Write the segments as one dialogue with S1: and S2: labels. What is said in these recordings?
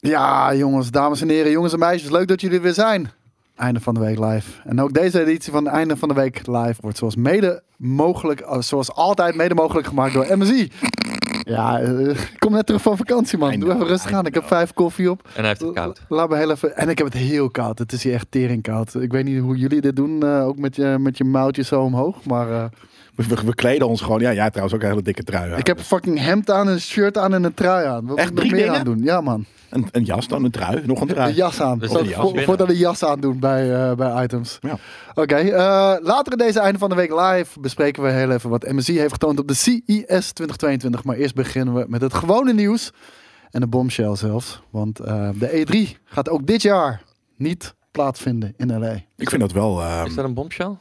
S1: Ja, jongens, dames en heren, jongens en meisjes, leuk dat jullie er weer zijn. Einde van de week live. En ook deze editie van Einde van de Week live wordt zoals mede mogelijk, eh, zoals altijd mede mogelijk gemaakt door MSI. Ja, eh, ik kom net terug van vakantie, man.
S2: I
S1: Doe even
S2: know,
S1: rustig
S2: I
S1: aan. Ik heb
S2: know.
S1: vijf koffie op.
S3: En hij heeft het koud.
S1: Laat me heel even. En ik heb het heel koud. Het is hier echt tering koud. Ik weet niet hoe jullie dit doen, eh, ook met je, met je mouwtje zo omhoog. Maar eh,
S2: We, we, we kleden ons gewoon. Ja, jij trouwens ook een hele dikke trui. aan.
S1: ik heb een fucking hemd aan, een shirt aan en een trui aan. Wat
S2: Echt
S1: moet ik nog
S2: drie
S1: meer
S2: dingen?
S1: aan doen? Ja, man.
S2: een, een jas dan, een trui, nog een trui.
S1: Een jas aan.
S3: Dus
S1: Voor-
S3: de jas
S1: voor-
S3: winnen.
S1: Voordat een jas aan doen bij, eh, bij items.
S2: Ja.
S1: Oké, eh, later in deze einde van de week live bespreken we heel even wat MSI heeft getoond op de E CES 2022. Maar eerst beginnen we met het gewone nieuws. En de bombshell zelfs. Want eh, de E3 gaat ook dit jaar niet plaatsvinden in LA.
S2: Ik vind dat wel. ehm,
S3: Is dat een bombshell?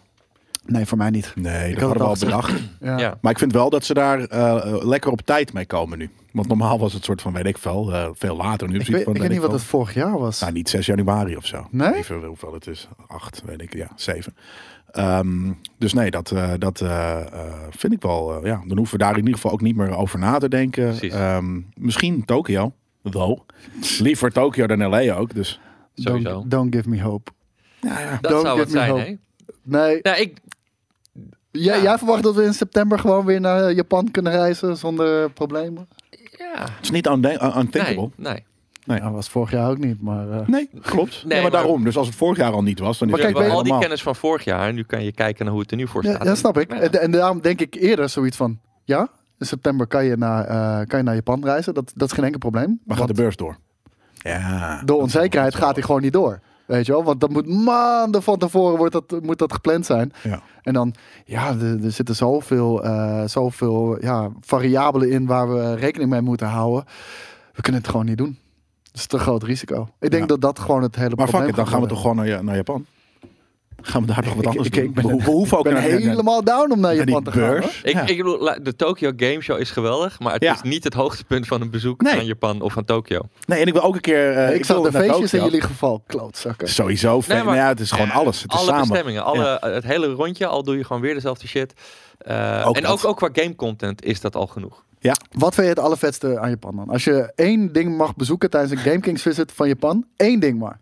S1: Nee, voor mij niet.
S2: nee,
S1: Ik
S2: dat
S1: had
S2: hadden we al
S1: het al
S2: bedacht.
S1: Ja.
S3: Ja.
S2: Maar ik vind wel dat ze daar eh, lekker op tijd mee komen nu. Want normaal was het soort van, weet ik veel, eh, veel later. Nu
S1: Ik
S2: is
S1: weet,
S2: het
S1: ik
S2: van,
S1: weet niet wat het
S2: veel.
S1: vorig jaar was.
S2: Nou, niet 6 januari of zo.
S1: Nee?
S2: Even hoeveel het is. 8, weet ik. Ja, 7. Ehm, dus nee, dat, eh, dat eh, eh, vind ik wel. eh, ja, dan hoeven we daar in ieder geval ook niet meer over na te denken.
S3: Precies.
S2: Ehm, misschien Tokio. Though. Liever Tokio dan LA ook. Dus
S3: Sowieso.
S1: Don't, don't give me hope.
S3: Dat
S1: Don't give
S3: zou het
S1: me
S3: zijn,
S1: hope.
S3: hè?
S1: Nee,
S3: Nou, ik,
S1: jij,
S3: Ja.
S1: jij verwacht dat we in september gewoon weer naar Japan kunnen reizen zonder problemen?
S3: ja.
S2: het is niet unde- un-
S3: Nee,
S2: unthinkable.
S3: nee.
S2: Nee.
S1: Nou, was vorig jaar ook niet, maar... eh,
S2: Nee, klopt. Nee, maar
S3: maar-
S2: daarom. Dus als het vorig jaar al niet was, dan is
S1: Maar
S3: Maar
S1: kijk,
S3: kijk,
S2: het
S1: weet-
S3: al
S2: wel
S3: die
S2: normaal.
S3: kennis van vorig jaar. En nu kan je kijken naar hoe het er nu voor
S1: Ja,
S3: staat.
S1: ja, snap ik.
S3: Ja.
S1: En, en daarom denk ik eerder zoiets van: ja, in september kan je naar, eh, kan je naar Japan reizen. Dat, dat is geen enkel probleem.
S2: Maar gaat
S1: Want
S2: de beurs door? Ja.
S1: door onzekerheid gaat hij gewoon niet door. Weet je wel? Want dat moet maanden van tevoren wordt dat, moet dat gepland zijn.
S2: Ja.
S1: En dan, ja, er, er zitten zoveel, eh, zoveel ja, variabelen in waar we rekening mee moeten houden. We kunnen het gewoon niet doen. Dat is te groot risico. Ik denk
S2: Ja.
S1: dat dat gewoon het hele
S2: Maar fuck
S1: probleem
S2: it, dan
S1: gaat
S2: gaan we
S1: worden.
S2: toch gewoon naar, Ja- naar Japan? Gaan we daar toch wat
S1: Ik-
S2: anders
S1: ik-
S2: doen?
S1: ik ben-
S2: we, we hoeven ook
S1: Ik ben
S2: naar, naar-
S1: helemaal down om naar
S2: naar die
S1: Japan te gaan. hoor.
S2: beurs.
S3: Ik,
S2: Ja.
S3: ik bedoel, la- de Tokyo Game Show is geweldig, maar het
S2: Ja.
S3: is niet het hoogtepunt van een bezoek
S2: Nee.
S3: aan Japan of aan Tokio.
S2: Nee, en ik wil ook een keer. eh,
S1: Ik, zag
S2: wil
S1: de
S2: naar
S1: feestjes in
S2: Tokio.
S1: jullie geval, klootzakken.
S2: Sowieso. fe-
S3: Nee, maar-
S2: nou ja, het is gewoon alles. Het is
S3: alle
S2: samen.
S3: bestemmingen, alle, eh, het hele rondje, al doe je gewoon weer dezelfde shit. Eh,
S2: Ook
S3: en
S2: dat.
S3: ook, ook qua game content is dat al genoeg.
S1: Wat vind je het allervetste aan Japan dan? Als je één ding mag bezoeken tijdens een Game Kings visit van Japan, één ding maar.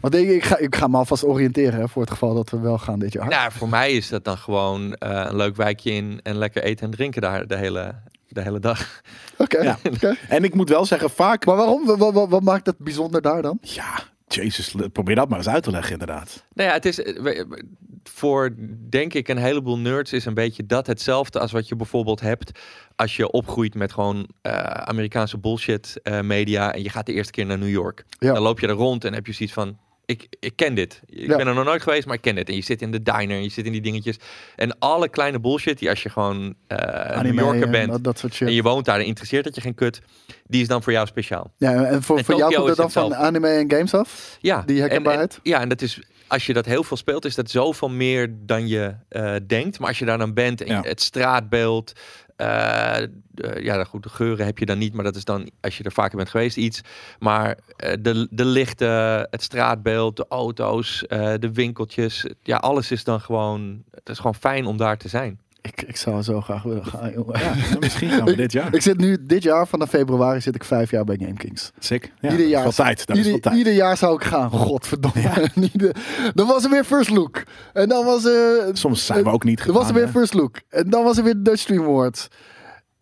S1: Want ik, ik, ga, ik ga me alvast oriënteren hè, voor het geval dat we wel gaan dit jaar.
S3: Nou, voor mij is dat dan gewoon eh, een leuk wijkje in en lekker eten en drinken daar de hele, de hele dag.
S1: Oké.
S2: Ja.
S1: oké.
S2: En ik moet wel zeggen, vaak.
S1: Maar waarom? Wa- wa- wa- Wat, maakt dat bijzonder daar dan?
S2: Ja, Jezus, le- probeer dat maar eens uit te leggen, inderdaad.
S3: Nou ja, het is eh, we- we- voor denk ik een heleboel nerds is een beetje dat hetzelfde als wat je bijvoorbeeld hebt als je opgroeit met gewoon eh, Amerikaanse bullshit eh, media en je gaat de eerste keer naar New York.
S1: Ja.
S3: Dan loop je er rond en heb je zoiets van ik, ik ken dit. Ik
S1: Ja.
S3: ben er nog nooit geweest, maar ik ken dit. En je zit in de diner en je zit in die dingetjes. En alle kleine bullshit die als je gewoon eh, een New
S1: Anime
S3: Yorker
S1: en
S3: bent
S1: Dat, dat soort shit.
S3: en je woont daar en interesseert dat je geen kut, die is dan voor jou speciaal.
S1: ja, en voor,
S3: en
S1: voor jou
S3: Tokyo
S1: komt het dan
S3: is
S1: van
S3: hetzelfde.
S1: anime en games af?
S3: Ja,
S1: Die
S3: en-
S1: herkenbaarheid?
S3: en- ja, en dat is, als je dat heel veel speelt, is dat zoveel meer dan je eh, denkt. Maar als je daar dan bent en
S2: Ja.
S3: het straatbeeld. eh, de- ja, goed, de geuren heb je dan niet, maar dat is dan als je er vaker bent geweest iets. Maar eh, de, de lichten, het straatbeeld, de auto's, eh, de winkeltjes. Ja, alles is dan gewoon. Het is gewoon fijn om daar te zijn.
S1: Ik, ik zou zo graag willen gaan, jongen.
S2: Ja, misschien gaan we dit jaar.
S1: Ik zit nu dit jaar, vanaf februari zit ik vijf jaar bij Game Kings.
S2: Sick. Ja,
S1: ieder jaar.
S2: Dat is wel tijd. Dat is
S1: ieder,
S2: wel tijd.
S1: ieder jaar zou ik gaan. Godverdomme. En ieder- dan was er weer First Look. En dan was, eh,
S2: Soms zijn we ook niet
S1: dan
S2: gegaan.
S1: was er weer
S2: hè.
S1: First Look. En dan was er weer Dutch Stream Awards.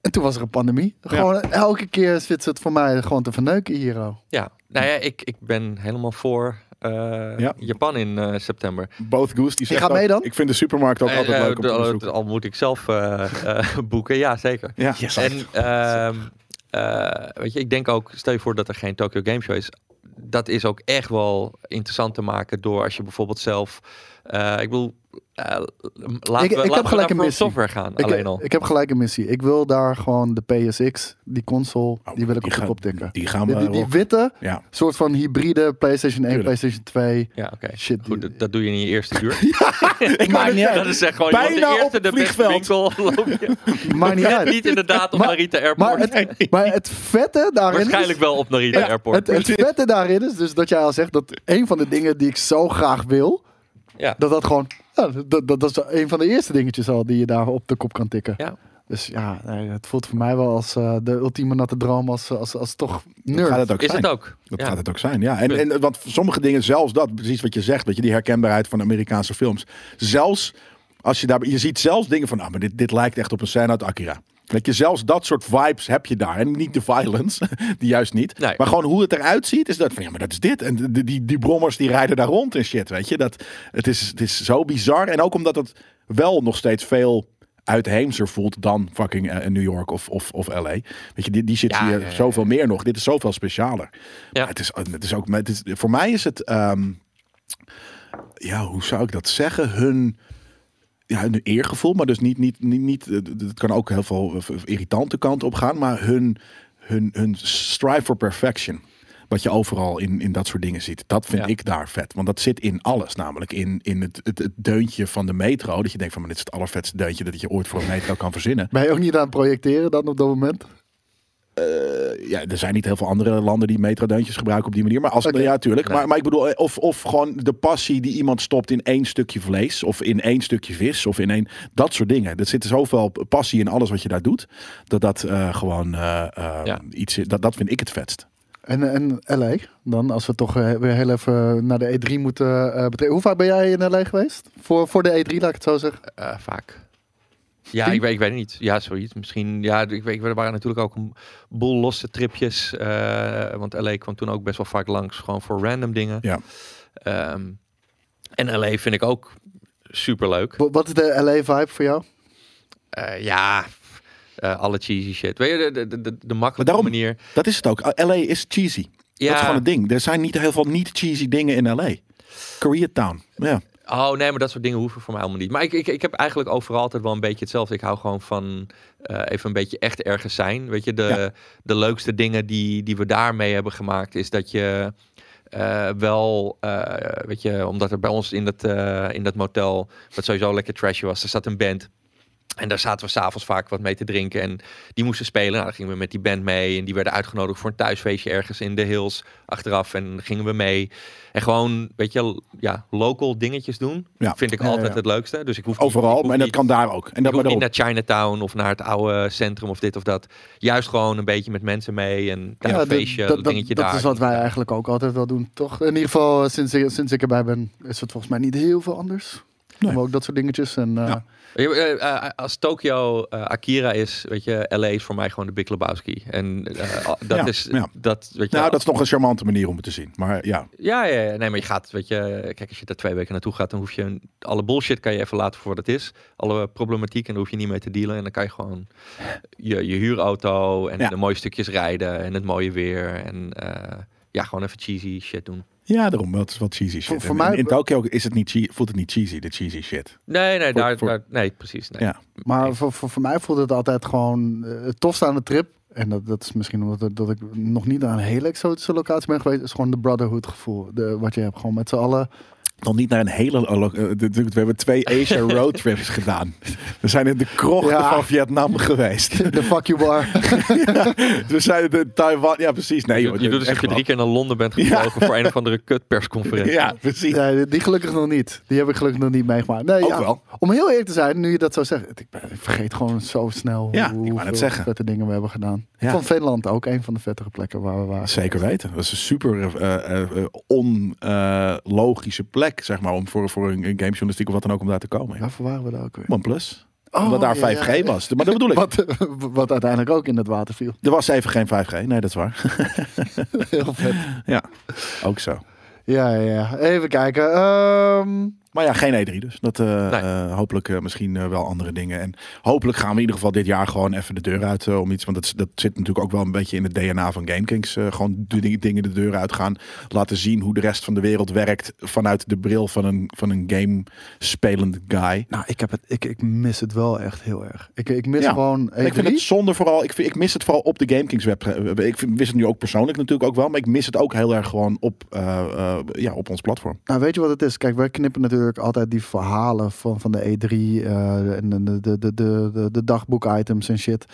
S1: En toen was er een pandemie. Gewoon elke keer zit het voor mij gewoon te verneuken hier. al.
S3: Ja, nou ja, ik, ik ben helemaal voor eh,
S2: Ja.
S3: Japan in eh, september.
S2: Both Goose. Die zegt
S1: gaat
S2: ook,
S1: mee dan?
S2: Ik vind de supermarkt ook
S3: Eh,
S2: altijd
S3: eh,
S2: leuk om
S3: de-
S2: te
S3: al-
S2: bezoeken.
S3: Al moet ik zelf eh, eh, boeken, ja zeker.
S2: Ja.
S3: En ehm, eh, weet je, ik denk ook, stel je voor dat er geen Tokyo Game Show is. Dat is ook echt wel interessant te maken door als je bijvoorbeeld zelf, eh, ik bedoel, eh, laten we,
S1: ik heb
S3: laten we
S1: gelijk
S3: naar
S1: een
S3: From
S1: missie.
S3: Software gaan
S1: Ik,
S3: alleen al.
S1: ik heb gelijk een missie. Ik wil daar gewoon de PSX, die console,
S2: Oh,
S1: die wil ik op
S2: die
S1: de
S2: gaan-
S1: kop tikken.
S2: Die gaan
S1: Die,
S2: we.
S1: die, die witte,
S2: ja.
S1: soort van hybride PlayStation 1,
S2: Tuurlijk.
S1: PlayStation 2.
S3: ja, oké.
S1: Shit,
S3: Goed,
S1: die-
S3: dat, dat doe je in je eerste uur.
S2: Ik maak niet
S3: dat
S2: uit.
S3: is echt gewoon, je
S2: Bijna
S3: wordt de
S2: op
S3: eerste,
S2: het
S3: de beste
S2: vliegveld.
S3: winkel. loop je.
S1: Maakt niet uit.
S3: Niet inderdaad op
S1: Maar-
S3: Narita
S1: Maar
S3: Airport.
S1: het, maar het vette daarin is-
S3: Waarschijnlijk wel op Narita Airport.
S1: Het, het vette daarin is dus dat jij al zegt dat een van de dingen die ik zo graag wil,
S3: ja.
S1: dat dat gewoon, ja, dat, dat, dat is een van de eerste dingetjes al die je daar op de kop kan tikken.
S3: Ja.
S1: Dus ja, nee, het voelt voor mij wel als eh, de ultieme natte droom als, eh, als, als toch nerd.
S2: Gaat het ook
S3: Is
S2: zijn.
S3: het ook?
S2: Dat
S3: Ja.
S2: gaat het ook zijn, ja. En,
S3: Punt.
S2: en want sommige dingen, zelfs dat, precies wat je zegt, weet je, die herkenbaarheid van Amerikaanse films. Zelfs als je daar, je ziet zelfs dingen van, ah, maar dit, dit lijkt echt op een scène uit Akira. Weet je, zelfs dat soort vibes heb je daar. En niet de violence, die juist niet.
S3: Nee.
S2: Maar gewoon hoe het eruit ziet, is dat van, ja, maar dat is dit. En die, die, die brommers die rijden daar rond en shit, weet je. Dat, het, is, het is zo bizar. En ook omdat het wel nog steeds veel uitheemser voelt dan fucking eh, New York of, of, of LA. Weet je, die, die shit
S3: Ja,
S2: zie je
S3: ja, ja.
S2: zoveel meer nog. Dit is zoveel specialer.
S3: Ja.
S2: Maar Het, is, het is ook. maar Het is, voor mij is het. ehm, ja, hoe zou ik dat zeggen? Hun. Ja, hun eergevoel, maar dus niet, niet, niet, niet. eh, d- Het kan ook heel veel eh, irritante kant op gaan, maar hun, hun, hun strive for perfection. Wat je overal in, in dat soort dingen ziet. Dat vind
S3: Ja.
S2: ik daar vet. Want dat zit in alles. Namelijk in, in het, het, het deuntje van de metro. Dat je denkt van, maar dit is het allervetste deuntje dat je ooit voor een metro kan verzinnen.
S1: Ben je ook niet aan het projecteren dan op dat moment?
S2: ja, er zijn niet heel veel andere landen die metrodeuntjes gebruiken op die manier. Maar als
S1: Oké.
S2: ja, tuurlijk.
S3: Nee.
S2: Maar, maar ik bedoel, eh, of, of gewoon de passie die iemand stopt in één stukje vlees, of in één stukje vis, of in één. Dat soort dingen. Er zit zoveel passie in alles wat je daar doet. Dat dat eh, gewoon eh, eh,
S3: Ja.
S2: iets is. Dat, dat vind ik het vetst.
S1: En, en LA dan, als we toch eh, weer heel even naar de E3 moeten eh betreden. Hoe vaak ben jij in LA geweest? Voor, voor de E3, laat ik het zo zeggen.
S3: Eh, vaak. Ja, ik weet, ik weet het niet. Ja, zoiets. Misschien. Ja, ik weet, er waren natuurlijk ook een boel losse tripjes. eh, want LA kwam toen ook best wel vaak langs. Gewoon voor random dingen.
S2: Ja.
S3: Ehm, en LA vind ik ook superleuk.
S1: Wa- Wat is de LA-vibe voor jou?
S3: Eh, ja, eh, alle cheesy shit. Weet je, de, de, de, de makkelijke
S2: Maar daarom-
S3: manier.
S2: Dat is het ook. Eh, LA is cheesy.
S3: Ja.
S2: Dat is gewoon het ding. Er zijn niet heel veel niet cheesy dingen in LA. Koreatown. Ja.
S3: Oh nee, maar dat soort dingen hoeven voor mij helemaal niet. Maar ik, ik, ik heb eigenlijk overal altijd wel een beetje hetzelfde. Ik hou gewoon van eh, even een beetje echt ergens zijn. Weet je, de,
S2: Ja.
S3: de leukste dingen die, die we daarmee hebben gemaakt is dat je eh, wel, eh, weet je, omdat er bij ons in dat, eh, in dat motel, wat sowieso lekker trashy was, er zat een band. En daar zaten we s'avonds vaak wat mee te drinken. En die moesten spelen. Nou, dan gingen we met die band mee. En die werden uitgenodigd voor een thuisfeestje ergens in de hills achteraf. En dan gingen we mee. En gewoon, weet je, l- ja, local dingetjes doen.
S2: Ja.
S3: Vind ik
S1: Ja, ja,
S3: altijd
S1: ja.
S3: het leukste. Dus ik hoef niet, ik
S2: Overal.
S3: hoef
S2: Maar dat
S3: niet-
S2: kan daar ook. En dat maar
S3: ik hoef niet
S2: daarom.
S3: naar Chinatown of naar het oude centrum of dit of dat. Juist gewoon een beetje met mensen mee. En daar een
S1: de-
S3: feestje,
S1: dat,
S3: een
S1: dat-
S3: dingetje
S1: dat
S3: daar.
S1: is wat wij eigenlijk ook altijd wel doen, toch? In ieder geval, eh, sinds ik, sinds ik erbij ben, is het volgens mij niet heel veel anders.
S2: Nee.
S1: Maar ook dat soort dingetjes. En, eh,
S2: Ja.
S3: Ja, eh, eh, Als Tokio eh, Akira is, weet je, LA is voor mij gewoon de Big Lebowski. En eh, al- dat
S2: Ja,
S3: is,
S2: ja.
S3: dat, weet je,
S2: Nou, dat is nog een charmante manier om het te zien. Maar ja,
S3: Ja, ja, ja. nee, maar je gaat, weet je, kijk, als je daar twee weken naartoe gaat, dan hoef je een- alle bullshit kan je even laten voor wat het is. Alle problematiek en daar hoef je niet mee te dealen. En dan kan je gewoon je, je huurauto en
S2: Ja.
S3: de mooie stukjes rijden en het mooie weer. En eh, ja, gewoon even cheesy shit doen.
S2: Ja, daarom. Dat is wat cheesy shit.
S1: Voor- voor
S2: En
S1: mij-
S2: in, in Tokyo is het niet chee- voelt het niet cheesy, de cheesy shit.
S3: Nee, nee,
S2: Voor-
S3: daar,
S2: voor-
S3: daar- nee precies. Nee.
S2: Ja.
S1: Maar voor, voor, voor mij voelde het altijd gewoon eh, het tofste aan de trip. En dat, dat is misschien omdat dat, dat ik nog niet aan een hele exotische locatie ben geweest. is gewoon de brotherhood gevoel. De, wat je hebt gewoon met z'n allen.
S2: Dan niet naar een hele... eh, lo- eh, de- de- We hebben twee Asia roadtrips gedaan. We zijn in de krochten
S1: Ja.
S2: van Vietnam geweest.
S1: De fuck you bar.
S2: We zijn in Taiwan... Ja, precies. Nee,
S3: Je,
S2: joh,
S3: je
S2: dat
S3: doet
S2: is
S3: alsof
S2: echt
S3: je drie keer naar Londen bent gevlogen voor een of andere
S2: wel-
S3: kutpersconferentie.
S2: Ja, precies.
S1: Ja, die- die gelukkig nog niet. Die heb ik gelukkig nog niet meegemaakt. Nee,
S2: Ook
S1: ja,
S2: wel.
S1: Om heel eerlijk te zijn, nu je dat zo zegt. Ik, ben- ik vergeet gewoon zo snel
S2: Ja, ik wou
S1: hoe,
S2: net
S1: hoeveel
S2: zeggen.
S1: vette dingen we hebben gedaan.
S2: Ja.
S1: Van Finland ook, een van de vettere plekken waar we waren.
S2: Ah, Zeker weten. Dat is een super eh, onlogische eh, plek, zeg maar, om voor, voor een, een gamejournalistiek of wat dan ook om daar te komen. Ja.
S1: Waarvoor waren we daar ook weer?
S2: OnePlus.
S1: Oh,
S2: Omdat daar
S1: ja, ja.
S2: 5G was. Maar dat bedoel ik.
S1: Wat, wat uiteindelijk ook in het water viel.
S2: Er was even geen 5G. Nee, dat is waar.
S1: Heel vet.
S2: ja, ook zo.
S1: Ja, ja, ja. Even kijken. Ehm,
S2: Maar ja, geen E3 dus. Dat, eh,
S3: Nee.
S2: eh, hopelijk eh, misschien eh, wel andere dingen. En hopelijk gaan we in ieder geval dit jaar gewoon even de deur uit eh, om iets. Want dat, dat zit natuurlijk ook wel een beetje in het DNA van GameKings. eh gewoon de ding- dingen de deur uit gaan. Laten zien hoe de rest van de wereld werkt vanuit de bril van een, van een game spelend guy.
S1: nou, ik, heb het, ik, ik mis het wel echt heel erg. Ik, ik mis
S2: Ja.
S1: gewoon E E3.
S2: Ik vind het zonde vooral. Ik, vind- ik mis het vooral op de GameKings web. eh, Ik vind- mis het nu ook persoonlijk natuurlijk ook wel. Maar ik mis het ook heel erg gewoon op, eh, eh, ja, op ons platform.
S1: Nou, weet je wat het is? Kijk, wij knippen natuurlijk altijd die E verhalen van, van de E3 eh, en de, de, de, de, de, de dagboek-items en shit.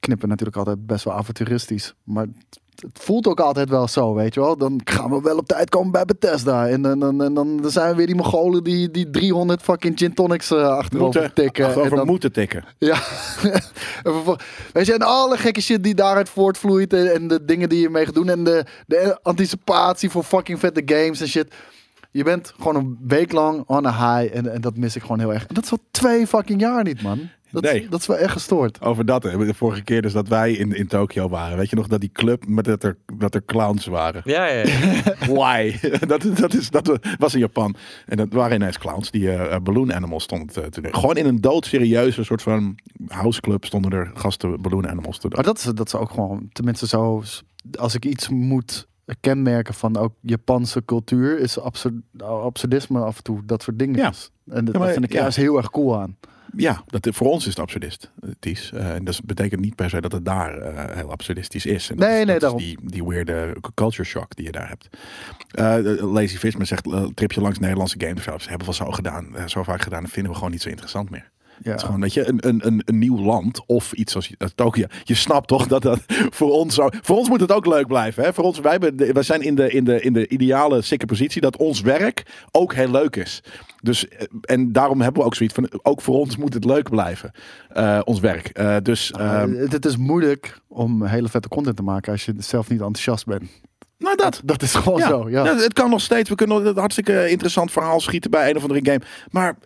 S1: knippen natuurlijk altijd best wel avonturistisch. Maar het- het voelt ook altijd wel zo, weet je wel. Dan gaan we wel op tijd komen bij Bethesda. En dan, dan, dan, dan, dan zijn we weer die Mongolen die, die 300 fucking gin tonics eh, achterover
S2: Moeten,
S1: tikken.
S2: achterover
S1: en dan,
S2: moeten tikken.
S1: Ja. en vervol- weet je, en alle gekke shit die daaruit voortvloeit. En, en de dingen die je mee gaat doen. En de, de anticipatie voor fucking vette games en shit. Je bent gewoon een week lang on a high. En, en dat mis ik gewoon heel erg. En dat is al twee fucking jaar niet, man. Dat,
S2: Nee.
S1: dat is wel echt gestoord.
S2: Over dat, hè, de vorige keer dus dat wij in, in Tokio waren. Weet je nog dat die club, met dat er, dat er clowns waren.
S3: Ja, ja, ja.
S2: Why? dat, is- dat, is, dat was in Japan. En dat waren ineens clowns die eh eh, Balloon Animals stonden te, te doen. Gewoon in een doodserieuze soort van houseclub stonden er gasten Balloon Animals te doen.
S1: Maar dat is, dat is ook gewoon, tenminste zo, als ik iets moet kenmerken van ook Japanse cultuur, is absurd, absurdisme af en toe, dat soort dingen.
S2: Ja.
S1: En dat,
S2: Ja, maar-
S1: dat vind ik
S2: ja.
S1: juist heel erg cool aan.
S2: Ja, dat, voor ons is het absurdistisch. Eh, en dat betekent niet per se dat het daar eh, heel absurdistisch is. En dat
S1: Nee,
S2: is,
S1: nee,
S2: dat
S1: daarom.
S2: is die, die weirde culture shock die je daar hebt. Eh, Lazy Visman zegt, eh, tripje langs Nederlandse gameshops. Hebben we al zo gedaan, eh, zo vaak gedaan. Dat vinden we gewoon niet zo interessant meer.
S1: Ja.
S2: Het is gewoon, weet je, een, een, een, een nieuw land of iets als als Tokio. Je snapt toch dat dat voor ons zo... Voor ons moet het ook leuk blijven. Hè? Voor ons, wij, hebben de- wij zijn in de, in, de, in de ideale, sikke positie dat ons werk ook heel leuk is. Dus, eh, en daarom hebben we ook zoiets van, ook voor ons moet het leuk blijven. eh, ons werk. Eh, dus,
S1: Eh,
S2: ehm,
S1: het, het is moeilijk om hele vette content te maken als je zelf niet enthousiast bent.
S2: nou dat.
S1: Dat is gewoon
S2: Ja,
S1: zo, ja.
S2: ja, het kan nog steeds. We kunnen een hartstikke interessant verhaal schieten bij een of andere game. Maar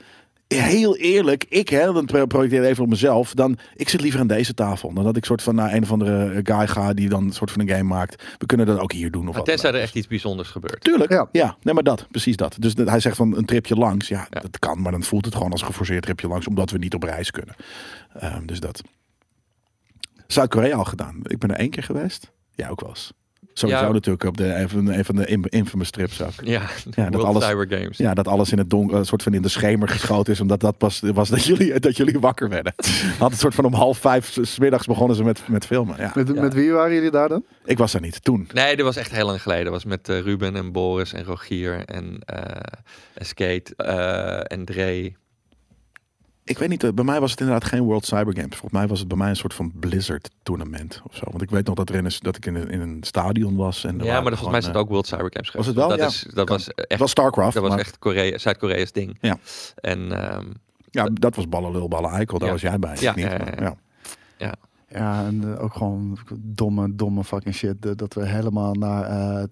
S2: heel eerlijk, ik hè, dan pro- projecteer even op mezelf. Dan, ik zit liever aan deze tafel. Dan dat ik soort van naar een of andere guy ga die dan een soort van een game maakt. We kunnen dat ook hier doen of
S3: Maar
S2: wat.
S3: tenzij
S2: dan
S3: er
S2: ook.
S3: echt iets bijzonders gebeurt.
S2: Tuurlijk, ja.
S1: Ja.
S2: Nee, maar dat, precies dat. Dus dat- hij zegt van een tripje langs. Ja, dat kan, maar dan voelt het gewoon als een geforceerd tripje langs. Omdat we niet op reis kunnen. Ehm, dus dat. Zuid-Korea al gedaan. Ik ben er één keer geweest. Ja, ook wel eens. Sowieso
S3: Ja.
S2: natuurlijk op de, een van de, een van de in- infamous trips ook.
S3: Ja,
S2: dat
S3: World
S2: alles-
S3: Cyber Games.
S2: Ja, dat alles in het donker, eh, soort van in de schemer geschoten is. Omdat dat pas was dat jullie, dat jullie wakker werden. Had het soort van om half vijf s- 's middags begonnen ze met, met filmen. Ja,
S1: Met,
S3: Ja.
S1: met wie waren jullie daar dan?
S2: ik was er niet toen.
S3: Nee, dat was echt heel lang geleden. Dat was met eh, Ruben en Boris en Rogier en, eh, en Skate eh, en Dre.
S2: Ik weet niet, eh, bij mij was het inderdaad geen World Cyber Games. Volgens mij was het bij mij een soort van Blizzard tournament of zo. Want ik weet nog dat, er in een, s- dat ik in een, in een stadion was. En er
S3: Ja,
S2: waren
S3: maar volgens mij is het
S2: gewoon, eh,
S3: ook World Cyber
S2: was
S3: Games geweest.
S2: het wel?
S3: Dat,
S2: Ja,
S3: is, dat
S2: kan.
S3: was
S2: eh,
S3: echt,
S2: Het was StarCraft.
S3: dat was
S2: maar-
S3: echt Korea, Zuid-Korea's ding.
S2: Ja.
S3: En ehm,
S2: ja, dat was ballen lul, ballen eikel. Daar
S3: Ja.
S2: was jij bij.
S3: Ja,
S2: niet?
S3: ja, ja, ja.
S2: ja.
S1: Ja, en eh, ook gewoon domme, domme fucking shit. eh, dat we helemaal naar eh,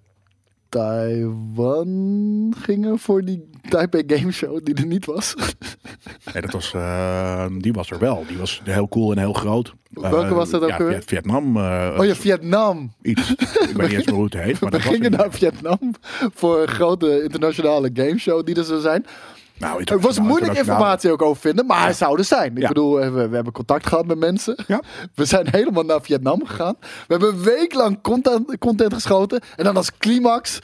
S1: Taiwan gingen voor die Taipei Game Show die er niet was.
S2: Nee, dat was, eh, die was er wel. Die was heel cool en heel groot.
S1: Welke
S2: Eh,
S1: was dat ook
S2: ja,
S1: weer?
S2: Viet- Vietnam. eh,
S1: Oh ja, Vietnam.
S2: iets. Ik weet niet eens meer hoe het heet. Maar
S1: We
S2: dat was
S1: gingen
S2: het.
S1: naar Vietnam voor een grote internationale gameshow die er zou zijn.
S2: Nou,
S1: Er was moeilijk informatie ook over vinden, maar hij zou er zijn. Ik
S2: Ja.
S1: bedoel, eh, we, we hebben contact gehad met mensen.
S2: Ja.
S1: We zijn helemaal naar Vietnam gegaan. We hebben een week lang content, content geschoten. En dan als climax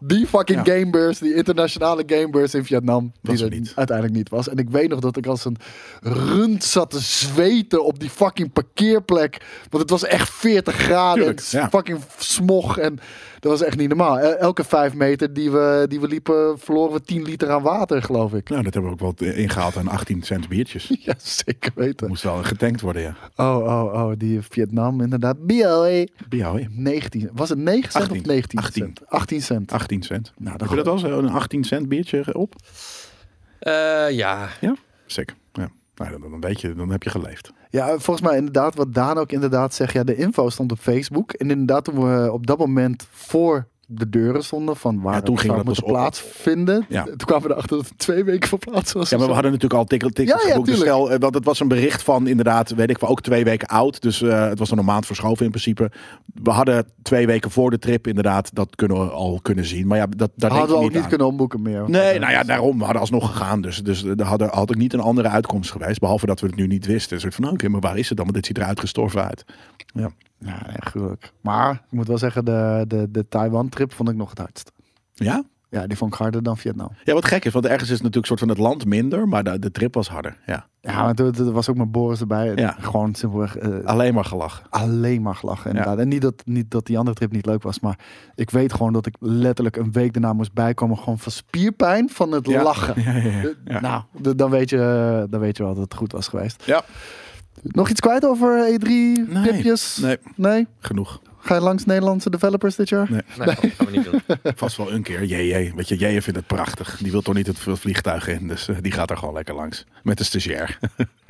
S1: die fucking
S2: Ja.
S1: gamebeurs, die internationale gamebeurs in Vietnam.
S2: Was
S1: die
S2: er
S1: er
S2: niet.
S1: uiteindelijk niet was. En ik weet nog dat ik als een rund zat te zweten op die fucking parkeerplek. Want het was echt 40 graden.
S2: Tuurlijk,
S1: en s-
S2: ja.
S1: Fucking smog. En dat was echt niet normaal. El- Elke vijf meter die we, die we liepen, verloren we 10 liter aan water, geloof ik.
S2: Nou, dat hebben we ook wel ingehaald aan 18 cent biertjes.
S1: Ja, zeker weten.
S2: Moest wel getankt worden, ja.
S1: Oh, oh, oh, die Vietnam inderdaad. BLE.
S2: Bij jou, hè?
S1: 19. Was het 9 cent
S2: 18.
S1: of 19
S2: 18.
S1: cent? 18 cent.
S2: 18 cent.
S1: Nou, dan
S2: Heb je dat al zo, een 18 cent biertje op?
S3: eh, ja,
S2: Sick. Ja. Nou, dan, dan weet je, dan heb je geleefd.
S1: Ja, volgens mij inderdaad, wat Daan ook inderdaad zegt. Ja, de info stond op Facebook. En inderdaad, toen we op dat moment voor de deuren stonden van waar
S2: Ja, toen
S1: het
S2: ging
S1: zou
S2: dat
S1: moeten
S2: pas op.
S1: plaatsvinden.
S2: Ja.
S1: Toen kwamen we erachter dat het twee weken voor plaats was.
S2: Ja, maar we
S1: of
S2: hadden natuurlijk al tikkels tik
S1: Ja, ja,
S2: geboekt. Dus
S1: tuurlijk.
S2: stel, eh, want het was een bericht van inderdaad, weet ik wel, ook twee weken oud. Dus eh, het was dan een maand verschoven in principe. We hadden twee weken voor de trip inderdaad, dat kunnen we al kunnen zien. Maar ja, dat, daar
S1: zo.
S2: denk
S1: hadden
S2: je
S1: we
S2: niet
S1: ook niet
S2: aan.
S1: kunnen omboeken meer.
S2: Nee, nou ja, daarom. We hadden alsnog gegaan. Dus, dus er had, er, had ook niet een andere uitkomst geweest. Behalve dat we het nu niet wisten. Dus ik van, oké, maar waar is het dan? Want dit ziet er uitgestorven uit.
S1: Ja, nee, gruwelijk. Maar ik moet wel zeggen, de, de, de Taiwan-trip vond ik nog het hardst.
S2: Ja?
S1: Ja, die vond ik harder dan Vietnam.
S2: Ja, wat gek is. Want ergens is het natuurlijk soort van het land minder. Maar de, de trip was harder. Ja.
S1: Ja, maar toen- toen was ook met Boris erbij.
S2: Ja. Ah.
S1: Gewoon simpelweg eh,
S2: Alleen maar gelachen.
S1: alleen maar lachen. Inderdaad. En niet dat, niet dat die andere trip niet leuk was, maar ik weet gewoon dat ik letterlijk een week daarna moest bijkomen. Gewoon van spierpijn van het
S2: Ja.
S1: lachen. nou,
S2: Ja, ja, ja.
S1: Eh, Nou, d- dan weet, je, eh, dan weet je wel dat het goed was geweest.
S2: Ja.
S1: Nog iets kwijt over E3?
S2: Nee.
S1: Pipjes?
S2: Nee,
S1: Nee?
S2: genoeg.
S1: Ga je langs Nederlandse developers dit jaar?
S2: Nee.
S3: Nee, Nou, dat gaan we niet doen.
S2: Vast wel een keer. JJ, weet je, JJ vindt het prachtig. Die wil toch niet het vliegtuig in, dus eh, die gaat er gewoon lekker langs. Met de stagiair.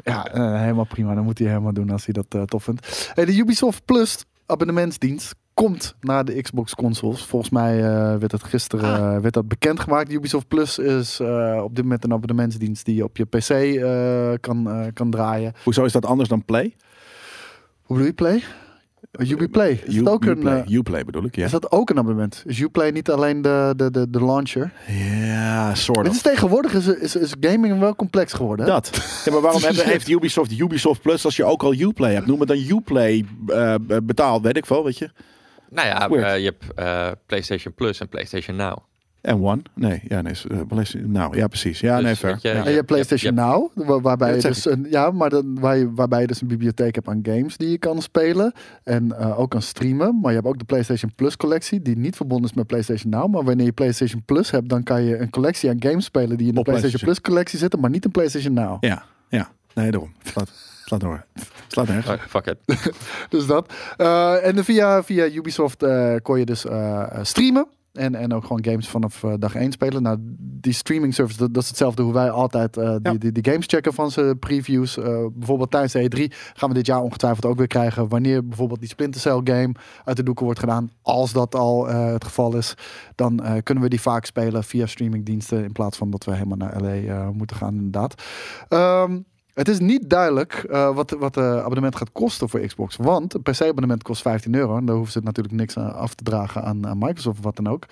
S1: Ja, eh, helemaal prima. Dan moet hij helemaal doen als hij dat eh, tof vindt. Hey, de Ubisoft Plus abonnementsdienst komt naar de Xbox consoles. Volgens mij eh, werd dat gisteren
S2: Ah.
S1: eh, werd dat bekendgemaakt. Ubisoft Plus is eh, op dit moment een abonnementsdienst die je op je PC eh, kan, eh, kan draaien.
S2: Hoezo is dat anders dan Play?
S1: Hoe bedoel je Play? Uh, Ubiplay. Is, dat ook een,
S2: Uplay,
S1: eh,
S2: Uplay bedoel ik, ja.
S1: is dat ook een abonnement? Is Uplay niet alleen de, de, de, de launcher?
S2: Ja, soort
S1: Het
S2: of.
S1: is tegenwoordig is, is, is gaming wel complex geworden. Hè?
S2: Dat. Ja, maar waarom hebben, heeft Ubisoft Ubisoft Plus als je ook al Uplay hebt? Noem het dan Uplay eh betaald, weet ik veel, weet je.
S3: Nou ja,
S2: Weird.
S3: eh, je hebt eh, PlayStation Plus en PlayStation Now.
S2: En One? Nee, ja, nee. is, eh, PlayStation- nou, ja, precies. Ja,
S3: Dus
S2: nee, ver.
S3: weet je,
S2: Ja. Ah,
S1: En je hebt PlayStation Now, wa- waarbij
S2: Ja,
S1: je
S2: dat zeg
S1: dus een, ja, maar dan, waar je, waarbij je dus een bibliotheek hebt aan games die je kan spelen en eh, ook kan streamen. Maar je hebt ook de PlayStation Plus collectie die niet verbonden is met PlayStation Now. Maar wanneer je PlayStation Plus hebt, dan kan je een collectie aan games spelen die in de
S2: Op
S1: PlayStation,
S2: PlayStation.
S1: Plus collectie zitten, maar niet in PlayStation Now.
S2: Ja, ja. Nee, daarom. Slaat, slaat door. Slaat nergens.
S3: Oh, fuck it.
S1: Dus dat. Eh, en via, via Ubisoft eh, kon je dus eh, eh, streamen. En, en ook gewoon games vanaf eh, dag 1 spelen. Nou, die streaming service, dat, dat is hetzelfde hoe wij altijd eh, die,
S2: Ja.
S1: die, die games checken van ze previews. Eh, bijvoorbeeld tijdens de E3 gaan we dit jaar ongetwijfeld ook weer krijgen. Wanneer bijvoorbeeld die Splinter Cell game uit de doeken wordt gedaan. Als dat al eh, het geval is, dan eh, kunnen we die vaak spelen via streamingdiensten. In plaats van dat we helemaal naar LA eh, moeten gaan, inderdaad. Ehm, het is niet duidelijk eh, wat, wat de abonnement gaat kosten voor Xbox. Want een PC-abonnement kost 15 euro. En daar hoeven ze natuurlijk niks aan af te dragen aan, aan Microsoft of wat dan ook.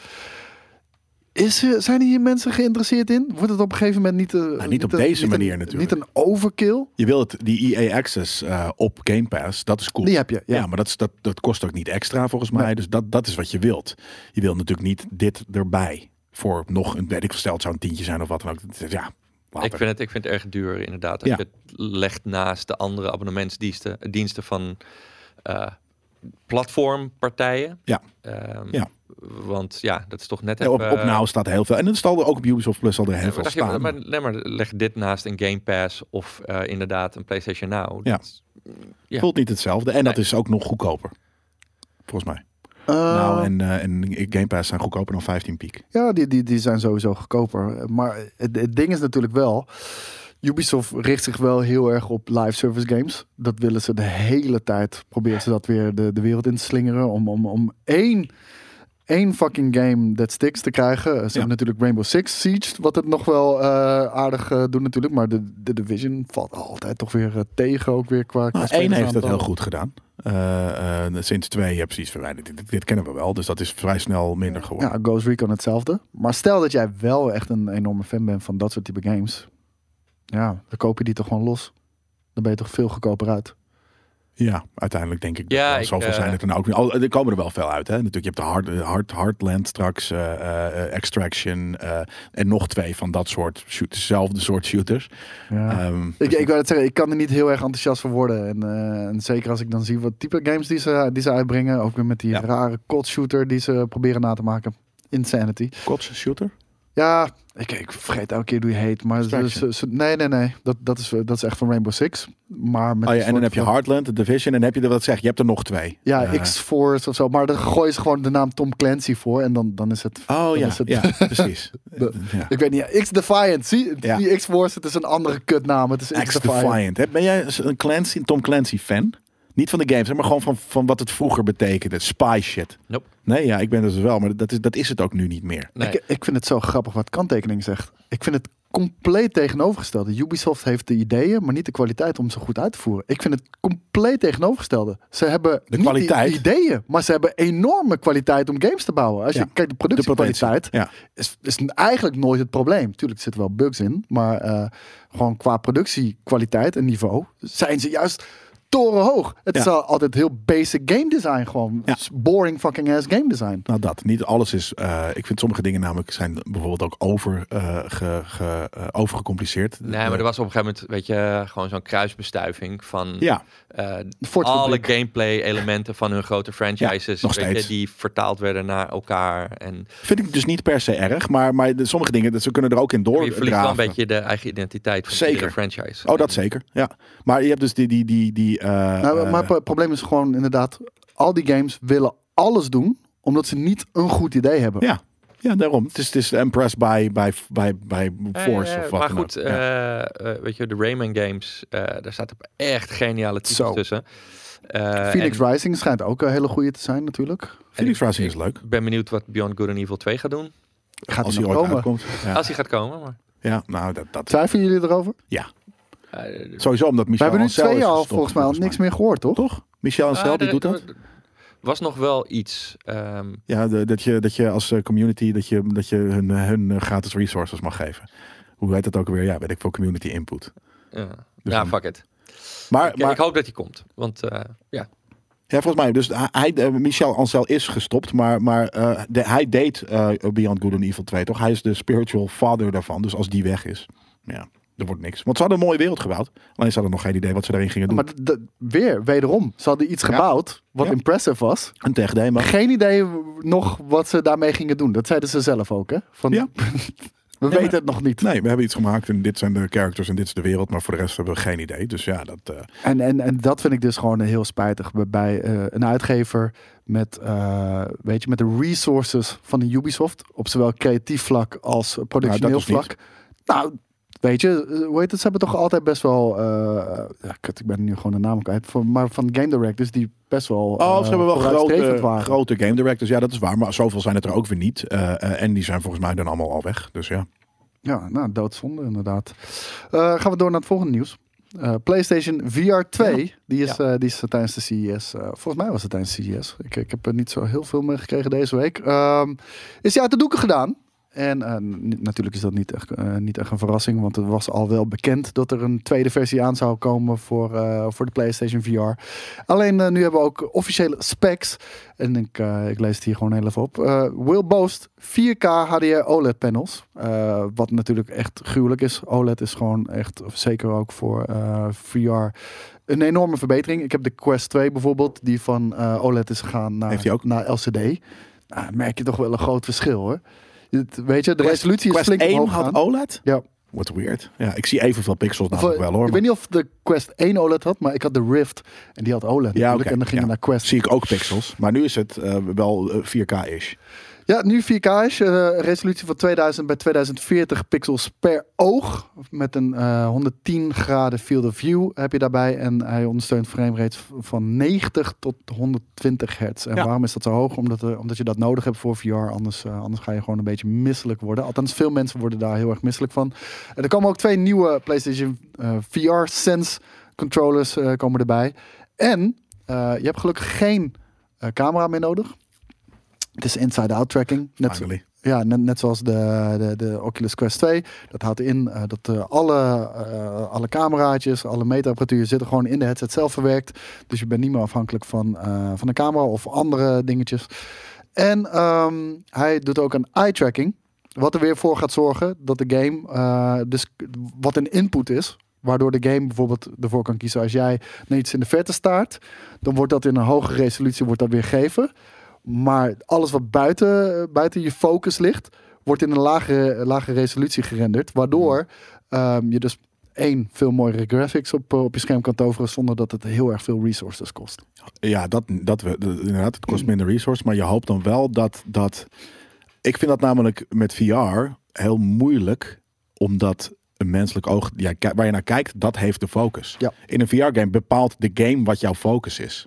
S1: Is, er- zijn hier mensen geïnteresseerd in? Wordt het op een gegeven moment niet... eh,
S2: Nou, niet op deze
S1: een-
S2: manier natuurlijk.
S1: Niet een overkill?
S2: Je wilt die EA Access eh, op Game Pass, dat is cool.
S1: Die heb je, ja.
S2: Ja, maar dat, is, dat, dat kost ook niet extra volgens mij. Dus dat, dat is wat je wilt. Je wilt natuurlijk niet dit erbij. Voor nog een, weet ik veel, stel het zou een tientje zijn of wat dan ook. Het is- Ja, later.
S3: Ik vind, het, ik vind het erg duur, inderdaad. Als
S2: Ja.
S3: je het legt naast de andere abonnementsdiensten diensten van eh, platformpartijen.
S2: Ja.
S3: Ehm,
S2: Ja.
S3: Want ja, dat is toch net
S2: Ja, op, op
S3: even-
S2: nou staat heel veel. En het zal er ook op Ubisoft Plus al er heel
S3: eh, Ja, maar
S2: veel
S3: dacht je,
S2: staan.
S3: maar, nee, maar leg dit naast een Game Pass of eh, inderdaad een PlayStation Now.
S2: Ja.
S3: Dat- ja.
S2: Voelt niet hetzelfde. En dat
S3: Nee.
S2: is ook nog goedkoper. Volgens mij.
S1: Eh,
S2: nou, en, eh, en Game Pass zijn goedkoper dan 15 piek.
S1: Ja, die, die, die zijn sowieso goedkoper. Maar het, het ding is natuurlijk wel... Ubisoft richt zich wel heel erg op live service games. Dat willen ze de hele tijd. Proberen ze dat weer de, de wereld in te slingeren. Om, om, om één, één fucking game that sticks te krijgen. Ze hebben natuurlijk Rainbow Six Siege. Wat het nog wel eh, aardig eh, doet natuurlijk. Maar de, de Division valt altijd toch weer eh, tegen. Ook weer qua... qua
S2: Nou, één heeft dat
S1: spelersaantal.
S2: heel goed gedaan. Eh, eh, sinds twee heb je precies verwijderd. Dit, dit kennen we wel, dus dat is vrij snel minder geworden.
S1: Ja, Ghost Recon hetzelfde. Maar stel dat jij wel echt een enorme fan bent van dat soort type games. Ja, dan koop je die toch gewoon los. Dan ben je toch veel goedkoper uit.
S2: Ja, uiteindelijk denk ik. dat
S3: Ja,
S2: wel.
S3: ik,
S2: Zoveel
S3: eh,
S2: zijn het er nou ook niet. Al, er komen er wel veel uit. Hè? Natuurlijk, je hebt de hard, eh, hard, Hardland straks, eh, eh, eh, Extraction eh, en nog twee van dat soort shooters, zelfde soort shooters.
S1: Ja.
S2: Ehm,
S1: ik,
S2: dus
S1: ik wou het zeggen, ik kan er niet heel erg enthousiast voor worden. En, eh, en zeker als ik dan zie wat type games die ze, die ze uitbrengen. Ook weer met die
S2: Ja.
S1: rare shooter die ze proberen na te maken. Insanity.
S2: Kots shooter? Oh
S1: Ja, ik, ik vergeet elke keer hoe je heet. Maar ze,
S2: Extraction.
S1: ze- ze- nee, nee, nee. Dat, dat, is, dat is echt van Rainbow Six. Maar met
S2: Oh
S1: een
S2: ja, en dan
S1: soort
S2: heb je
S1: van-
S2: Heartland, de Division, en heb je er wat zeg. Je hebt er nog twee.
S1: Ja,
S2: Eh,
S1: X-Force of zo. Maar dan gooien ze gewoon de naam Tom Clancy voor. En dan, dan is het
S2: Oh
S1: Dan
S2: ja,
S1: is het-
S2: ja, precies. ja.
S1: Ik weet niet, X-Defiant. Zie,
S2: Ja.
S1: die X-Force, het is een andere kutnaam. Het is X-Defiant.
S2: X-Defiant. Ben jij een Clancy, Tom Clancy-fan? Niet van de games, hè, maar gewoon van, van wat het vroeger betekende. Spy shit.
S3: Nope.
S2: Nee, ja, ik ben dus wel, maar dat is, dat is het ook nu niet meer.
S3: Nee.
S1: Ik, ik vind het zo grappig wat kanttekening zegt. Ik vind het compleet tegenovergestelde. Ubisoft heeft de ideeën, maar niet de kwaliteit om ze goed uit te voeren. Ik vind het compleet tegenovergestelde. Ze hebben niet
S2: kwaliteit.
S1: die ideeën, maar ze hebben enorme kwaliteit om games te bouwen. Als je
S2: Ja.
S1: kijkt, de productiekwaliteit
S2: potentie. Ja.
S1: is, is eigenlijk nooit het probleem. Tuurlijk zitten wel bugs in, maar eh, gewoon qua productiekwaliteit en niveau zijn ze juist torenhoog. Het
S2: Ja.
S1: is al altijd heel basic game design gewoon.
S2: Ja.
S1: S- Boring fucking ass game design.
S2: Nou, dat. Niet alles is. eh, ik vind sommige dingen namelijk zijn bijvoorbeeld ook over, eh, ge, ge, eh, overgecompliceerd.
S3: Nee, maar er was op een gegeven moment, weet je, gewoon zo'n kruisbestuiving van
S2: Ja,
S3: eh,
S1: Fort
S3: alle
S1: Republic.
S3: gameplay-elementen van hun grote franchises,
S2: nog
S3: weet je,
S2: steeds.
S3: die vertaald werden naar elkaar. En
S2: vind ik dus niet per se erg. Maar, maar de- sommige dingen, dat- ze kunnen er ook in
S3: je verliest wel een
S2: doordraven.
S3: beetje de eigen identiteit van
S2: Zeker.
S3: iedere franchise.
S2: Oh, dat zeker. Ja. Maar je hebt dus die. die, die, die eh,
S1: Nou,
S2: eh,
S1: maar het pro- probleem is gewoon inderdaad, al die games willen alles doen, omdat ze niet een goed idee hebben.
S2: ja. ja, daarom. Het is, het is impressed by, by, by, by
S3: Ja,
S2: force
S3: ja, ja.
S2: of wat
S3: Maar
S2: dan
S3: goed,
S2: ook.
S3: eh,
S2: Ja.
S3: eh, weet je, de Rayman games, eh, daar staat op echt geniale titels
S1: Zo.
S3: tussen. Eh,
S1: Phoenix
S3: en
S1: Rising schijnt ook een hele goede te zijn natuurlijk.
S2: Phoenix Rising is leuk.
S3: Ik ben benieuwd wat Beyond Good and Evil 2 gaat doen.
S1: Gaat
S2: Als
S1: die
S2: hij
S1: nog
S2: ooit
S1: komen?
S2: uitkomt. Ja.
S3: Als hij gaat komen. Maar,
S2: ja, nou, dat, dat
S1: Twijfelen jullie erover?
S3: eh, d-
S2: sowieso omdat
S1: We
S2: Michel
S1: hebben nu
S2: Ancel
S1: twee
S2: is
S1: jaar
S2: gestopt,
S1: volgens mij al niks meer gehoord, toch?
S2: Toch? Michel Ancel,
S3: ah,
S2: die
S3: er-
S2: doet dat?
S3: er- Was nog wel iets. ehm,
S2: Ja, de- dat, je, dat je als eh, community dat je, dat je hun, eh, hun eh, gratis resources mag geven. Hoe heet dat ook alweer? Ja, weet ik veel, community input.
S3: ja.
S2: Dus
S3: nou,
S2: dan-
S3: fuck it.
S2: Maar,
S3: Ik,
S2: maar
S3: ik hoop dat hij komt. Want eh, ja,
S2: ja, volgens mij, dus hij, eh, Michel Ancel is gestopt, maar, maar eh, de- hij deed eh, Beyond Good and Evil 2, toch? Hij is de spiritual father daarvan, dus als die weg is, ja, er wordt niks. Want ze hadden een mooie wereld gebouwd, alleen ze hadden nog geen idee wat ze daarin gingen doen.
S1: Maar d- d- weer, wederom, ze hadden iets gebouwd wat
S2: Ja.
S1: impressive was.
S2: een tech demo.
S1: Geen idee w- nog wat ze daarmee gingen doen. Dat zeiden ze zelf ook, hè? Van,
S2: Ja.
S1: we
S2: maar-
S1: weten het nog niet.
S2: Nee, we hebben iets gemaakt en dit zijn de characters en dit is de wereld, maar voor de rest hebben we geen idee. Dus ja, dat... eh,
S1: En, en, en dat vind ik dus gewoon heel spijtig bij- bij eh, een uitgever met, eh, weet je, met de resources van de Ubisoft op zowel creatief vlak als productioneel
S2: Nou, dat is
S1: vlak. Nou, weet je, eh, hoe heet het? Ze hebben toch altijd best wel, eh, ja, kut, ik ben nu gewoon de naam kwijt, van, maar van game directors die best wel. eh,
S2: Oh, ze hebben wel grote,
S1: waren.
S2: grote game directors. Ja, dat is waar. Maar zoveel zijn het er ook weer niet. Eh, eh, en die zijn volgens mij dan allemaal al weg. Dus ja.
S1: Ja, nou, doodzonde inderdaad. Eh, gaan we door naar het volgende nieuws. Eh, PlayStation VR 2, die, is, eh, die is eh, tijdens de CES. eh, volgens mij was het tijdens de CES. Ik, ik heb er niet zo heel veel mee gekregen deze week. Ehm, is die uit de doeken gedaan? En eh, n- natuurlijk is dat niet echt, eh, niet echt een verrassing, want het was al wel bekend dat er een tweede versie aan zou komen voor, eh, voor de PlayStation VR. Alleen eh, nu hebben we ook officiële specs. En ik, eh, ik lees het hier gewoon heel even op. Eh, will boast 4K HDR OLED E panels. Eh, wat natuurlijk echt gruwelijk is. OLED is gewoon echt, of zeker ook voor eh, VR, een enorme verbetering. Ik heb de Quest 2 bijvoorbeeld, die van eh, OLED is gegaan naar,
S2: Heeft die ook?
S1: naar LCD. Nou, dan merk je toch wel een groot verschil hoor. Het- weet je, de
S2: Quest-
S1: resolutie is
S2: Quest
S1: flink
S2: 1
S1: omhoog
S2: had
S1: gegaan.
S2: OLED?
S1: Ja.
S2: Wat weird. Ja, ik zie evenveel pixels
S1: Of,
S2: namelijk
S1: eh,
S2: wel hoor.
S1: ik weet niet of de Quest 1 OLED E had, maar ik had de Rift en die had OLED natuurlijk.
S2: oké,
S1: En dan ging
S2: ja.
S1: je naar Quest
S2: Zie ik ook pixels. Maar nu is het eh, wel eh, 4K-ish.
S1: Ja, nu 4K is eh, resolutie van 2000 bij 2040 pixels per oog. Met een eh, 110 graden field of view heb je daarbij. En hij ondersteunt framerates v- van 90 tot 120 hertz. En
S2: Ja.
S1: waarom is dat zo hoog? Omdat, eh, omdat je dat nodig hebt voor VR. Anders, eh, anders ga je gewoon een beetje misselijk worden. Althans, veel mensen worden daar heel erg misselijk van. En er komen ook twee nieuwe PlayStation eh, VR Sense controllers eh, komen erbij. En eh, je hebt gelukkig geen eh, camera meer nodig. Het is inside-out tracking. Net,
S2: Finally.
S1: ja, net, net zoals de, de, de Oculus Quest 2. Dat houdt in eh, dat eh, alle, eh, alle cameraatjes, alle meetapparatuur zitten gewoon in de headset zelf verwerkt. Dus je bent niet meer afhankelijk van, eh, van de camera of andere dingetjes. En ehm, hij doet ook een eye tracking. Wat er weer voor gaat zorgen dat de game, eh, dus k- wat een input is. Waardoor de game bijvoorbeeld ervoor kan kiezen als jij naar iets in de verte staart. Dan wordt dat in een hogere resolutie wordt dat weer gegeven. Maar alles wat buiten, buiten je focus ligt, wordt in een lagere, lagere resolutie gerenderd. Waardoor ehm, je dus één, veel mooiere graphics op, eh, op je scherm kan toveren zonder dat het heel erg veel resources kost.
S2: Ja, dat, dat we, dat- inderdaad, het
S1: Mm.
S2: kost minder resource. Maar je hoopt dan wel dat, dat... Ik vind dat namelijk met VR heel moeilijk. Omdat een menselijk oog, ja, ki- waar je naar kijkt, dat heeft de focus.
S1: Ja.
S2: In een VR-game bepaalt de game wat jouw focus is.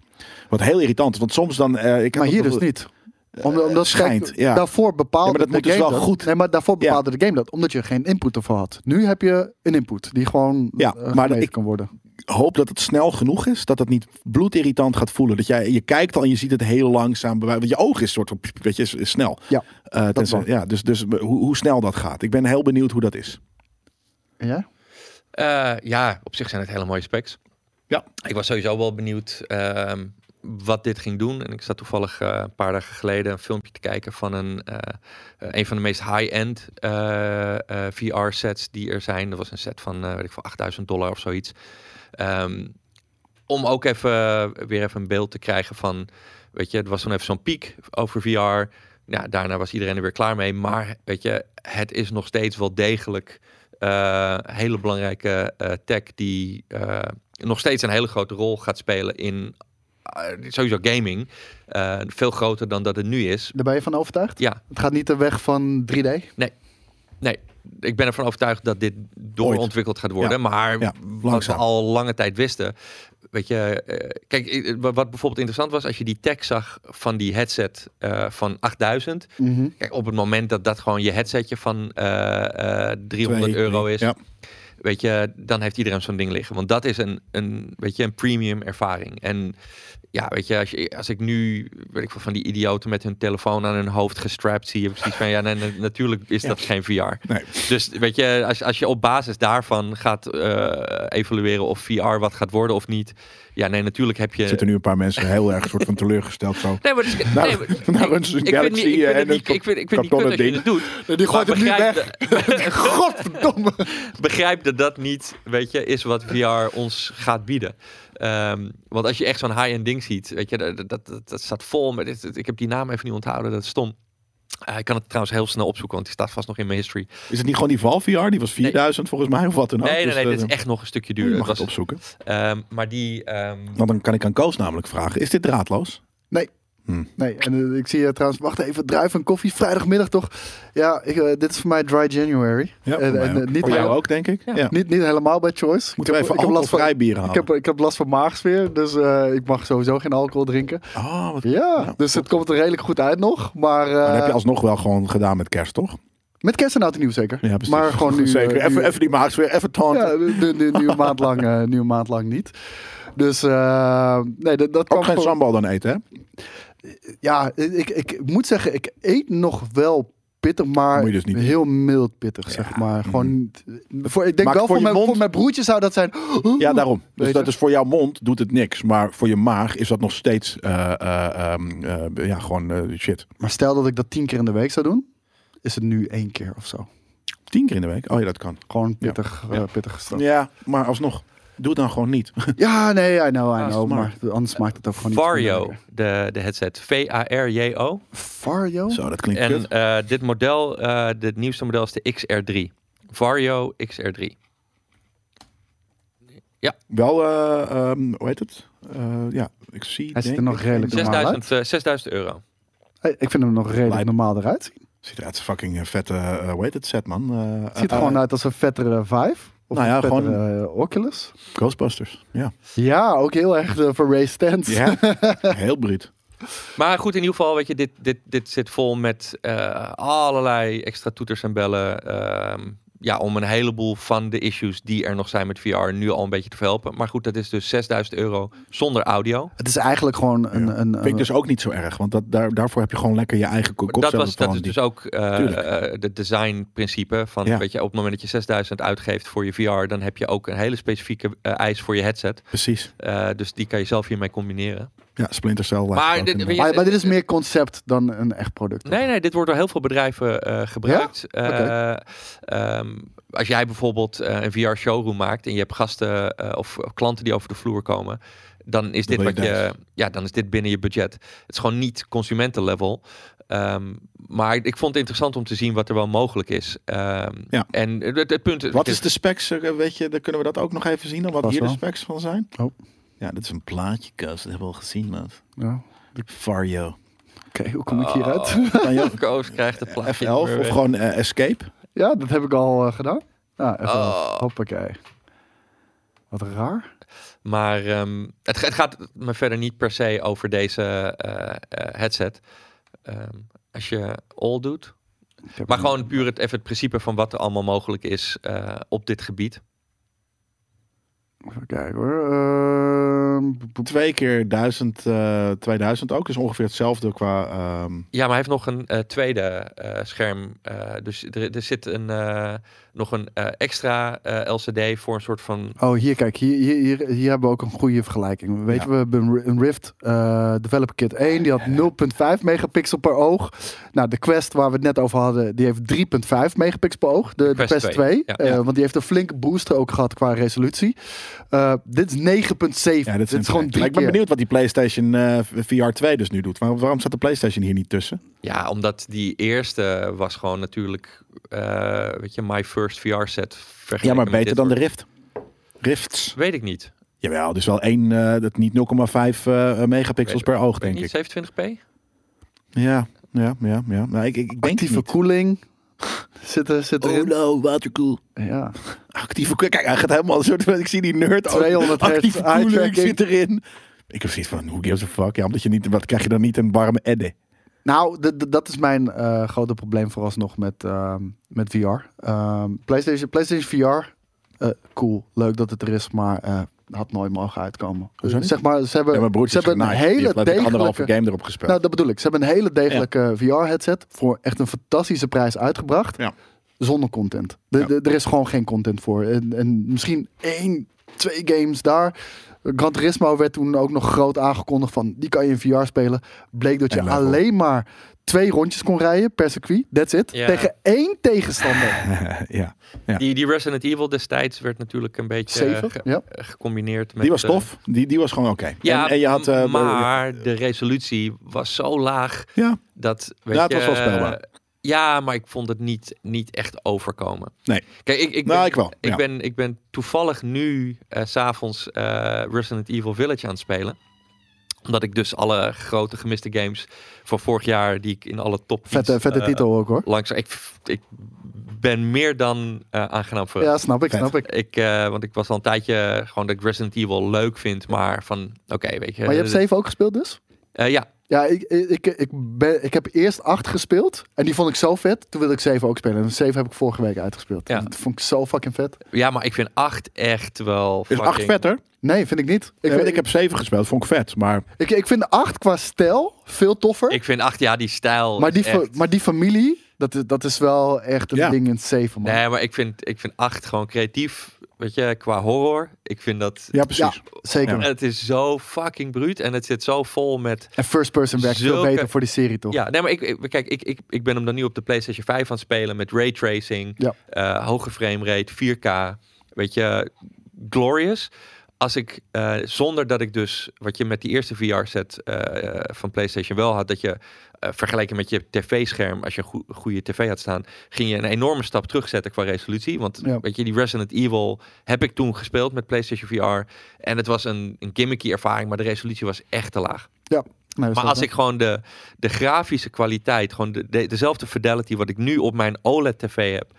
S2: Wat heel irritant is, want soms dan... eh, ik had
S1: Maar
S2: dat
S1: hier dus
S2: bijvoorbeeld-
S1: niet. Om- omdat
S2: schijnt,
S1: kijk,
S2: ja.
S1: Daarvoor bepaalde
S2: Ja, maar dat
S1: de
S2: moet dus
S1: game
S2: wel
S1: dat.
S2: goed.
S1: Nee, maar daarvoor
S2: Ja.
S1: bepaalde de game dat. Omdat je geen input ervoor had. Nu heb je een input die gewoon
S2: Ja,
S1: ja,
S2: maar
S1: maar
S2: ik-
S1: kan worden.
S2: hoop dat het snel genoeg is. Dat het niet bloedirritant gaat voelen. Dat jij, je kijkt al en je ziet het heel langzaam. bij wijze- Want je oog is soort van, pff, weet je, is, is snel.
S1: Ja,
S2: Eh, tenzij-
S1: wel.
S2: ja dus dus hoe, hoe snel dat gaat. Ik ben heel benieuwd hoe dat is.
S1: En jij?
S3: eh, ja, op zich zijn het hele mooie specs.
S2: Ja.
S3: Ik was sowieso wel benieuwd ehm, wat dit ging doen. En ik zat toevallig eh, een paar dagen geleden een filmpje te kijken van een, eh, eh, een van de meest high-end eh, VR-sets die er zijn. Dat was een set van, eh, weet ik veel, 8000 dollar of zoiets. Ehm, om ook even eh, weer even een beeld te krijgen van, weet je, het was dan even zo'n piek over VR. Ja, daarna was iedereen er weer klaar mee. Maar weet je, het is nog steeds wel degelijk eh, hele belangrijke eh, tech die eh, nog steeds een hele grote rol gaat spelen in eh, sowieso gaming. Eh, veel groter dan dat het nu is.
S1: Daar ben je van overtuigd?
S3: Ja,
S1: Het gaat niet de weg van 3D.
S3: nee. Ik ben ervan overtuigd dat dit doorontwikkeld gaat worden. Maar
S2: Ja,
S3: wat we
S2: langzaam.
S3: al lange tijd wisten. Weet je, eh, kijk, eh, wat bijvoorbeeld interessant was, als je die tech zag van die headset eh, van 8000.
S1: Mhm.
S3: Kijk, op het moment dat dat gewoon je headsetje van eh, eh, 300
S2: Twee,
S3: euro
S2: drie.
S3: is,
S2: Ja.
S3: weet je, dan heeft iedereen zo'n ding liggen. Want dat is een, een, weet je, een premium ervaring. En ja, weet je, als, je, als ik nu, weet ik veel, van die idioten met hun telefoon aan hun hoofd gestrapt zie, heb ik zoiets van, ja, nee, nee, natuurlijk is dat geen VR.
S2: Nee.
S3: Dus weet je, als, als je op basis daarvan gaat eh, evalueren of VR wat gaat worden of niet, ja, nee, natuurlijk heb je...
S2: Zitten nu een paar mensen heel erg soort van teleurgesteld zo.
S3: Nee, maar, dus,
S2: Nou,
S3: nee, maar-
S2: nou, een
S3: ik vind
S2: Galaxy,
S3: niet, ik
S2: eh,
S3: vind
S2: en
S3: het
S2: een
S3: niet, ik vind, ik vind het niet kut
S2: kartonnen
S3: als je
S2: ding.
S3: het doet.
S1: Die gooit
S3: Maar
S1: het nu
S3: begrijp
S1: weg. Godverdomme.
S3: begrijp dat dat niet, weet je, is wat VR ons gaat bieden. Ehm, want als je echt zo'n high-end ding ziet, weet je, dat, dat, dat, dat staat vol met... dit- dit- ik heb die naam even niet onthouden, dat is stom. Eh, ik kan het trouwens heel snel opzoeken, want die staat vast nog in mijn history.
S2: Is het niet gewoon die Valve VR? Die was 4000 volgens mij of wat dan ook.
S3: nee, nee,
S2: Dus,
S3: nee,
S2: eh,
S3: dit is echt nog een stukje
S2: Je
S3: duurder.
S2: mag
S3: Het
S2: het
S3: was-
S2: opzoeken.
S3: ehm, maar die... ehm,
S2: Want dan kan ik aan Koos namelijk vragen. Is dit draadloos?
S1: Nee, en eh, ik zie je trouwens, wacht even, druif en koffie, vrijdagmiddag toch? Ja, ik, eh, dit is voor mij dry January.
S2: Ja,
S1: En-
S2: voor mij
S1: en,
S2: ook.
S1: eh, niet
S2: Voor jou
S1: heel-
S2: ook, denk ik. Ja.
S1: Niet, niet helemaal bij choice.
S2: Moeten we even
S1: ik heb last van,
S2: alcoholvrij bier halen?
S1: ik heb, ik heb last van maagsfeer, dus eh, ik mag sowieso geen alcohol drinken.
S2: Oh, wat...
S1: Ja,
S2: Ja,
S1: dus het komt er redelijk goed uit nog. Maar, eh,
S2: Maar dat heb je alsnog wel gewoon gedaan met kerst, toch?
S1: met kerst en oud en nieuw zeker.
S2: Ja, precies.
S1: Maar gewoon nu...
S2: Zeker.
S1: eh, nu-
S2: even, even die maaks weer, even taunten.
S1: Ja, nu, nu, nu, nu een maand lang, eh, nu een maand lang niet. Dus eh, nee, dat, dat kwam
S2: ook geen
S1: gewoon-
S2: sambal dan eten, hè?
S1: Ja, ik, ik moet zeggen, ik eet nog wel pittig, maar
S2: Moet je dus niet
S1: heel mild pittig, zeg maar. Gewoon, niet- eh, voor, ik denk
S2: Maar
S1: wel voor
S2: voor je
S1: mijn,
S2: mond-
S1: voor mijn broertje zou dat zijn.
S2: Ja, daarom. Dus
S1: Weet
S2: dat
S1: je?
S2: is voor jouw mond doet het niks. Maar voor je maag is dat nog steeds eh, eh, ehm, eh, ja, gewoon eh, shit.
S1: Maar stel dat ik dat tien keer in de week zou doen, is het nu één keer of zo.
S2: Tien keer in de week? Oh ja, dat kan.
S1: Gewoon pittig, eh, pittig gestraft.
S2: Ja, maar alsnog. Doe het dan gewoon niet.
S1: Oh. Ja, nee, I know, I
S3: Ah,
S1: know. Maar
S2: smart.
S1: anders maakt het ook gewoon niet.
S3: Vario, de, de headset. V-A-R-J-O.
S1: Vario?
S2: Zo, dat klinkt
S3: En
S2: kut.
S3: eh, dit model, eh dit nieuwste model is de XR3. Vario XR3.
S2: Wel, eh, ehm, hoe heet het? Eh, ja, ik zie...
S1: Hij ziet er
S2: denk
S1: nog
S2: ik-
S1: redelijk normaal uit.
S3: 6000, eh, 6000 euro.
S1: Hey, ik vind hem nog redelijk
S2: Lijp.
S1: normaal eruit zien.
S2: Ziet eruit als een fucking eh, vette, eh, hoe heet het, set man. Eh,
S1: Het ziet er gewoon uit als een vettere Vive. Of
S2: Nou ja,
S1: een vettere
S2: gewoon-
S1: eh, Oculus.
S2: Ghostbusters, ja.
S1: Ja, ook heel erg eh, voor Ray Stans.
S2: Ja, heel breed.
S3: Maar goed, in ieder geval, weet je, dit, dit, dit zit vol met eh, allerlei extra toeters en bellen. ehm, ja, om een heleboel van de issues die er nog zijn met VR nu al een beetje te verhelpen. Maar goed, dat is dus 6000 euro zonder audio.
S1: Het is eigenlijk gewoon een...
S2: Ja.
S1: een,
S2: Vind ik dus ook niet zo erg, want dat, daar, daarvoor heb je gewoon lekker je eigen ko-
S3: Dat,
S2: koptelefoon.
S3: was, dat is
S2: die-
S3: dus ook eh,
S2: Tuurlijk.
S3: eh, de designprincipe van,
S2: Ja.
S3: weet je, op het moment dat je 6000 uitgeeft voor je VR, dan heb je ook een hele specifieke eh, eis voor je headset.
S2: Precies.
S3: Eh, dus die kan je zelf hiermee combineren.
S2: Ja, Splinter Cell. lijkt
S3: Maar
S2: me ook
S3: dit-
S2: inderdaad.
S1: Maar, maar dit is meer concept dan een echt product.
S3: Nee, nee, dit wordt door heel veel bedrijven eh, gebruikt. Eh, ehm, als jij bijvoorbeeld eh, een VR-showroom maakt en je hebt gasten eh, of, of klanten die over de vloer komen,
S2: Dan
S3: dan is dit
S2: wil je
S3: wat je,
S2: dance.
S3: ja, dan is dit binnen je budget. Het is gewoon niet consumentenlevel. Ehm, maar ik vond het interessant om te zien wat er wel mogelijk is. Ehm,
S2: Ja.
S3: En het, het punt
S2: Wat is de specs, eh, weet je, dan kunnen we dat ook nog even zien, dan, wat
S1: Vast
S2: hier de
S1: wel.
S2: specs van zijn.
S1: Oh.
S2: Ja, dit is een plaatje, Koos. Dat hebben we al gezien, man.
S1: Ja.
S2: Vario.
S1: Oké, hoe kom ik hieruit?
S2: Kan je ook
S3: Koos krijgt het plaatje.
S2: F11 of gewoon eh, Escape?
S1: ja, dat heb ik al eh, gedaan. Nou, even
S3: Oh.
S1: af. Hoppakee. Wat raar.
S3: Maar ehm, het, ga- het gaat me verder niet per se over deze eh, eh, headset. Ehm, als je all doet.
S1: Ik heb
S3: Maar
S1: hem-
S3: gewoon puur het, even het principe van wat er allemaal mogelijk is eh, op dit gebied.
S1: Even kijken hoor. Ehm, boep, boep.
S2: Twee keer 1000, eh, 2000 ook. Dus ongeveer hetzelfde qua... ehm,
S3: Ja, maar hij heeft nog een eh, tweede eh, scherm. eh, dus er, er zit een, eh, nog een eh, extra eh, LCD voor een soort van...
S1: oh, hier kijk. Hier, hier, hier, hier hebben we ook een goede vergelijking. Weet
S2: Ja.
S1: je, we hebben een Ri- een Rift eh, Developer Kit 1. Die had 0,5 megapixel per oog. Nou, de Quest waar we het net over hadden, die heeft 3,5 megapixel per oog. De, de
S3: Quest
S1: Quest, 2.
S3: 2, ja.
S1: Eh, Want die heeft een flinke booster ook gehad qua resolutie. Eh, dit is 9,7.
S2: ja,
S1: dit is gewoon drie
S2: maar ik ben
S1: keer.
S2: benieuwd wat die PlayStation eh, VR 2 dus nu doet. Waarom, waarom staat de PlayStation hier niet tussen?
S3: Ja, omdat die eerste was gewoon natuurlijk... eh, weet je, my first VR set. vergeleken
S2: Ja, maar
S3: met
S2: beter
S3: dit
S2: dan de
S3: soort-
S2: Rift. Rifts.
S3: Weet ik niet.
S2: Jawel, dus wel één, eh, dat niet 0,5 eh, megapixels per oog, denk
S3: Weet
S2: ik.
S3: niet, 27p?
S2: Ja, ja, ja. ja. Nou, ik, ik, ik denk
S1: Actieve koeling. Zit er, zit
S2: Oh
S1: erin.
S2: no, watercool.
S1: Ja.
S2: Actieve koeling. Kijk, hij gaat helemaal een soort van- Ik zie die nerd ook.
S1: 200 hertz
S2: Actieve
S1: eye
S2: koeling
S1: tracking.
S2: zit erin. Ik heb zoiets van, who gives a fuck? Ja, omdat je niet... Wat krijg je dan niet een warme eddy?
S1: Nou, d- d- dat is mijn eh, grote probleem vooralsnog met, ehm, met VR. Ehm, PlayStation, PlayStation VR, eh, cool, leuk dat het er is, maar eh, had nooit mogen uitkomen.
S2: Hoezo niet?
S1: Zeg maar, ze hebben,
S2: Ja, mijn
S1: ze
S2: broertje is
S1: hebben een
S2: genaaid. Die heeft,
S1: hele
S2: geloof ik, anderhalve
S1: degelijke...
S2: game erop gespeeld.
S1: Nou, dat bedoel ik. Ze hebben een hele degelijke VR-headset voor echt een fantastische prijs uitgebracht.
S2: Ja.
S1: Zonder content. De-
S2: Ja.
S1: de- er is gewoon geen content voor. En, en misschien één, twee games daar. Gran Turismo werd toen ook nog groot aangekondigd van die kan je in VR spelen. Bleek dat je
S2: En level.
S1: alleen maar twee rondjes kon rijden per circuit. That's it.
S3: Ja.
S1: Tegen één tegenstander.
S2: ja.
S3: Die, die Resident Evil destijds werd natuurlijk een beetje eh,
S1: Zeven.
S3: ge-
S1: Ja.
S3: gecombineerd met...
S2: Die was
S3: eh,
S2: tof. Die, die was gewoon oké.
S3: Ja,
S2: en, en je had... eh,
S3: maar de resolutie was zo laag
S2: Ja,
S3: dat... Weet
S2: Ja, het
S3: je, eh,
S2: was wel speelbaar.
S3: Ja, maar ik vond het niet, niet echt overkomen.
S2: Nee.
S3: Kijk, ik, ik, ben,
S2: nou, ik wel.
S3: ik,
S2: ja.
S3: ben, ik ben toevallig nu eh, s s'avonds eh, Resident Evil Village aan het spelen. Omdat ik dus alle grote gemiste games van vorig jaar... die ik in alle top
S1: Vette, vette
S3: eh,
S1: titel ook hoor.
S3: Langs, ik, ik ben meer dan eh, aangenaam verrast.
S1: Ja, snap ik,
S2: vet.
S1: snap ik.
S3: Ik, eh, want ik was al een tijdje gewoon dat ik Resident Evil leuk vind, maar van oké, weet je.
S1: Maar je hebt
S3: eh,
S1: zeven ook gespeeld dus?
S3: eh, ja,
S1: Ja, ik, ik, ik, ik ben, ik heb eerst 8 gespeeld. En die vond ik zo vet. Toen wilde ik 7 ook spelen. En 7 heb ik vorige week uitgespeeld.
S3: Ja.
S1: Dat vond ik zo fucking vet.
S3: ja, maar ik vind 8 echt wel.
S2: Is acht
S3: fucking-
S2: vetter.
S1: Nee, vind ik niet. Ik,
S2: Ik,
S1: vind,
S2: ik heb zeven gespeeld, vond ik vet. Maar
S1: ik, ik vind 8 qua stijl veel toffer.
S3: Ik vind 8, ja, die stijl.
S1: maar,
S3: is
S1: die fa-
S3: echt-
S1: maar die familie, dat is, dat is wel echt een
S2: Ja.
S1: ding in het 7, man.
S3: Nee, maar ik vind, ik vind 8 gewoon creatief. Weet je, qua horror. Ik vind dat.
S2: ja, precies.
S1: Ja, zeker.
S2: Ja.
S3: Het is zo fucking bruut en het zit zo vol met.
S1: En first person werkt veel
S3: Zulke-
S1: beter voor die serie, toch?
S3: Ja, nee, maar ik, ik- kijk, ik, ik, ik ben hem dan nu op de PlayStation 5 aan het spelen met raytracing,
S1: Ja.
S3: eh, hoge frame rate, 4K, weet je, glorious. Als ik, eh, zonder dat ik dus, wat je met die eerste VR-set eh, van PlayStation wel had, dat je eh, vergeleken met je tv-scherm, als je een goe- goede tv had staan, ging je een enorme stap terugzetten qua resolutie. Want
S1: Ja.
S3: weet je, die Resident Evil heb ik toen gespeeld met PlayStation VR. En het was een, een gimmicky ervaring, maar de resolutie was echt te laag.
S1: Nee, dat is
S3: Maar
S1: wel
S3: als
S1: waar.
S3: ik gewoon de, de grafische kwaliteit, gewoon de, de- dezelfde fidelity wat ik nu op mijn OLED-tv heb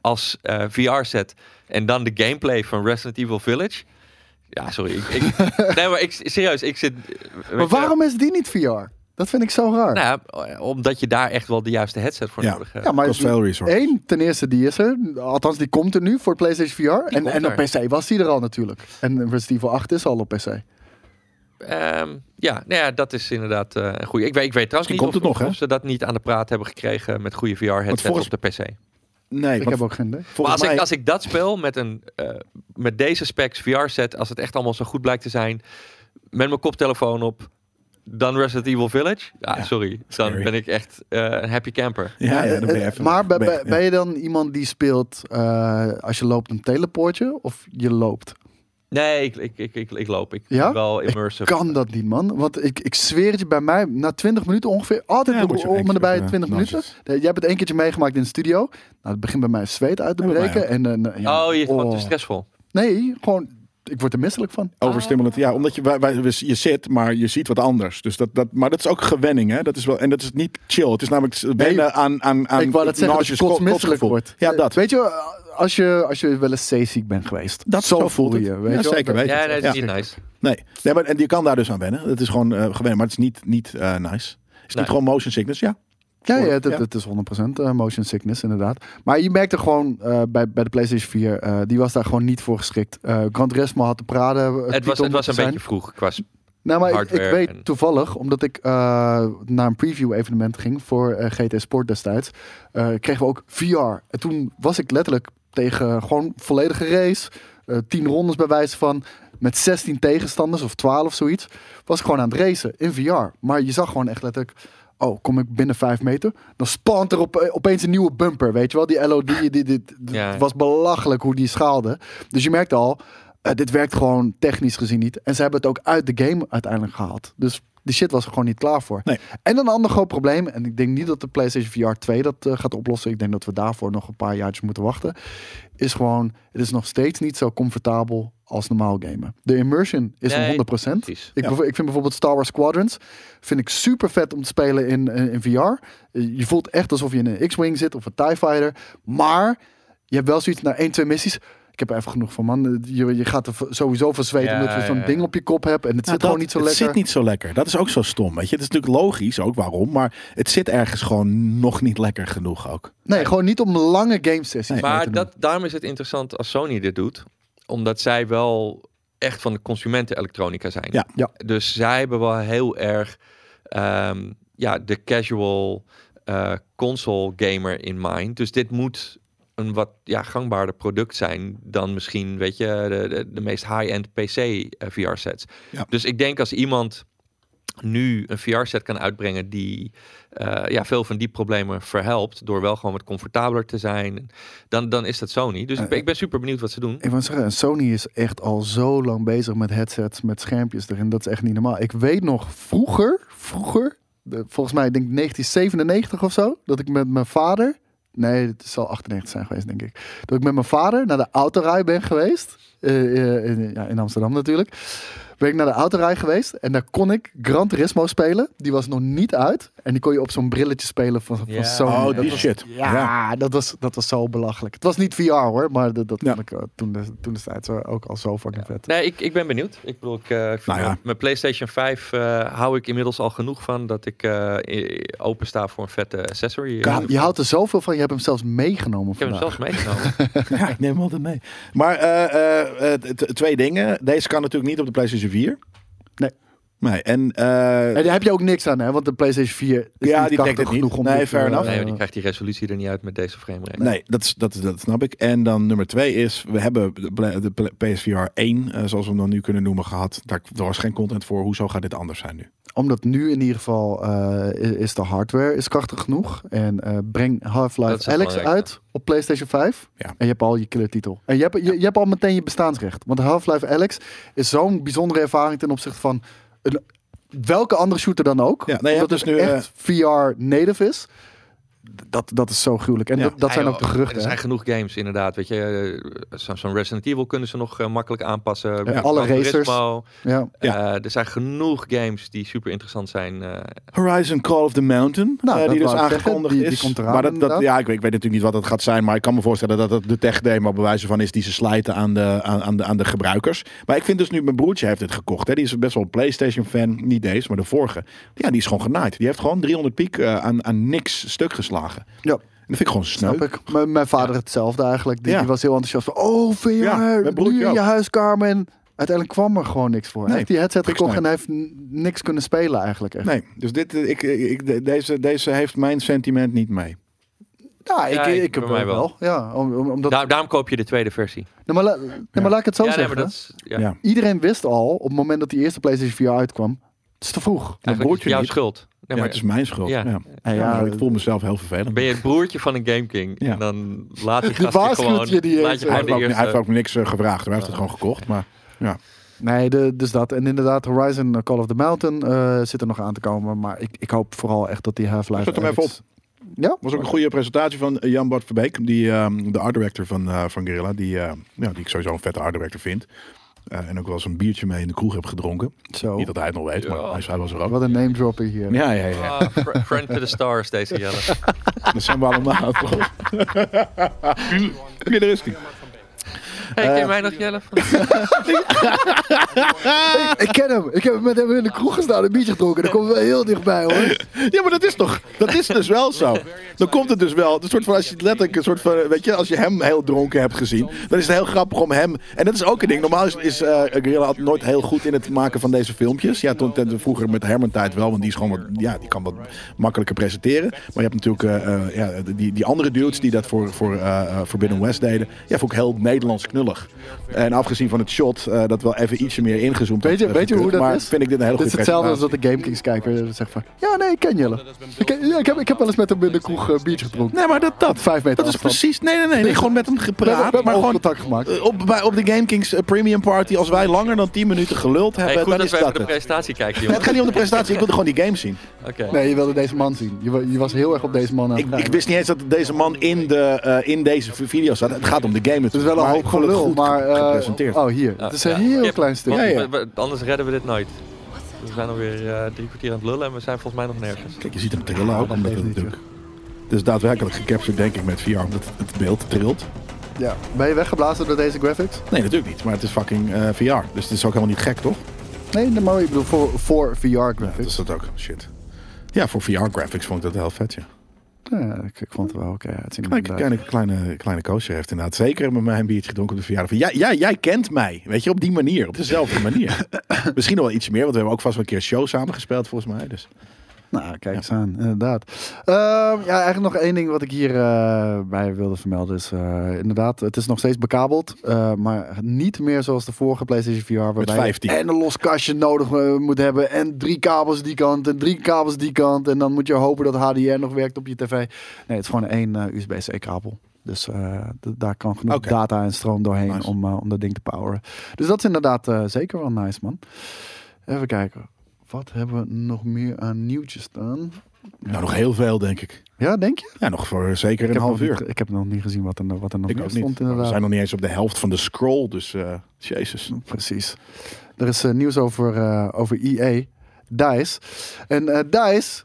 S3: als eh, VR-set en dan de gameplay van Resident Evil Village. Ja, sorry. Ik, ik- nee, maar ik, serieus, ik zit...
S1: Maar waarom is die niet VR? Dat vind ik zo raar.
S3: Nou, ja, omdat je daar echt wel de juiste headset voor
S2: Ja.
S3: nodig hebt.
S1: ja, maar Eh,
S2: Kost veel resource.
S1: één, ten eerste, die is er. Althans, die komt er nu voor PlayStation VR. En,
S3: komt
S1: en op
S3: er.
S1: PC was die er al natuurlijk. En Resident Evil 8 is al op PC.
S3: Ehm, ja, nou ja, dat is inderdaad eh een goede. Ik weet, ik weet trouwens
S2: Misschien
S3: niet
S2: komt het
S3: of,
S2: nog,
S3: of-
S2: hè?
S3: of ze dat niet aan de praat hebben gekregen met goede VR-headsets
S2: volgens-
S3: op de PC.
S2: Nee,
S1: Ik
S2: want
S1: heb ook geen idee.
S3: Maar
S2: volgens
S3: als,
S2: mij...
S3: ik, als ik dat speel met, een, eh, met deze specs VR-set, als het echt allemaal zo goed blijkt te zijn, met mijn koptelefoon op, dan Resident Evil Village. Ja,
S2: Ja,
S3: sorry. Dan
S2: scary.
S3: ben ik echt eh, een happy camper.
S2: Ja, ja,
S1: Eh,
S2: dan ben je
S1: eh,
S2: even...
S1: maar ben,
S2: ben je-
S1: ben-
S2: ja.
S1: ben je dan iemand die speelt eh, als je loopt een teleportje of je loopt?
S3: Nee, ik, ik, ik, ik, ik loop. Ik
S1: Ja?
S3: ben wel immersive.
S1: Kan dat niet, man? Want ik, ik zweer het je bij mij, na 20 minuten ongeveer, altijd
S2: Ja,
S1: om
S2: moet je
S1: om en
S2: eentje
S1: nabij
S2: even, eh,
S1: 20 minuten.
S2: nonsense.
S1: Eh, Jij hebt het één keertje meegemaakt in de studio. Nou, het begint bij mij zweet uit te
S2: Ja, bij mij
S1: breken. En, eh, ja,
S3: oh, je wordt
S1: oh.
S3: te stressvol.
S1: Nee, gewoon, ik word er misselijk van.
S3: Oh.
S2: Overstimulant. Ja, omdat je, wij, wij, je zit, maar je ziet wat anders. Dus dat, dat, maar dat is ook gewenning, hè? Dat is wel, en dat is niet chill. Het is namelijk
S1: Nee.
S2: benen aan, aan, aan...
S1: ik wou dat zeggen, dat je
S2: nauseous ko-
S1: kotsmisselijk
S2: kotsgevoel.
S1: wordt.
S2: Ja,
S1: Eh,
S2: dat.
S1: Weet je, eh, als je, als je wel eens zeeziek bent geweest.
S2: Dat zo voelt
S1: voel
S2: het.
S1: je. Weet
S2: Ja,
S1: je wel?
S2: zeker
S1: Dat-
S2: weten.
S3: Ja,
S2: het.
S3: nee, dat is niet nice.
S2: Nee, nee maar, en je kan daar dus aan wennen. Het is gewoon eh gewenning, maar het is niet, niet eh, nice. Is het
S3: Nee.
S2: niet gewoon motion sickness? Ja,
S1: Ja, ja,
S2: voor-
S1: het, het-
S2: ja.
S1: het is 100% eh, motion sickness, inderdaad. Maar je merkte gewoon eh, bij, bij de PlayStation 4, eh, die was daar gewoon niet voor geschikt. Eh Gran Turismo had eh, te praten.
S3: Het was, het was een beetje vroeg qua s-
S1: Nou, maar ik, ik
S3: hardware
S1: weet
S3: en-
S1: toevallig, omdat ik eh, naar een preview-evenement ging voor eh, GT Sport destijds, eh, kregen we ook VR. En toen was ik letterlijk tegen gewoon volledige race, eh tien rondes bij wijze van, met 16 tegenstanders of 12 zoiets, was ik gewoon aan het racen in VR. Maar je zag gewoon echt letterlijk, oh, kom ik binnen vijf meter? Dan spant er op, eh, opeens een nieuwe bumper, weet je wel? Die LOD, die, die, die-
S3: Ja.
S1: het was belachelijk hoe die schaalde. Dus je merkt al, eh, dit werkt gewoon technisch gezien niet. En ze hebben het ook uit de game uiteindelijk gehaald. Dus die shit was er gewoon niet klaar voor.
S2: Nee.
S1: En een ander groot probleem, en ik denk niet dat de PlayStation VR 2 dat eh, gaat oplossen. Ik denk dat we daarvoor nog een paar jaartjes moeten wachten. Is gewoon, het is nog steeds niet zo comfortabel als normaal gamen. De immersion is
S3: Nee,
S1: een 100%.
S3: precies.
S1: Ik,
S2: Ja.
S1: bevo- ik vind bijvoorbeeld Star Wars Squadrons vind ik super vet om te spelen in, eh, in VR. Eh, Je voelt echt alsof je in een X-Wing zit of een TIE Fighter. Maar je hebt wel zoiets naar één, twee missies. Ik heb er even genoeg van, man. Eh, Je, je gaat er v- sowieso van zweten
S3: Ja,
S1: omdat je zo'n
S3: ja, ja.
S1: ding op je kop hebt. En het zit
S2: Nou,
S1: gewoon
S2: dat-
S1: niet zo
S2: het
S1: lekker.
S2: zit niet zo lekker. Dat is ook zo stom. Weet je, het is natuurlijk logisch ook waarom, maar het zit ergens gewoon nog niet lekker genoeg ook.
S1: Nee, gewoon niet om lange game sessies mee te
S3: Maar
S1: doen.
S3: dat, daarom is het interessant als Sony dit doet. Omdat zij wel echt van de consumenten elektronica zijn.
S2: Ja.
S1: Ja.
S3: Dus zij hebben wel heel erg ehm, ja, de casual eh, console gamer in mind. Dus dit moet een wat ja, gangbaarder product zijn dan misschien, weet je, de, de, de meest high-end eh, PC VR-sets.
S2: Ja.
S3: Dus ik denk als iemand nu een VR-set kan uitbrengen die eh, ja, veel van die problemen verhelpt, door wel gewoon wat comfortabeler te zijn, dan, dan is dat Sony. Dus ik ben, ik ben super benieuwd wat ze doen.
S1: Ik wou zeggen, Sony is echt al zo lang bezig met headsets, met schermpjes erin. Dat is echt niet normaal. Ik weet nog vroeger, vroeger, de- volgens mij ik denk 1997 of zo, dat ik met mijn vader, nee, het zal 98 zijn geweest denk ik, dat ik met mijn vader naar de autorij ben geweest. Eh, eh, in, ja, in Amsterdam natuurlijk. Ben ik naar de autorij geweest en daar kon ik Gran Turismo spelen. Die was nog niet uit. En die kon je op zo'n brilletje spelen van, van
S3: Ja.
S1: Sony.
S2: Oh,
S1: Dat
S2: die
S1: was-
S2: shit.
S1: ja, Dat, was, dat was zo belachelijk. Het was niet VR hoor, maar dat, dat
S2: Ja.
S1: vond ik eh, toen, de, toen destijds eh, ook al zo fucking vet.
S3: Nee, ik, ik ben benieuwd. Ik bedoel, ik, eh, ik vind
S2: Nou ja.
S3: mijn- mijn PlayStation 5 eh, hou ik inmiddels al genoeg van dat ik eh, i- opensta voor een vette accessory.
S1: Ja, je houdt er zoveel van, je hebt hem zelfs meegenomen
S3: ik heb hem
S1: vandaag.
S3: zelfs meegenomen.
S2: Ja, ik neem altijd mee. Maar eh, eh, eh, t- twee dingen. Deze kan natuurlijk niet op de PlayStation 4.
S1: Nee.
S2: Nee, en... eh,
S1: En daar heb je ook niks aan hè, want de PlayStation 4 is
S2: Ja,
S1: niet
S2: die trekt
S1: krachtig
S2: het niet.
S1: genoeg om
S2: Nee,
S1: dit,
S2: fair
S1: eh,
S2: enough.
S3: nee, maar die krijgt die resolutie er niet uit met deze frame rate.
S2: Nee, dat, is, dat, is- dat snap ik. En dan nummer twee is, we hebben de, pla- de pla- PSVR 1, eh, zoals we hem dan nu kunnen noemen, gehad. Daar, daar was geen content voor. Hoezo gaat dit anders zijn nu?
S1: Omdat nu in ieder geval eh, i- is de hardware is krachtig genoeg. En eh, breng
S3: Dat is
S1: Half-Life
S3: het
S1: Alex
S3: belangrijkste.
S1: uit op PlayStation 5.
S2: Ja.
S1: En je hebt al je killer titel. En je hebt, je, je hebt al meteen je bestaansrecht. Want Half-Life Alex is zo'n bijzondere ervaring ten opzichte van een- welke andere shooter dan ook.
S2: Ja, nee, je hebt
S1: Omdat
S2: dus
S1: het
S2: nu... eh,
S1: echt VR native is. D- Dat, dat is zo gruwelijk. En
S2: Ja.
S1: dat, dat zijn
S3: Ja,
S1: ook de
S3: joh,
S1: geruchten.
S3: Er
S1: hè.
S3: zijn genoeg games, inderdaad. Weet je, eh, zo- zo'n Resident Evil kunnen ze nog eh, makkelijk aanpassen. Gran
S1: alle
S3: Turismo.
S1: Ja.
S2: Ja.
S3: Eh, er zijn genoeg games die super interessant zijn. eh,
S2: Horizon Call of the Mountain,
S1: Nou,
S2: eh,
S1: dat
S2: die dus
S1: wou ik zeggen.
S2: aangekondigd
S1: Die-
S2: is.
S1: die komt eraan,
S2: maar dat, dat,
S1: inderdaad.
S2: ja, ik, weet, ik weet natuurlijk niet wat dat gaat zijn, maar ik kan me voorstellen dat dat de tech demo bewijzen van is die ze slijten aan de, aan, aan de, aan de gebruikers. Maar ik vind dus nu, mijn broertje heeft het gekocht. Hè. Die is best wel een PlayStation fan, niet deze, maar de vorige. Ja, die is gewoon genaaid. Die heeft gewoon 300 piek eh, aan, aan niks stuk geslagen.
S1: ja,
S2: En dat vind ik gewoon sneu.
S1: snap ik. M- mijn vader hetzelfde eigenlijk. Die,
S2: Ja.
S1: die was heel enthousiast van, oh VR,
S2: Ja, mijn
S1: nu
S2: broertje
S1: in
S2: ook.
S1: je huiskamer. En uiteindelijk kwam er gewoon niks voor. hij
S2: Nee,
S1: heeft die headset
S2: niks
S1: gekocht
S2: mee.
S1: en hij heeft n- niks kunnen spelen eigenlijk. Echt.
S2: Nee, dus dit, eh, ik, ik, ik- de- deze, deze heeft mijn sentiment niet mee.
S1: Ja, ik,
S3: Ja,
S1: ik,
S3: ik-
S1: ik heb
S3: bij mij
S1: wel.
S3: wel.
S1: Ja, om, om- omdat,
S3: daar- daarom koop je de tweede versie.
S1: nee, maar, la- nee, maar laat ik het zo
S3: ja, nee,
S1: zeggen.
S3: maar dat is, ja,
S2: Ja.
S1: Iedereen wist al, op het moment dat die eerste PlayStation VR uitkwam, het is te vroeg.
S3: eigenlijk is het
S2: broertje
S3: jouw
S2: niet.
S3: schuld. Nee,
S2: Ja,
S3: maar
S2: het is mijn schuld. Ja.
S3: Ja.
S1: Ja,
S2: Ja,
S1: ja,
S2: ik voel mezelf heel vervelend.
S3: Ben je het broertje van een Game King?
S2: Ja.
S3: En dan laat je
S1: Die waarschuwt
S3: gewoon...
S1: je die
S3: laat
S1: eens,
S3: je
S2: hij,
S3: gewoon
S2: heeft
S3: de
S2: ook, hij heeft
S3: eerste...
S2: ook niks eh, gevraagd. Hij heeft het gewoon gekocht, maar...
S1: Nee, de- dus dat. En inderdaad, Horizon eh, Call of the Mountain eh, zit er nog aan te komen. Maar ik, ik hoop vooral echt dat die Half-Life...
S2: Zet hem even
S1: Alyx- Ja?
S2: was ook een goede presentatie van eh, Jan Bart Verbeek, die, ehm, de art director van, eh van Guerrilla, die, eh, ja, die ik sowieso een vette art director vind. Eh, en ook wel eens een biertje mee in de kroeg heb gedronken.
S1: Zo.
S2: Niet dat hij het nog weet, maar
S3: Ja.
S2: hij, hij was er ook.
S1: Wat een name dropping hier.
S2: Ja, ja, ja.
S3: Ah, fr- friend to the stars, deze Jelle.
S2: Dat zijn we allemaal. Hier, daar is die.
S3: Hey, ken je mij nog, Jelle?
S1: Ik ken hem. Ik heb met hem in de kroeg gestaan en een biertje gedronken. Daar komen we wel heel dichtbij hoor.
S2: Ja, maar dat is toch, dat is dus wel zo. Dan komt het dus wel, een soort van, als je het letterlijk een soort van, weet je, als je hem heel dronken hebt gezien, dan is het heel grappig om hem, en dat is ook een ding, normaal is, is eh, Guerrilla altijd nooit heel goed in het maken van deze filmpjes. Ja, toen, ten- vroeger met Herman tijd wel, want die is gewoon wat, ja, die kan wat makkelijker presenteren. Maar je hebt natuurlijk, eh, eh, ja, die, die andere dudes die dat voor, voor eh, eh, Forbidden West deden, ja, vond ik heel Nederlands knullig. En afgezien van het shot, eh, dat wel even ietsje meer ingezoomd
S1: Weet je,
S2: had, eh,
S1: weet je hoe
S2: gekund,
S1: dat
S2: maar
S1: is?
S2: vind ik dit een hele
S1: Dit is
S2: goede
S1: hetzelfde als
S2: presentatie.
S1: dat de GameKings kijker zegt van... Ja, nee, ik ken Jelle. Ik, ken- ja, ik, heb, ik heb wel eens met hem in de kroeg eh, biertje gedronken.
S2: Nee, maar dat, dat,
S1: Op vijf meter
S2: Dat is
S1: afstand.
S2: precies. Nee, nee, nee. nee, gewoon met hem
S1: We hebben,
S2: gepraat.
S1: we hebben
S2: maar
S1: gewoon
S2: gewoon
S1: contact gemaakt.
S2: eh, op, bij, op de Game Kings eh, Premium Party. Als wij langer dan 10 minuten geluld hebben,
S3: Hey, goed
S2: dan
S3: dat
S2: is
S3: we even
S2: dat
S3: de
S2: het.
S3: presentatie kijken,
S2: Nee,
S3: jongen.
S2: het gaat niet om de presentatie. Ik wilde gewoon die game zien.
S3: Oké.
S1: Nee, je wilde deze man zien. Je, wa- je was heel erg op deze man aan
S2: Ik,
S1: het
S2: ik
S1: kijken.
S2: wist niet eens dat deze man in, de, eh, in deze v- video zat. Het gaat om de game.
S1: Het is wel een hoop gelul, maar... eh,
S2: gepresenteerd.
S1: oh, hier. Het is een heel klein
S3: Want
S1: stukje.
S2: ja.
S3: we- we- anders redden we dit nooit. We zijn alweer eh, drie kwartier aan het lullen en we zijn volgens mij nog nergens.
S2: Kijk, je ziet hem trillen ook.
S1: dat
S2: Omdat
S1: geeft
S2: het
S1: niet,
S2: natuurlijk... Het is daadwerkelijk gecaptured, denk ik, met VR. Omdat het beeld trilt.
S1: Ja. Ben je weggeblazen door deze graphics?
S2: Nee, natuurlijk niet. Maar het is fucking eh, VR. Dus het is ook helemaal niet gek, toch?
S1: Nee, nee, maar ik bedoel voor, voor VR
S2: Dat is
S1: graphics.
S2: dat ook. Shit. Ja, voor VR-graphics vond ik dat heel vet, ja.
S1: Ja, ik, ik vond het wel oké uitzien.
S2: Nou, ik-
S1: inderdaad.
S2: kleine, kleine, kleine koosje heeft inderdaad zeker met mij een biertje gedronken op de verjaardag. Van, jij, jij, jij kent mij, weet je, op die manier, op dezelfde manier. Misschien nog wel iets meer, want we hebben ook vast wel een keer een show samengespeeld volgens mij. Dus.
S1: Nou, kijk eens aan, inderdaad. Ehm, ja, eigenlijk nog één ding wat ik hier eh, bij wilde vermelden is... eh, inderdaad, het is nog steeds bekabeld. eh, maar niet meer zoals de vorige PlayStation VR... waarbij je
S2: 15.
S1: en een los kastje nodig eh, moet hebben... en drie kabels die kant en drie kabels die kant... en dan moet je hopen dat HDR nog werkt op je tv. Nee, het is gewoon één eh, USB-C kabel. Dus eh, d- daar kan genoeg
S2: Oké.
S1: data en stroom doorheen
S2: Nice.
S1: om, eh, om dat ding te poweren. Dus dat is inderdaad eh, zeker wel nice, man. Even kijken. Wat hebben we nog meer aan nieuwtjes staan?
S2: Nou, nog heel veel, denk ik.
S1: Ja, denk je?
S2: Ja, nog voor zeker
S1: Ik
S2: een
S1: heb,
S2: half
S1: nog
S2: uur.
S1: Niet, ik heb nog niet gezien wat er, wat er nog
S2: Ik
S1: meer
S2: ook niet. Nou,
S1: stond
S2: We
S1: inderdaad.
S2: zijn nog niet eens op de helft van de scroll, dus eh, jezus.
S1: Precies. Er is eh, nieuws over, eh, over EA, DICE. En eh, DICE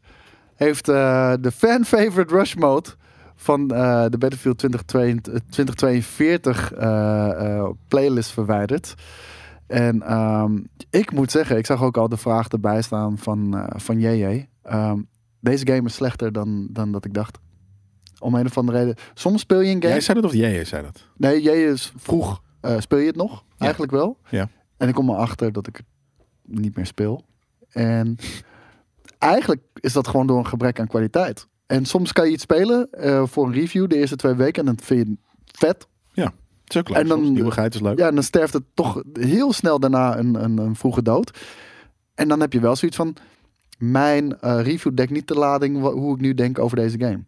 S1: heeft eh, de fan-favorite rush mode van eh, de Battlefield 2042, eh, 2042 eh, eh, playlist verwijderd. En ehm, ik moet zeggen, ik zag ook al de vraag erbij staan van, eh, van JJ. Ehm, deze game is slechter dan, dan dat ik dacht. Om een of andere reden. Soms speel je een game.
S2: Jij zei dat of jij zei dat?
S1: Nee, jij is vroeg. eh, speel je het nog? Eigenlijk wel.
S2: Ja.
S1: En ik kom erachter dat ik het niet meer speel. En eigenlijk is dat gewoon door een gebrek aan kwaliteit. En soms kan je iets spelen eh, voor een review de eerste twee weken en dan vind je het vet.
S2: Het is ook leuk,
S1: En dan-
S2: soms. nieuwigheid is leuk.
S1: Ja, en dan sterft het toch heel snel daarna een, een, een vroege dood. En dan heb je wel zoiets van: mijn eh, review dekt niet de lading wa- hoe ik nu denk over deze game.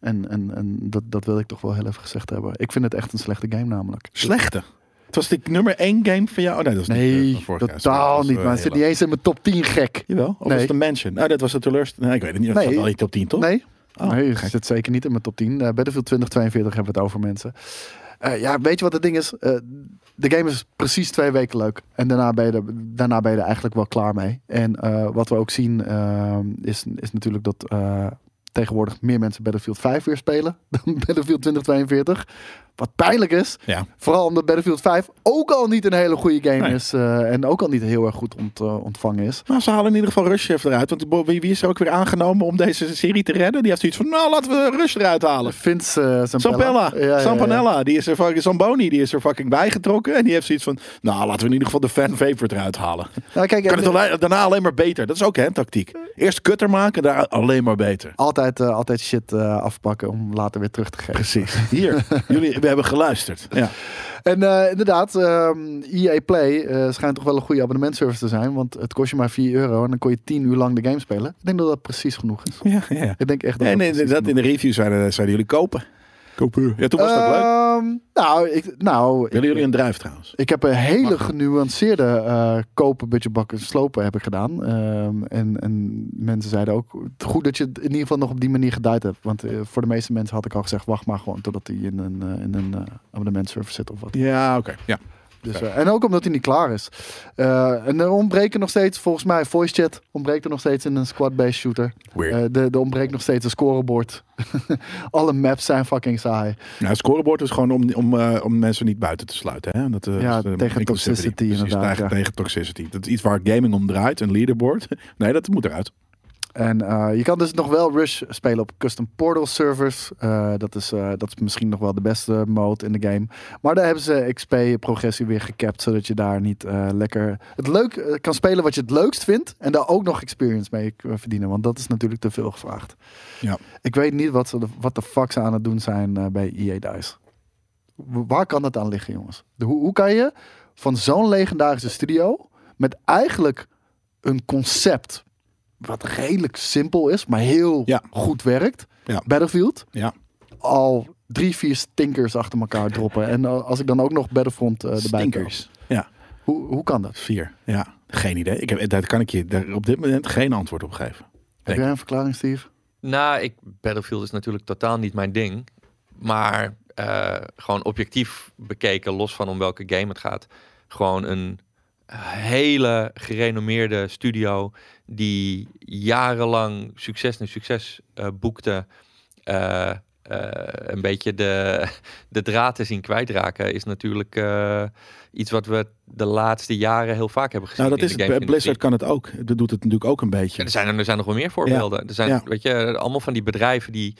S1: En, en, en dat, dat wil ik toch wel heel even gezegd hebben. Ik vind het echt een slechte game namelijk.
S2: Slechte. Het was de nummer één game van jou? Oh nee, dat is niet, eh,
S1: Nee,
S2: van vorig jaar. Sorry, dat
S1: totaal
S2: was,
S1: niet.
S2: eh,
S1: Maar het
S2: heel
S1: zit niet eens in mijn top 10 gek.
S2: Jawel, of was
S1: Nee.
S2: het de Mansion? Nou, dat was de teleurstelling. Nee, ik weet het niet. Dat
S1: Nee.
S2: zat wel in je top 10, toch?
S1: Nee,
S2: Oh,
S1: nee het
S2: gek.
S1: zit zeker niet in mijn top 10. Eh, Battlefield 2042 hebben we het over mensen. Eh, ja, weet je wat het ding is? Eh, de game is precies twee weken leuk. En daarna ben je er, daarna ben je er eigenlijk wel klaar mee. En eh, wat we ook zien eh, is, is natuurlijk dat eh, tegenwoordig meer mensen Battlefield 5 weer spelen dan Battlefield 2042. Wat pijnlijk is.
S2: Ja.
S1: Vooral omdat Battlefield 5 ook al niet een hele goede game
S2: Nee.
S1: is. eh, en ook al niet heel erg goed ont- eh, ontvangen is.
S2: Nou, ze halen in ieder geval Rush even eruit. Want bo- wie wie is er ook weer aangenomen om deze serie te redden? Die heeft zoiets van, nou, laten we Rush eruit halen.
S1: Vince eh, Zampella.
S2: Sampella, Sampanella, die is er fucking, Zamboni, die is er fucking bijgetrokken. En die heeft zoiets van, nou, laten we in ieder geval de fan favorite eruit halen.
S1: Nou, kijk,
S2: Kan het
S1: eh,
S2: alleen- daarna alleen maar beter. Dat is ook hè, een tactiek. Eerst kutter maken, daar alleen maar beter.
S1: altijd, eh, altijd shit eh, afpakken om later weer terug te geven.
S2: Precies. Hier, jullie, we hebben geluisterd. Ja.
S1: En eh, inderdaad, ehm EA Play eh, schijnt toch wel een goede abonnementservice te zijn. Want het kost je maar 4 euro en dan kon je 10 uur lang de game spelen. Ik denk dat dat precies genoeg is.
S2: Ja, ja, ja.
S1: Ik denk echt dat
S2: Nee, nee,
S1: precies
S2: dat in
S1: genoeg
S2: de review zeiden, zeiden jullie kopen. Kopen. Eh, Ja, toen was
S1: is.
S2: dat leuk.
S1: Ehm, Nou, ik, nou ik,
S2: Willen jullie een druif trouwens?
S1: ik heb een hele genuanceerde eh, kopen, budgetbakken, slopen heb ik gedaan. Ehm, en, en mensen zeiden ook, goed dat je het in ieder geval nog op die manier geduid hebt. Want eh, voor de meeste mensen had ik al gezegd, wacht maar gewoon totdat die in een, eh, in een eh, abonnementservice zit of wat.
S2: Ja, oké. Ja.
S1: Dus, eh, en ook omdat hij niet klaar is. Eh, en er ontbreken nog steeds, volgens mij, voice chat ontbreekt er nog steeds in een squad-based shooter.
S2: Weird.
S1: Eh, de, de ontbreekt nog steeds een scorebord. Alle maps zijn fucking saai.
S2: Nou, scorebord is gewoon om, om, eh, om mensen niet buiten te sluiten. Hè? Dat, eh,
S1: Ja,
S2: is, eh,
S1: tegen
S2: inclusivity.
S1: toxicity
S2: Precies,
S1: inderdaad,
S2: Tegen,
S1: ja.
S2: tegen toxicity. Dat is iets waar gaming om draait, een leaderboard. Nee, dat moet eruit.
S1: En eh, je kan dus nog wel Rush spelen op custom portal servers. Eh, dat, is, eh, dat is misschien nog wel de beste mode in de game. Maar daar hebben ze XP-progressie weer gecapt, zodat je daar niet eh, lekker het leuk eh, kan spelen wat je het leukst vindt. En daar ook nog experience mee eh, verdienen, want dat is natuurlijk te veel gevraagd.
S2: Ja.
S1: Ik weet niet wat, ze, wat de fuck ze aan het doen zijn eh, bij EA Dice. W- Waar kan dat aan liggen, jongens? De- hoe, hoe kan je van zo'n legendarische studio met eigenlijk een concept wat redelijk simpel is, maar heel
S2: Ja.
S1: goed werkt.
S2: Ja.
S1: Battlefield.
S2: Ja.
S1: Al drie, vier stinkers achter elkaar droppen. En eh, als ik dan ook nog Battlefront eh, erbij kan.
S2: Stinkers. Ja,
S1: Hoe, hoe kan dat?
S2: vier. Ja, geen idee. Ik heb, daar kan ik je daar op dit moment geen antwoord op geven.
S1: Heb jij een verklaring, Steve?
S3: Nou, ik, Battlefield is natuurlijk totaal niet mijn ding. Maar eh, gewoon objectief bekeken, los van om welke game het gaat. Gewoon een hele gerenommeerde studio die jarenlang succes na succes eh, boekte. Eh, eh, een beetje de, de draad te zien kwijtraken is natuurlijk eh, iets wat we de laatste jaren heel vaak hebben gezien.
S2: Nou, dat
S3: in
S2: is
S3: de
S2: het. Bij
S3: gamesindustrie.
S2: Blizzard kan het ook. Dat doet het natuurlijk ook een beetje.
S3: Ja, er, zijn er, er zijn nog wel meer voorbeelden. Er zijn,
S2: ja.
S3: weet je, allemaal van die bedrijven die,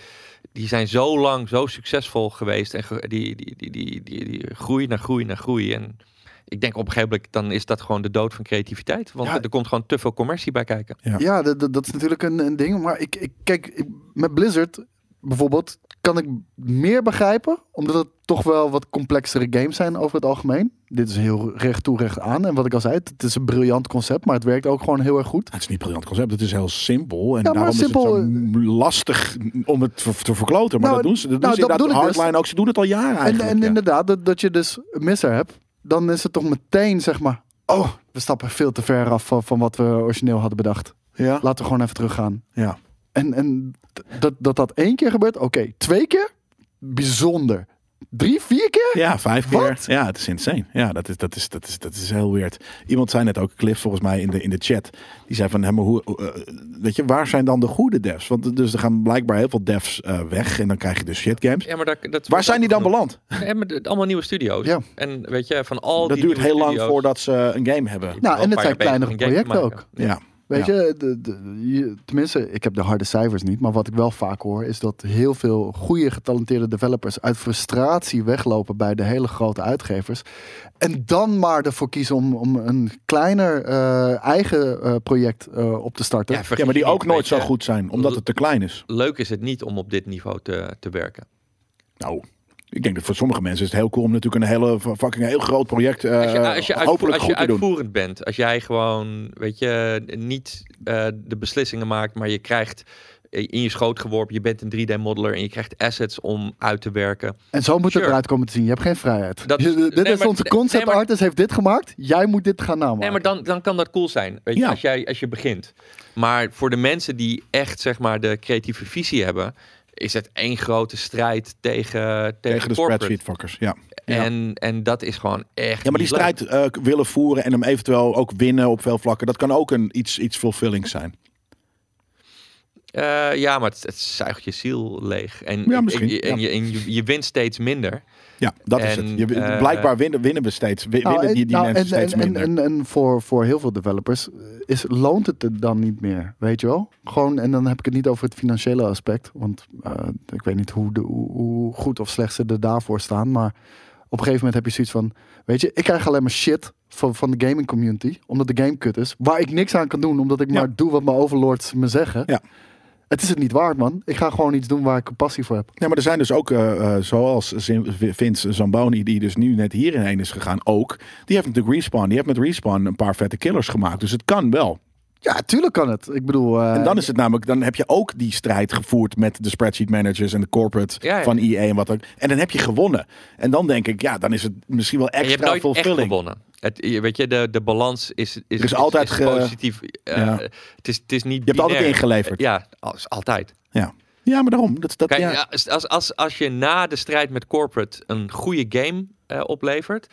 S3: die zijn zo lang zo succesvol geweest. En ge- die, die, die, die, die, die groei naar groei naar groei. En ik denk op een gegeven moment, dan is dat gewoon de dood van creativiteit. Want
S2: Ja.
S3: er komt gewoon te veel commercie bij kijken.
S2: Ja.
S1: Ja, dat, dat- dat is natuurlijk een, een ding. Maar ik, ik kijk, ik- met Blizzard bijvoorbeeld kan ik meer begrijpen. Omdat het toch wel wat complexere games zijn over het algemeen. Dit is heel recht toe, recht aan. En wat ik al zei, het is een briljant concept. Maar het werkt ook gewoon heel erg goed.
S2: Nou, Het is niet een briljant concept, het is heel simpel. En
S1: Ja, maar
S2: daarom
S1: simpel, eh,
S2: is het zo lastig om het te- te verkloten. Maar
S1: Nou,
S2: dat doen ze. Dat
S1: nou,
S2: doen
S1: dat
S2: ze inderdaad
S1: bedoel ik dus.
S2: hardline ook. Ze doen het al jaren
S1: En,
S2: eigenlijk.
S1: en
S2: ja.
S1: inderdaad, dat, dat je dus een misser hebt, dan is het toch meteen zeg maar, oh, we stappen veel te ver af van, van wat we origineel hadden bedacht.
S2: ja.
S1: Laten we gewoon even teruggaan.
S2: Ja.
S1: En, en d- dat, dat dat één keer gebeurt, oké. Twee keer, bijzonder. Drie, vier keer?
S2: Ja, vijf keer.
S1: Wat?
S2: Ja, het is insane. Ja, dat is, dat is, dat is, dat is heel weird. Iemand zei net ook, Cliff volgens mij in de, in de chat. Die zei van, hè, maar hoe, hoe, eh, weet je, waar zijn dan de goede devs? Want dus er gaan blijkbaar heel veel devs eh, weg en dan krijg je dus shit games.
S3: Ja, maar daar- dat
S2: Waar zijn die dan
S3: genoemd.
S2: beland?
S3: Nee, maar de- allemaal nieuwe studio's.
S1: Ja.
S3: En weet je, van al
S2: Dat
S3: die
S2: duurt
S3: nieuwe
S2: heel lang
S3: studio's-
S2: voordat ze een game hebben.
S1: Nou,
S3: Wel
S1: en
S3: een
S1: het
S3: paar
S1: zijn
S3: jaar bezig
S1: kleinere
S3: om een game te
S1: projecten ook.
S3: maken.
S2: Ja.
S1: Weet
S2: Ja.
S1: je, de, de- je- tenminste, ik heb de harde cijfers niet. Maar wat ik wel vaak hoor, is dat heel veel goede getalenteerde developers uit frustratie weglopen bij de hele grote uitgevers. En dan maar ervoor kiezen om, om een kleiner eh, eigen eh, project eh, op te starten.
S3: Ja, vergis
S2: ja, maar die
S3: je
S2: ook
S3: niet,
S2: nooit
S3: weet
S2: zo
S3: je.
S2: goed zijn, omdat het te klein is.
S3: Leuk is het niet om op dit niveau te, te werken.
S2: Nou, ik denk dat voor sommige mensen is het heel cool om natuurlijk een hele fucking heel groot project eh,
S3: Als je, als je, uitvoer-
S2: hopelijk
S3: als je
S2: goed te doen.
S3: uitvoerend bent, als jij gewoon, weet je, niet eh, de beslissingen maakt, maar je krijgt eh, in je schoot geworpen, je bent een 3D-modeler en je krijgt assets om uit te werken.
S1: En zo moet het
S3: Sure.
S1: eruit komen te zien. Je hebt geen vrijheid.
S3: Dat is-
S1: Je- dit
S3: nee,
S1: is
S3: maar-
S1: onze
S3: nee,
S1: concept
S3: maar-
S1: artist, heeft dit gemaakt. Jij moet dit gaan namaken.
S3: Nee, maar dan, dan kan dat cool zijn, weet je,
S2: Ja.
S3: als, jij, als je begint. Maar voor de mensen die echt, zeg maar, de creatieve visie hebben, is het één grote strijd tegen, tegen,
S2: Tegen de
S3: corporate.
S2: spreadsheet fuckers, ja. Ja.
S3: En, en dat is gewoon echt
S2: Ja, maar die
S3: niet leuk.
S2: strijd eh, willen voeren en hem eventueel ook winnen op veel vlakken, dat kan ook een iets, iets fulfillings zijn.
S3: Eh, ja, maar het, het zuigt je ziel leeg. En,
S2: Ja,
S3: ik-
S2: misschien,
S3: ik- en,
S2: ja.
S3: je, en je, je wint steeds minder.
S2: Ja, dat is
S3: En,
S2: het. Je,
S3: eh,
S2: blijkbaar winnen, winnen we steeds, win-
S1: Nou,
S2: winnen
S1: en-
S2: die, die
S1: nou, en,
S2: mensen steeds
S1: en,
S2: minder.
S1: En, en, en voor, voor heel veel developers eh, is, loont het het dan niet meer, weet je wel? Gewoon, en dan heb ik het niet over het financiële aspect, want eh, ik weet niet hoe, de, hoe, hoe goed of slecht ze er daarvoor staan, maar op een gegeven moment heb je zoiets van, weet je, ik krijg alleen maar shit van, van de gaming community, omdat de game kut is, waar ik niks aan kan doen, omdat ik
S2: Ja.
S1: maar doe wat mijn overlords me zeggen.
S2: Ja.
S1: Het is het niet waard, man. Ik ga gewoon iets doen waar ik een passie voor heb.
S2: Ja, maar er zijn dus ook, eh, eh, zoals Zin- Vince Zamboni, die dus nu net hierheen is gegaan, ook. Die heeft natuurlijk Respawn, die heeft met Respawn een paar vette killers gemaakt. Dus het kan wel.
S1: Ja, tuurlijk kan het. Ik bedoel... eh,
S2: En dan is het namelijk, dan heb je ook die strijd gevoerd met de spreadsheet managers en de corporate
S3: Ja, ja.
S2: van EA en wat ook. En dan heb je gewonnen. En dan denk ik, ja, dan is het misschien wel
S3: En je hebt
S2: extra
S3: nooit echt
S2: fulfilling.
S3: gewonnen. Het, je- weet je, de, de balans is, is,
S2: is altijd ge-
S3: positief. Eh,
S2: ja.
S3: het, is, het is niet
S2: Je hebt altijd
S3: binair.
S2: ingeleverd.
S3: Ja, als, altijd.
S2: Ja, ja maar daarom. Dat, dat,
S3: Kijk,
S2: ja.
S3: ja, als, als, als, als je na de strijd met corporate een goede game eh, oplevert,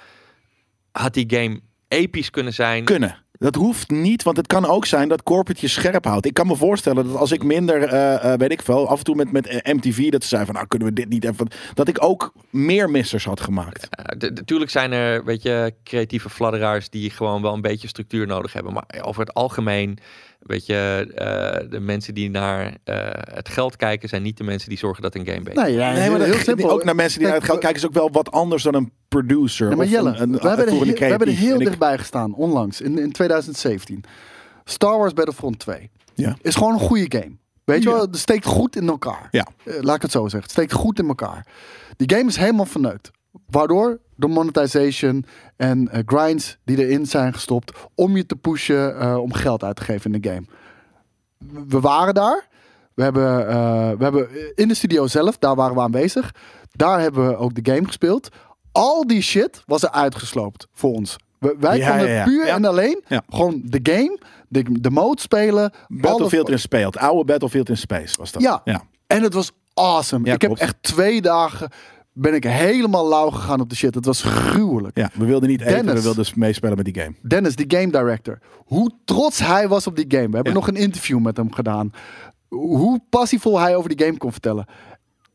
S3: had die game episch kunnen zijn.
S2: kunnen. Dat hoeft niet, want het kan ook zijn dat corporate je scherp houdt. Ik kan me voorstellen dat als ik minder, eh, eh, weet ik veel, af en toe met, met eh, MTV, dat ze zeiden van, nou kunnen we dit niet even, dat ik ook meer missers had gemaakt.
S3: Eh, Natuurlijk zijn er, weet je, creatieve fladderaars die gewoon wel een beetje structuur nodig hebben. Maar over het algemeen, weet je, eh, de mensen die naar eh, het geld kijken, zijn niet de mensen die zorgen dat een game beter
S1: Nee, ja, heel,
S2: dat-
S1: heel simpel.
S2: Ook naar mensen die naar
S1: Kijk,
S2: het geld kijken is ook wel wat anders dan een producer.
S1: Ja, maar
S2: of
S1: Jelle,
S2: een, een
S1: we, hebben er,
S2: uitvoerende
S1: heel- we hebben er
S2: creatief.
S1: heel
S2: En ik-
S1: dichtbij gestaan onlangs, in, in 2017. Star Wars Battlefront 2
S2: Ja.
S1: is gewoon een goede game. Weet je
S2: Ja.
S1: wel, het steekt goed in elkaar.
S2: Ja.
S1: Eh, laat ik het zo zeggen. Het steekt goed in elkaar. Die game is helemaal verneukt. Waardoor de monetization en eh, grinds die erin zijn gestopt om je te pushen eh, om geld uit te geven in de game. We waren daar. We hebben, eh, we hebben in de studio zelf, daar waren we aanwezig. Daar hebben we ook de game gespeeld. Al die shit was er uitgesloopt voor ons. We- wij
S2: Ja,
S1: konden
S2: ja, ja.
S1: puur
S2: Ja.
S1: en alleen
S2: Ja.
S1: gewoon de game, de, de mode spelen.
S2: Battlefield
S1: alles-
S2: in Space, het oude Battlefield in Space was dat.
S1: Ja. En het was awesome.
S2: Ja,
S1: ik heb
S2: klopt.
S1: echt twee dagen ben ik helemaal lauw gegaan op de shit. Het was gruwelijk.
S2: Ja, we wilden niet eten, we
S1: Dennis.
S2: wilden dus meespelen met die game.
S1: Dennis, die game director. Hoe trots hij was op die game. We hebben
S2: Ja.
S1: nog een interview met hem gedaan. Hoe passievol hij over die game kon vertellen.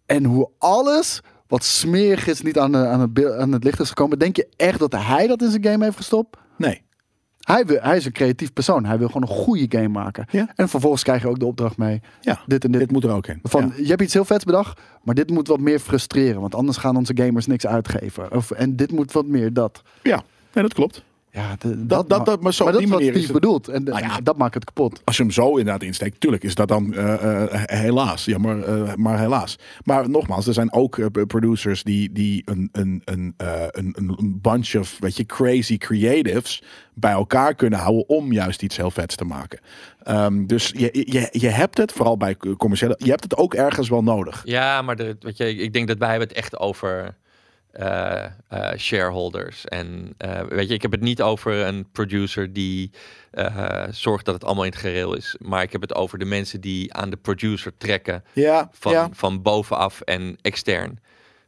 S1: En hoe alles wat smerig is niet aan, de- aan, het, be- aan het licht is gekomen. Denk je echt dat hij dat in zijn game heeft gestopt?
S2: Nee.
S1: Hij, wil, hij is een creatief persoon. Hij wil gewoon een goede game maken.
S2: Ja.
S1: En vervolgens krijg je ook de opdracht mee.
S2: Ja,
S1: Dit en dit.
S2: dit moet er ook in.
S1: Van,
S2: Ja.
S1: Je hebt iets heel vets bedacht, maar dit moet wat meer frustreren. Want anders gaan onze gamers niks uitgeven. Of, en dit moet wat meer dat.
S2: ja. Nee, dat klopt.
S1: Ja, d-
S2: dat-
S1: ma-
S2: dat- maar zo op
S1: dat
S2: die
S1: is wat
S2: manier is
S1: Steve
S2: het-
S1: bedoelt. En de-
S2: Nou ja.
S1: dat maakt het kapot.
S2: als je hem zo inderdaad insteekt, tuurlijk is dat dan eh, eh, helaas. Ja, maar, eh, maar helaas. Maar nogmaals, er zijn ook eh, producers die, die een, een, een, eh, een, een een bunch of weet je, crazy creatives bij elkaar kunnen houden om juist iets heel vets te maken. Ehm, dus je, je, je hebt het, vooral bij commerciële, je hebt het ook ergens wel nodig.
S3: Ja, maar er, weet je, ik denk dat wij hebben het echt over eh, eh, shareholders. En eh, weet je, ik heb het niet over een producer die eh, zorgt dat het allemaal in het gereel is. Maar ik heb het over de mensen die aan de producer trekken
S2: Ja,
S3: van,
S2: ja.
S3: van bovenaf en extern.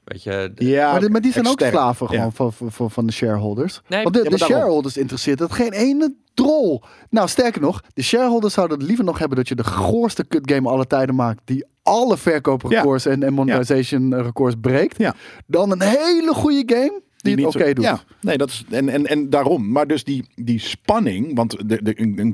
S3: Weet je, d-
S2: ja
S1: maar, dit- maar die zijn
S2: extern.
S1: ook slaven gewoon
S2: Ja.
S1: van, van- van, van de shareholders.
S3: Nee,
S1: Want de,
S2: ja,
S1: de
S2: maar daarom.
S1: shareholders interesseert het geen ene drol. Nou, sterker nog, de shareholders zouden het liever nog hebben dat je de goorste kutgame aller tijden maakt. Die alle verkooprecords en, en monetization eh, records breekt.
S2: Ja.
S1: Dan een hele goede game die,
S2: niet
S1: het
S2: zo-
S1: oké doet.
S2: Ja, nee, dat is, en, en, en daarom. Maar dus die, die spanning, want de, de, een een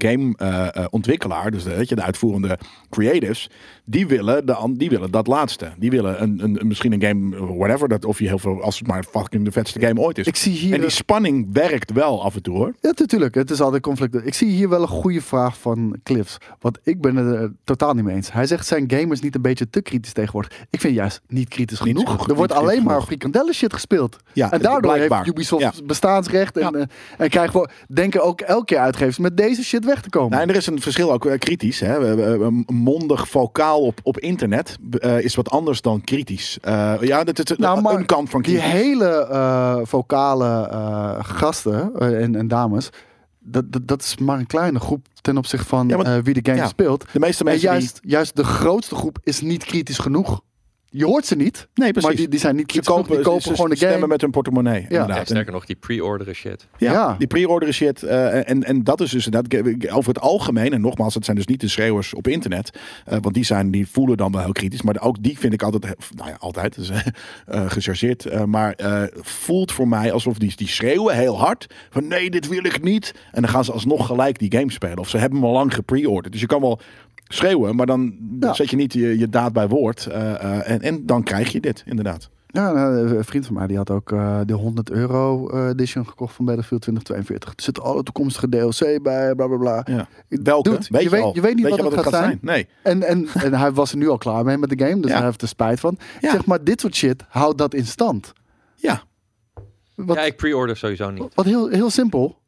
S2: gameontwikkelaar, dus de, weet je, de uitvoerende creatives, die willen, de, an- die willen dat laatste. Die willen een, een, een- misschien een game, eh, whatever, dat, of je heel veel, als het maar fucking de vetste game ooit is.
S1: Ik zie hier
S2: en die
S1: een-
S2: spanning werkt wel af en toe hoor.
S1: Ja, natuurlijk. Het is altijd conflict. Ik zie hier wel een goede vraag van Cliffs. Want ik ben het er totaal niet mee eens. Hij zegt, zijn gamers niet een beetje te kritisch tegenwoordig? Ik vind juist niet kritisch
S2: Niet
S1: genoeg.
S2: goed-
S1: er wordt
S2: niet goed
S1: alleen maar
S2: genoeg.
S1: frikandellen shit gespeeld.
S2: Ja,
S1: en daardoor
S2: blijkbaar.
S1: heeft Ubisoft
S2: Ja.
S1: bestaansrecht. En,
S2: Ja.
S1: eh, en krijgen we, denken ook elke keer uitgevers met deze shit weg te komen.
S2: Nou, en er is een verschil ook eh, kritisch. Hè. We hebben, eh, Mondig vocaal op, op internet eh, is wat anders dan kritisch. Eh, ja, dat is
S1: Nou, maar
S2: een kant van
S1: Die
S2: kritisch.
S1: hele eh, vocale eh, gasten eh, en, en dames... Dat, dat, dat is maar een kleine groep ten opzichte van
S2: Ja, want-
S1: eh, wie de game
S2: ja.
S1: speelt.
S2: De meeste
S1: En
S2: mensen die-
S1: juist, juist de grootste groep is niet kritisch genoeg. Je hoort ze niet.
S2: Nee, precies.
S1: Maar die, die zijn niet
S2: Ze
S1: kritisch
S2: kopen,
S1: genoeg. Die kopen
S2: ze- ze
S1: gewoon de
S2: stemmen
S1: game.
S2: met hun portemonnee.
S3: ja,
S2: Inderdaad. En-
S3: sterker nog, die pre-orderen shit.
S2: ja,
S1: Ja.
S2: die pre-order shit. eh, en, en dat is dus inderdaad ge- ge- over het algemeen. En nogmaals, dat zijn dus niet de schreeuwers op internet. eh, want die, zijn, die voelen dan wel heel kritisch. Maar ook die vind ik altijd, he- nou ja, altijd dus, eh, eh, gechargeerd. eh, maar eh, voelt voor mij alsof die, die schreeuwen heel hard. Van nee, dit wil ik niet. En dan gaan ze alsnog gelijk die game spelen. Of ze hebben hem al lang gepre-orderd. Dus je kan wel schreeuwen, maar dan
S1: Ja.
S2: zet je niet je, je daad bij woord. eh, eh, en, en dan krijg je dit, inderdaad.
S1: Ja, nou, een vriend van mij die had ook eh, de 100 euro eh, edition gekocht van Battlefield 2042. Er zit alle toekomstige DLC bij, bla bla bla.
S2: Ja. Welke?
S1: Dude,
S2: weet je,
S1: je weet-
S2: al?
S1: je weet niet wat het gaat zijn?
S2: Nee.
S1: En, en, en hij was er nu al klaar mee met de game, dus
S2: Ja.
S1: hij heeft er spijt van.
S2: Ja.
S1: Zeg maar, dit soort shit houdt dat in stand.
S2: Ja.
S1: Wat,
S3: Ja, ik pre-order sowieso niet.
S1: wat heel, heel simpel.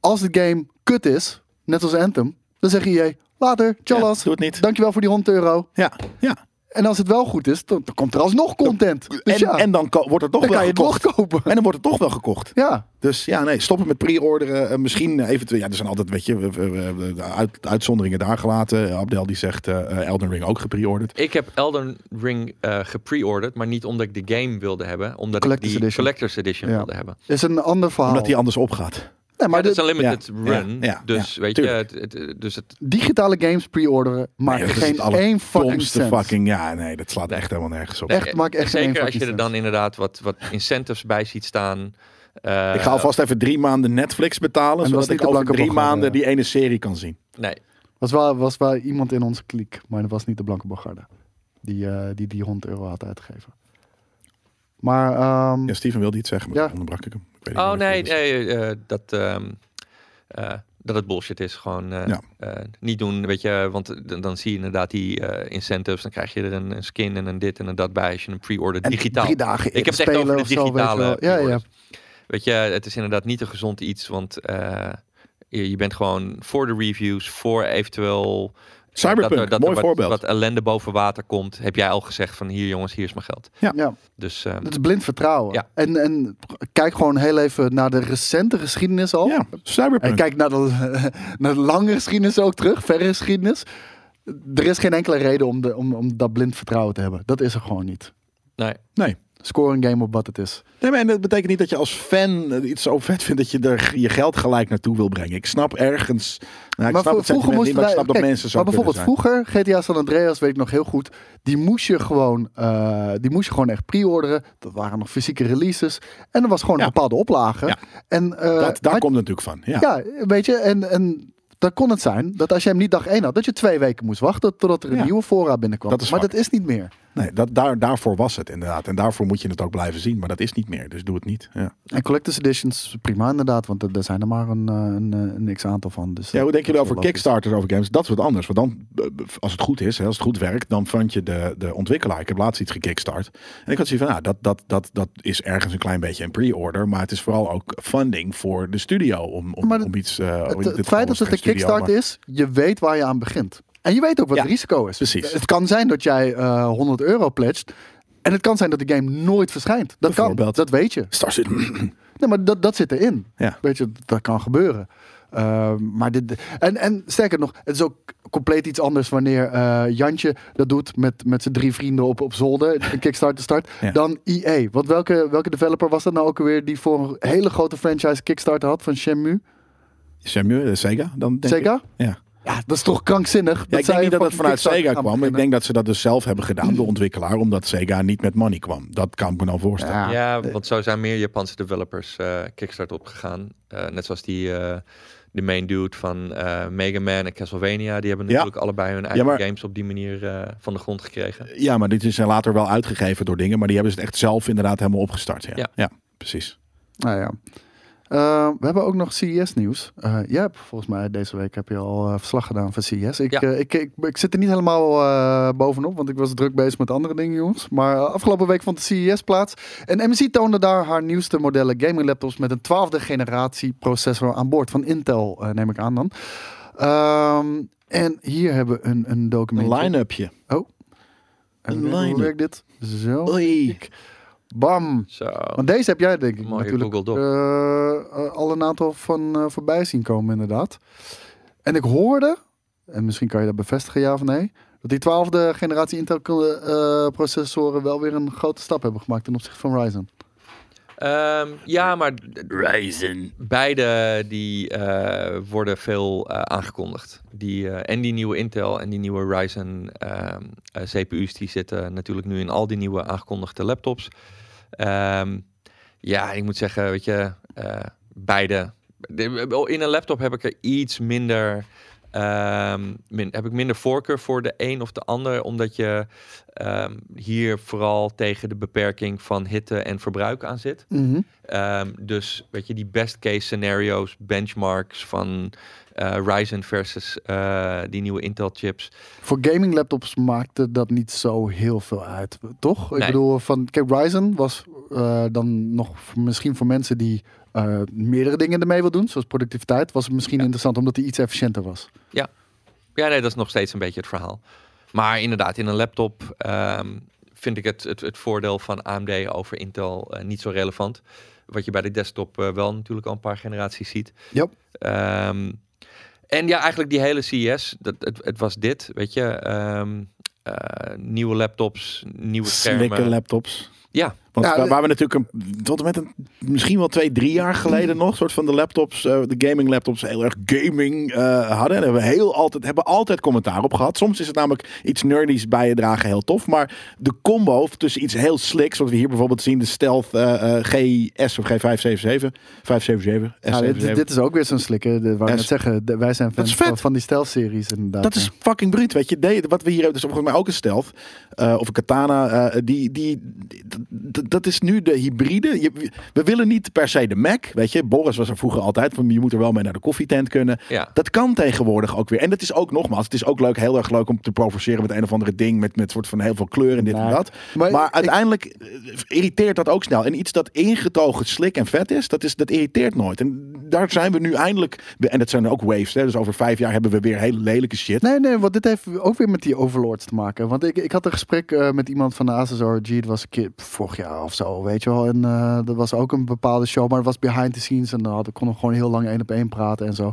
S1: Als de game kut is, net als Anthem, dan zeg je later,
S2: Ja,
S1: tjallas,
S2: doe het niet.
S1: dankjewel voor die 100 euro.
S2: Ja. Ja.
S1: En als het wel goed is, dan, dan komt er alsnog content. Dus
S2: en,
S1: ja,
S2: en dan ko- wordt er toch
S1: dan
S2: wel
S1: kan je het
S2: gekocht.
S1: nog kopen.
S2: En dan wordt er toch wel gekocht.
S1: Ja,
S2: Dus ja, nee, stoppen met pre-orderen. Eh, misschien eventueel. Ja, er zijn altijd, weet je, we- we- we- we- de uit- uitzonderingen daar gelaten. Abdel die zegt eh, eh, Elden Ring ook gepreorderd.
S3: Ik heb Elden Ring eh gepreorderd, maar niet omdat ik de game wilde hebben. Omdat
S1: Collector's
S3: ik die
S1: edition.
S3: Collector's Edition
S1: Ja.
S3: wilde hebben.
S1: is een ander verhaal.
S2: Omdat die anders opgaat.
S1: Nee, maar
S3: Maar dus dat is
S1: de
S3: een limited
S2: ja,
S3: run.
S2: ja,
S3: dus
S2: ja,
S3: weet je, het, het- dus het,
S1: digitale games pre-orderen maakt
S2: Nee, dat is
S1: geen
S2: het aller-
S1: één fucking
S2: Domste
S1: cent.
S2: fucking, ja, nee, dat slaat echt helemaal nergens op.
S1: Echt, maakt echt geen
S3: zeker als
S1: fucking
S3: je er dan inderdaad wat, wat incentives bij ziet staan. Eh,
S2: ik ga alvast even drie maanden Netflix betalen,
S1: En
S2: zodat
S1: dat is
S2: ik
S1: niet de
S2: over
S1: blanke
S2: drie
S1: bocht,
S2: maanden
S1: eh.
S2: die ene serie kan zien.
S3: Nee,
S1: Was wel, was wel iemand in onze kliek, maar dat was niet de Blanke Bogarde. Die, eh, die die 100 euro had uitgegeven. Maar ehm,
S2: Ja, Steven wilde iets zeggen, maar
S1: Ja.
S2: dan onderbrak ik hem. Ik weet
S3: Oh
S2: niet meer
S3: nee,
S2: wat het is.
S3: nee eh, dat, ehm, eh, dat het bullshit is. Gewoon eh,
S2: Ja.
S3: eh, niet doen, weet je. Want dan, dan zie je inderdaad die eh, incentives. Dan krijg je er een, een skin en een dit en een dat bij als je een pre-order
S1: en
S3: digitaal.
S1: drie dagen
S3: Ik heb het echt
S1: spelen
S3: over de
S1: of zo, weet je wel.
S3: digitale
S1: Ja, ja.
S3: pre-orders. Weet je, het is inderdaad niet een gezond iets, want eh, je, je bent gewoon voor de reviews, voor eventueel... eh,
S2: Cyberpunk,
S3: dat, er- dat er
S2: mooi
S3: wat,
S2: voorbeeld.
S3: wat ellende boven water komt, heb jij al gezegd van hier jongens, hier is mijn geld.
S1: Ja,
S3: Dus ehm,
S1: dat is blind vertrouwen.
S3: Ja.
S1: En, en kijk gewoon heel even naar de recente geschiedenis al.
S2: Ja, Cyberpunk.
S1: En kijk naar de, naar de lange geschiedenis ook terug, verre geschiedenis. Er is geen enkele reden om, de, om, om dat blind vertrouwen te hebben. Dat is er gewoon niet.
S3: nee.
S2: nee.
S1: Score een game op wat het is.
S2: Nee, maar en dat betekent niet dat je als fan eh, iets zo vet vindt dat je er je geld gelijk naartoe wil brengen. Ik snap ergens. Nou, ik
S1: maar
S2: snap
S1: vro-
S2: het sentiment niet, maar ik snap dat
S1: kijk,
S2: mensen zo.
S1: Maar bijvoorbeeld
S2: kunnen
S1: vroeger, GTA San Andreas, weet ik nog heel goed. Die moest je gewoon, eh, die moest je gewoon echt pre-orderen. Dat waren nog fysieke releases. En er was gewoon
S2: Ja.
S1: een bepaalde oplage.
S2: Ja.
S1: En, eh,
S2: zijn. dat, daar
S1: had-
S2: komt het natuurlijk van. Ja.
S1: ja, weet je, en, en dan kon het zijn dat als je hem niet dag één had, dat je twee weken moest wachten totdat er een
S2: Ja.
S1: nieuwe voorraad binnenkwam.
S2: Dat is
S1: maar
S2: zwak.
S1: dat is niet meer.
S2: Nee, dat, daar, daarvoor was het inderdaad. En daarvoor moet je het ook blijven zien. Maar dat is niet meer. Dus doe het niet. Ja,
S1: En collectors editions, prima inderdaad, want er, er zijn er maar een, eh, een, eh, een niks aantal van. Dus
S2: ja hoe denken jullie over
S1: Kickstarter?
S2: Kickstarter, over games? Dat is wat anders. Want dan, eh, als het goed is, hè, als het goed werkt, dan vond je de, de ontwikkelaar. Ik heb laatst iets gekickstart. En ik had zoiets van, nou, dat, dat, dat, dat is ergens een klein beetje een pre-order. Maar het is vooral ook funding voor de studio om, om,
S1: Maar het-
S2: om iets... eh,
S1: Het,
S2: dit-
S1: het
S2: dit
S1: feit
S2: was
S1: dat het
S2: geen
S1: een
S2: studio,
S1: kickstart
S2: maar-
S1: is, je weet waar je aan begint. En je weet ook wat
S2: Ja,
S1: het risico is.
S2: precies.
S1: Het kan zijn dat jij eh, 100 euro pledgt. En het kan zijn dat de game nooit verschijnt. Dat kan,
S2: Bijvoorbeeld.
S1: dat weet je.
S2: Star Citizen.
S1: Nee, maar dat, dat zit erin.
S2: Ja.
S1: Weet je, dat kan gebeuren. Eh, maar dit, en, en sterker nog, het is ook compleet iets anders wanneer eh, Jantje dat doet met, met zijn drie vrienden op, op zolder, een Kickstarter start,
S2: Ja.
S1: dan EA. Want welke, welke developer was dat nou ook alweer die voor een hele grote franchise Kickstarter had van Shenmue?
S2: Samuel, eh, Sega dan denk ik.
S1: Sega?
S2: Ja.
S1: Ja, dat is toch krankzinnig?
S2: Ja, ik
S1: zij
S2: denk niet dat dat
S1: fucking
S2: vanuit
S1: Kickstarter
S2: Sega
S1: gaan
S2: kwam. Ik
S1: beginnen.
S2: denk dat ze dat dus zelf hebben gedaan, de ontwikkelaar, omdat Sega niet met money kwam. Dat kan ik me nou voorstellen.
S1: Ja.
S3: Ja, want zo zijn meer Japanse developers eh Kickstarter opgegaan. Eh, net zoals die, eh, de main dude van eh Mega Man en Castlevania. Die hebben
S2: Ja.
S3: natuurlijk allebei hun eigen
S2: maar-
S3: games op die manier eh, van de grond gekregen.
S2: Ja, maar dit is later wel uitgegeven door dingen, maar die hebben ze het echt zelf inderdaad helemaal opgestart. Ja,
S3: Ja.
S2: precies.
S1: Nou ja. Eh, we hebben ook nog CES-nieuws. Eh jij hebt volgens mij deze week heb je al eh, verslag gedaan van CES. Ik,
S3: Ja.
S1: eh, ik, ik, ik zit er niet helemaal eh, bovenop, want ik was druk bezig met andere dingen, jongens. Maar eh, afgelopen week vond de CES plaats. En MSI toonde daar haar nieuwste modellen gaming laptops met een twaalfde generatie processor aan boord. Van Intel, eh, neem ik aan dan. Ehm, en hier hebben we een, een
S2: Een
S1: documentje.
S2: line-upje.
S1: Even
S2: een
S1: kijken, Hoe
S2: line-up.
S1: werkt dit? Zo.
S2: Oei.
S1: Bam.
S3: Zo.
S1: Want deze heb jij denk ik
S3: Mooie
S1: natuurlijk
S3: Google Doc.
S1: eh, eh, al een aantal van eh, voorbij zien komen inderdaad. En ik hoorde, en misschien kan je dat bevestigen ja of nee, dat die twaalfde generatie Intel eh, processoren wel weer een grote stap hebben gemaakt ten opzichte van Ryzen.
S3: Ehm, ja, maar d-
S2: Ryzen.
S3: beide die eh, worden veel eh, aangekondigd. Die, eh, en die nieuwe Intel en die nieuwe Ryzen ehm, eh, CPU's, die zitten natuurlijk nu in al die nieuwe aangekondigde laptops. Ehm, ja, ik moet zeggen, weet je, eh, beide. De- In een laptop heb ik er iets minder. ehm, min- heb ik minder voorkeur voor de een of de ander, omdat je ehm, hier vooral tegen de beperking van hitte en verbruik aan zit. Ehm, dus weet je, die best case scenario's, benchmarks van eh, Ryzen versus eh, die nieuwe Intel chips.
S1: Voor gaming laptops maakte dat niet zo heel veel uit, toch? Ik
S3: Nee.
S1: bedoel, van, kijk, Ryzen was eh, dan nog voor- misschien voor mensen die eh, meerdere dingen ermee wil doen, zoals productiviteit, was het misschien interessant omdat hij iets efficiënter was.
S3: Ja, nee, dat is nog steeds een beetje het verhaal. Maar inderdaad, in een laptop ehm, vind ik het, het, het voordeel van AMD over Intel eh, niet zo relevant. Wat je bij de desktop eh, wel natuurlijk al een paar generaties ziet.
S1: Yep.
S3: Ehm, en ja, eigenlijk die hele CES, dat, het, het was dit, weet je. ehm, eh, nieuwe laptops, nieuwe
S2: Slikke
S3: schermen.
S2: laptops.
S3: Ja,
S2: Want
S1: Ja,
S2: waar,
S1: de-
S2: waar we natuurlijk een, tot en met een, misschien wel twee, drie jaar geleden nog, soort van de laptops, eh, de gaming laptops, heel erg gaming eh, hadden. En hebben we heel altijd, hebben altijd commentaar op gehad. Soms is het namelijk iets nerdies bijdragen heel tof. Maar de combo tussen iets heel slicks, wat we hier bijvoorbeeld zien, de Stealth eh, eh, GS of G577, 577,
S1: Ja, dit,
S2: S77.
S1: dit- dit is ook weer zo'n slikker. De, waar ik
S2: Ja,
S1: net zeggen, de- wij zijn fans
S2: is vet.
S1: van, van die stealth-series inderdaad.
S2: Dat is fucking bruut, weet je. Nee, wat we hier hebben, dus volgens mij ook een stealth eh, of een katana. eh, die, die, d- d- dat is nu de hybride. Je- we willen niet per se de Mac, weet je. Boris was er vroeger altijd van, je moet er wel mee naar de koffietent kunnen.
S3: ja.
S2: Dat kan tegenwoordig ook weer. En dat is ook nogmaals, het is ook leuk, heel erg leuk om te provoceren met een of andere ding. Met, met soort van heel veel kleur en dit
S1: Ja.
S2: en dat.
S1: Maar
S2: Maar,
S1: ik-
S2: uiteindelijk eh, irriteert dat ook snel. En iets dat ingetogen slik en vet is, dat, is, dat irriteert nooit. En daar zijn we nu eindelijk. En dat zijn ook waves. Hè? Dus over vijf jaar hebben we weer hele lelijke shit.
S1: Nee, nee, want dit heeft ook weer met die overlords te maken. Want ik, ik had een gesprek eh, met iemand van de Asus ROG. Dat was een keer vorig jaar of zo, weet je wel. En eh, dat was ook een bepaalde show, maar het was behind the scenes. En dan hadden- konden we gewoon heel lang één op één praten en zo.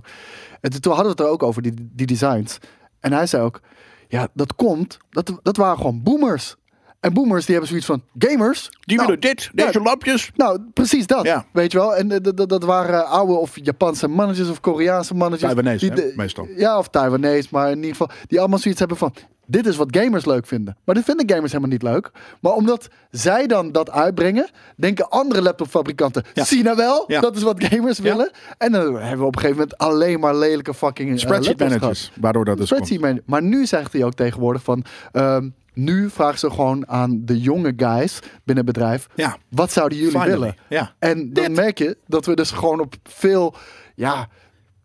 S1: En toen- toen hadden we het er ook over, die, die designs. En hij zei ook, ja, dat komt, dat, dat waren gewoon boomers. En boomers, die hebben zoiets van, gamers?
S2: Die
S1: Nou,
S2: willen dit, deze lampjes.
S1: Nou, precies dat,
S2: Ja.
S1: weet je wel. En eh, dat- dat- dat waren oude of Japanse mannetjes of Koreaanse mannetjes.
S2: Taiwanese,
S1: Die
S2: hè,
S1: de-
S2: meestal.
S1: Ja, of Taiwanese, maar in ieder geval... die allemaal zoiets hebben van... dit is wat gamers leuk vinden. Maar dit vinden gamers helemaal niet leuk. Maar omdat zij dan dat uitbrengen... denken andere laptopfabrikanten...
S2: Ja.
S1: zie nou wel,
S2: Ja.
S1: dat is wat gamers willen. En dan hebben we op een gegeven moment... alleen maar lelijke fucking eh,
S2: Spreadsheet
S1: laptops gehad.
S2: managers, waardoor dat dus komt.
S1: Spreadsheet man- Maar nu zegt hij ook tegenwoordig van... ehm, nu vragen ze gewoon aan de jonge guys binnen het bedrijf...
S2: Ja.
S1: wat zouden jullie
S2: Finally,
S1: willen?
S2: ja.
S1: En dan merk je dat we dus gewoon op veel ja,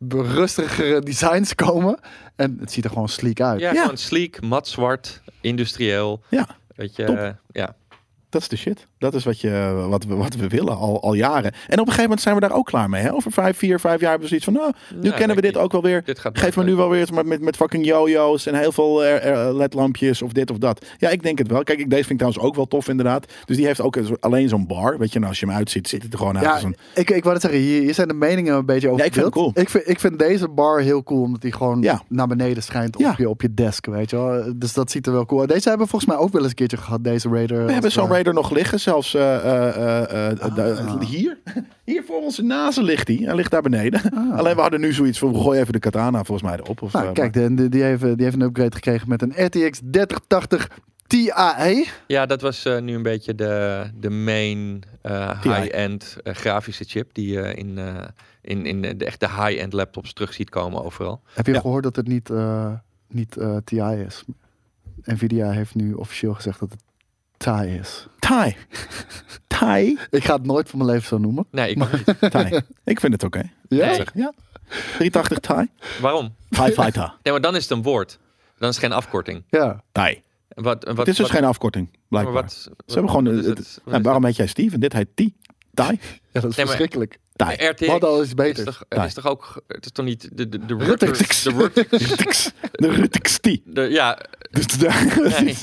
S1: rustigere designs komen. En het ziet er gewoon sleek uit.
S3: Ja,
S2: Ja.
S3: gewoon sleek, mat zwart, industrieel.
S2: Ja,
S3: Weet je,
S2: Top.
S3: eh, ja.
S2: dat is de shit. Dat is wat, je, wat, we, wat we willen al, al jaren. En op een gegeven moment zijn we daar ook klaar mee. Hè? Over vijf, vier, vijf jaar hebben we zoiets van... Nou, nu
S3: Ja,
S2: kennen we
S3: denk
S2: dit ook wel weer.
S3: Dit gaat
S2: Geef me nu wel weer iets met, met, met fucking yo-yo's en heel veel eh, eh, ledlampjes of dit of dat. Ja, ik denk het wel. Kijk, ik, deze vind ik trouwens ook wel tof inderdaad. Dus die heeft ook een soort- alleen zo'n bar. Weet je, nou, als je hem uitziet, zit het er gewoon uit.
S1: Ja,
S2: als een,
S1: ik, ik wou het zeggen, hier, hier zijn de meningen een beetje over
S2: Ja, ik vind het
S1: verdeeld.
S2: cool.
S1: ik, vind, ik vind deze bar heel cool, omdat die gewoon
S2: Ja.
S1: naar beneden schijnt op,
S2: Ja.
S1: je, op je desk, weet je wel. Dus dat ziet er wel cool uit. Deze hebben we volgens mij ook wel eens een keertje gehad, deze Raider.
S2: we hebben
S1: Als,
S2: zo'n
S1: eh,
S2: Raider nog liggen, zelfs eh, eh, eh, eh,
S1: Ah.
S2: de- hier. Hier voor onze nazen ligt hij. Hij ligt daar beneden. Alleen we hadden nu zoiets van, gooi even de katana volgens mij erop. Of,
S1: Ah. Nou,
S2: eh,
S1: kijk, de, de- die, heeft, die heeft een upgrade gekregen met een RTX 3080 E. Ti.
S3: Ja, dat was eh, nu een beetje de, de main eh,
S2: TI.
S3: high-end eh, grafische chip die je in, eh, in, in de echte high-end laptops terug ziet komen overal.
S1: Heb je
S2: Ja.
S1: gehoord dat het niet, eh, niet eh, TI is? Nvidia heeft nu officieel gezegd dat het TI is.
S2: Thai. Thai.
S1: Ik ga het nooit van mijn leven zo noemen.
S3: Nee, ik ook niet.
S2: Thai. Ik vind het oké.
S1: Ja?
S3: Nee.
S2: Ja. 380 Thai.
S3: Waarom?
S2: Thai fighter.
S3: Nee, maar dan is het een woord. Dan is het geen afkorting.
S1: Ja.
S2: Thai.
S3: En Wat, en wat,
S2: Het is dus
S3: wat-
S2: geen afkorting,
S3: maar
S2: blijkbaar.
S3: wat-
S2: Ze hebben gewoon...
S3: wat
S2: eh,
S3: is
S2: het-
S3: het? Wat
S2: nou,
S3: is
S2: waarom heet jij Steven? Dit heet Thai. Thai.
S1: ja, dat is
S3: Nee, maar-
S1: verschrikkelijk.
S2: Thai.
S3: het? RTX
S1: Wat al is
S3: is
S1: beter.
S3: toch,
S2: Nee.
S3: is toch ook... ge- Het is toch niet... De, de, de
S1: Ruttex.
S3: Ruttex- De Ruttex-
S2: Rutix. De Rutix T.
S3: de- Ja,
S2: Dus de...
S3: nee.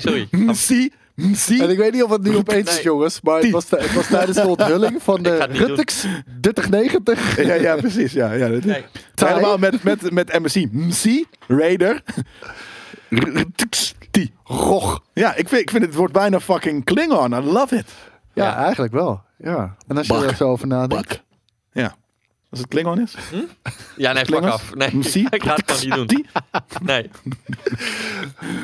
S3: sorry.
S2: Msi. Msi.
S1: En ik weet niet of het nu opeens is,
S3: Nee.
S1: jongens. Maar het
S2: Tien.
S1: was, het was tijdens de onthulling van
S3: Ik
S1: de
S3: ga het niet doen.
S1: Ruttex 3090.
S2: Ja, ja, precies. Ja, ja, dat is-
S3: Nee.
S1: Thai.
S2: Helemaal met, met, met MSI. Msi. Raider. Rutix T.
S1: Roch.
S2: Ja, ik vind, ik vind het wordt bijna fucking Klingon. I love it.
S1: Ja,
S3: Ja.
S1: eigenlijk wel. Ja. En als je
S2: Bak.
S1: er zo over nadenkt.
S2: Bak. Ja. Als het Klingon is.
S3: Ja, nee, pak
S2: Klingels?
S3: af. Nee,
S1: Hm,
S2: Msi.
S3: ik ga het gewoon niet doen. Nee.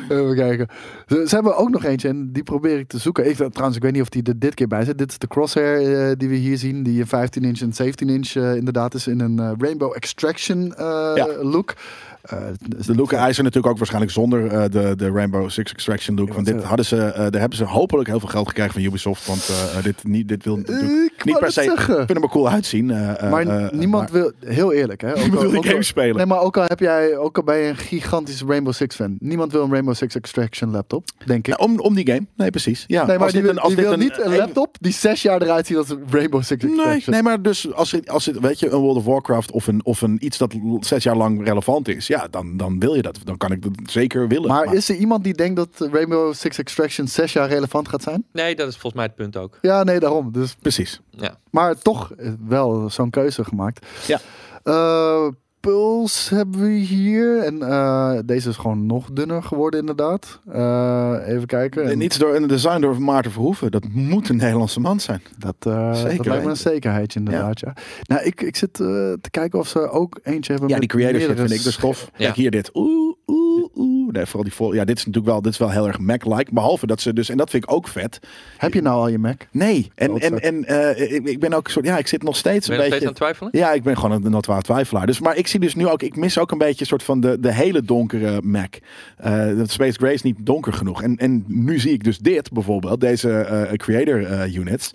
S1: Even kijken. Ze, ze hebben ook nog eentje en die probeer ik te zoeken. Ik, trouwens, ik weet niet of die er dit keer bij zit. Dit is de crosshair eh, die we hier zien. Die een 15 inch en 17 inch eh, inderdaad is in een eh, Rainbow Extraction eh,
S2: Ja.
S1: look. Eh, dus-
S2: De look eisen natuurlijk ook waarschijnlijk zonder eh, de, de Rainbow Six Extraction look. Want dit
S1: want, eh,
S2: hadden ze, eh, daar hebben ze hopelijk heel veel geld gekregen van Ubisoft. Want eh, eh, dit, niet, dit wil natuurlijk
S1: wou
S2: niet per
S1: net
S2: se. Ik
S1: zeggen.
S2: vind hem er cool uitzien. eh, eh,
S1: maar
S2: eh,
S1: niemand
S2: maar
S1: wil, heel eerlijk hè. Ook al-
S2: niemand wil
S1: ook
S2: die
S1: al-
S2: game spelen.
S1: Nee, maar ook al heb jij, ook al ben je een gigantische Rainbow Six fan. Niemand wil een Rainbow Six Extraction laptop, denk ik.
S2: Ja, om, om die game. Nee, precies. Ja.
S1: Nee, maar
S2: Nou, Als
S1: die,
S2: dit
S1: wil-
S2: een- als
S1: die
S2: dit
S1: wil
S2: een-
S1: niet een laptop die zes jaar eruit ziet als een Rainbow Six Extraction.
S2: Nee, nee, maar dus als, er- als het, weet je, een World of Warcraft of een, of een iets dat l- zes jaar lang relevant is. ja, dan, dan wil je dat. Dan kan ik dat zeker willen.
S1: Maar is er iemand die denkt dat Rainbow Six Extraction zes jaar relevant gaat zijn?
S3: Nee, dat is volgens mij het punt ook.
S1: Ja, nee, daarom. Dus,
S2: Precies.
S3: Ja.
S1: maar toch eh, wel zo'n keuze gemaakt.
S2: Ja.
S1: Eh, Pulse hebben we hier. En eh, deze is gewoon nog dunner geworden, inderdaad. Eh, even kijken. En
S2: En iets door een design door Maarten Verhoeven. Dat moet een Nederlandse man zijn.
S1: Dat, eh,
S2: Zeker
S1: dat lijkt me
S2: weten.
S1: een zekerheidje, inderdaad. Ja. Nou, ik, ik zit eh, te kijken of ze ook eentje hebben.
S2: Ja,
S1: met
S2: die creators dat
S1: meerdere
S2: vind ik dus tof.
S3: Ja.
S2: Kijk hier dit. Oeh, oeh, oeh. Nee, vooral die vol. Ja, dit is natuurlijk wel, dit is wel heel erg Mac-like. Behalve dat ze dus, en dat vind ik ook vet.
S1: Heb je nou al je Mac?
S2: Nee, en,
S1: Klootzak.
S2: en, en eh, ik, ik ben ook een soort, ja, ik zit nog steeds
S3: Ben je
S2: een
S3: nog steeds aan
S2: beetje.
S3: het twijfelen?
S2: Ja, ik ben gewoon een notwaar twijfelaar. Dus, maar ik zie dus nu ook, ik mis ook een beetje een soort van de, de hele donkere Mac. Eh, dat Space Gray is niet donker genoeg. En, en nu zie ik dus dit bijvoorbeeld, deze eh, creator eh, units,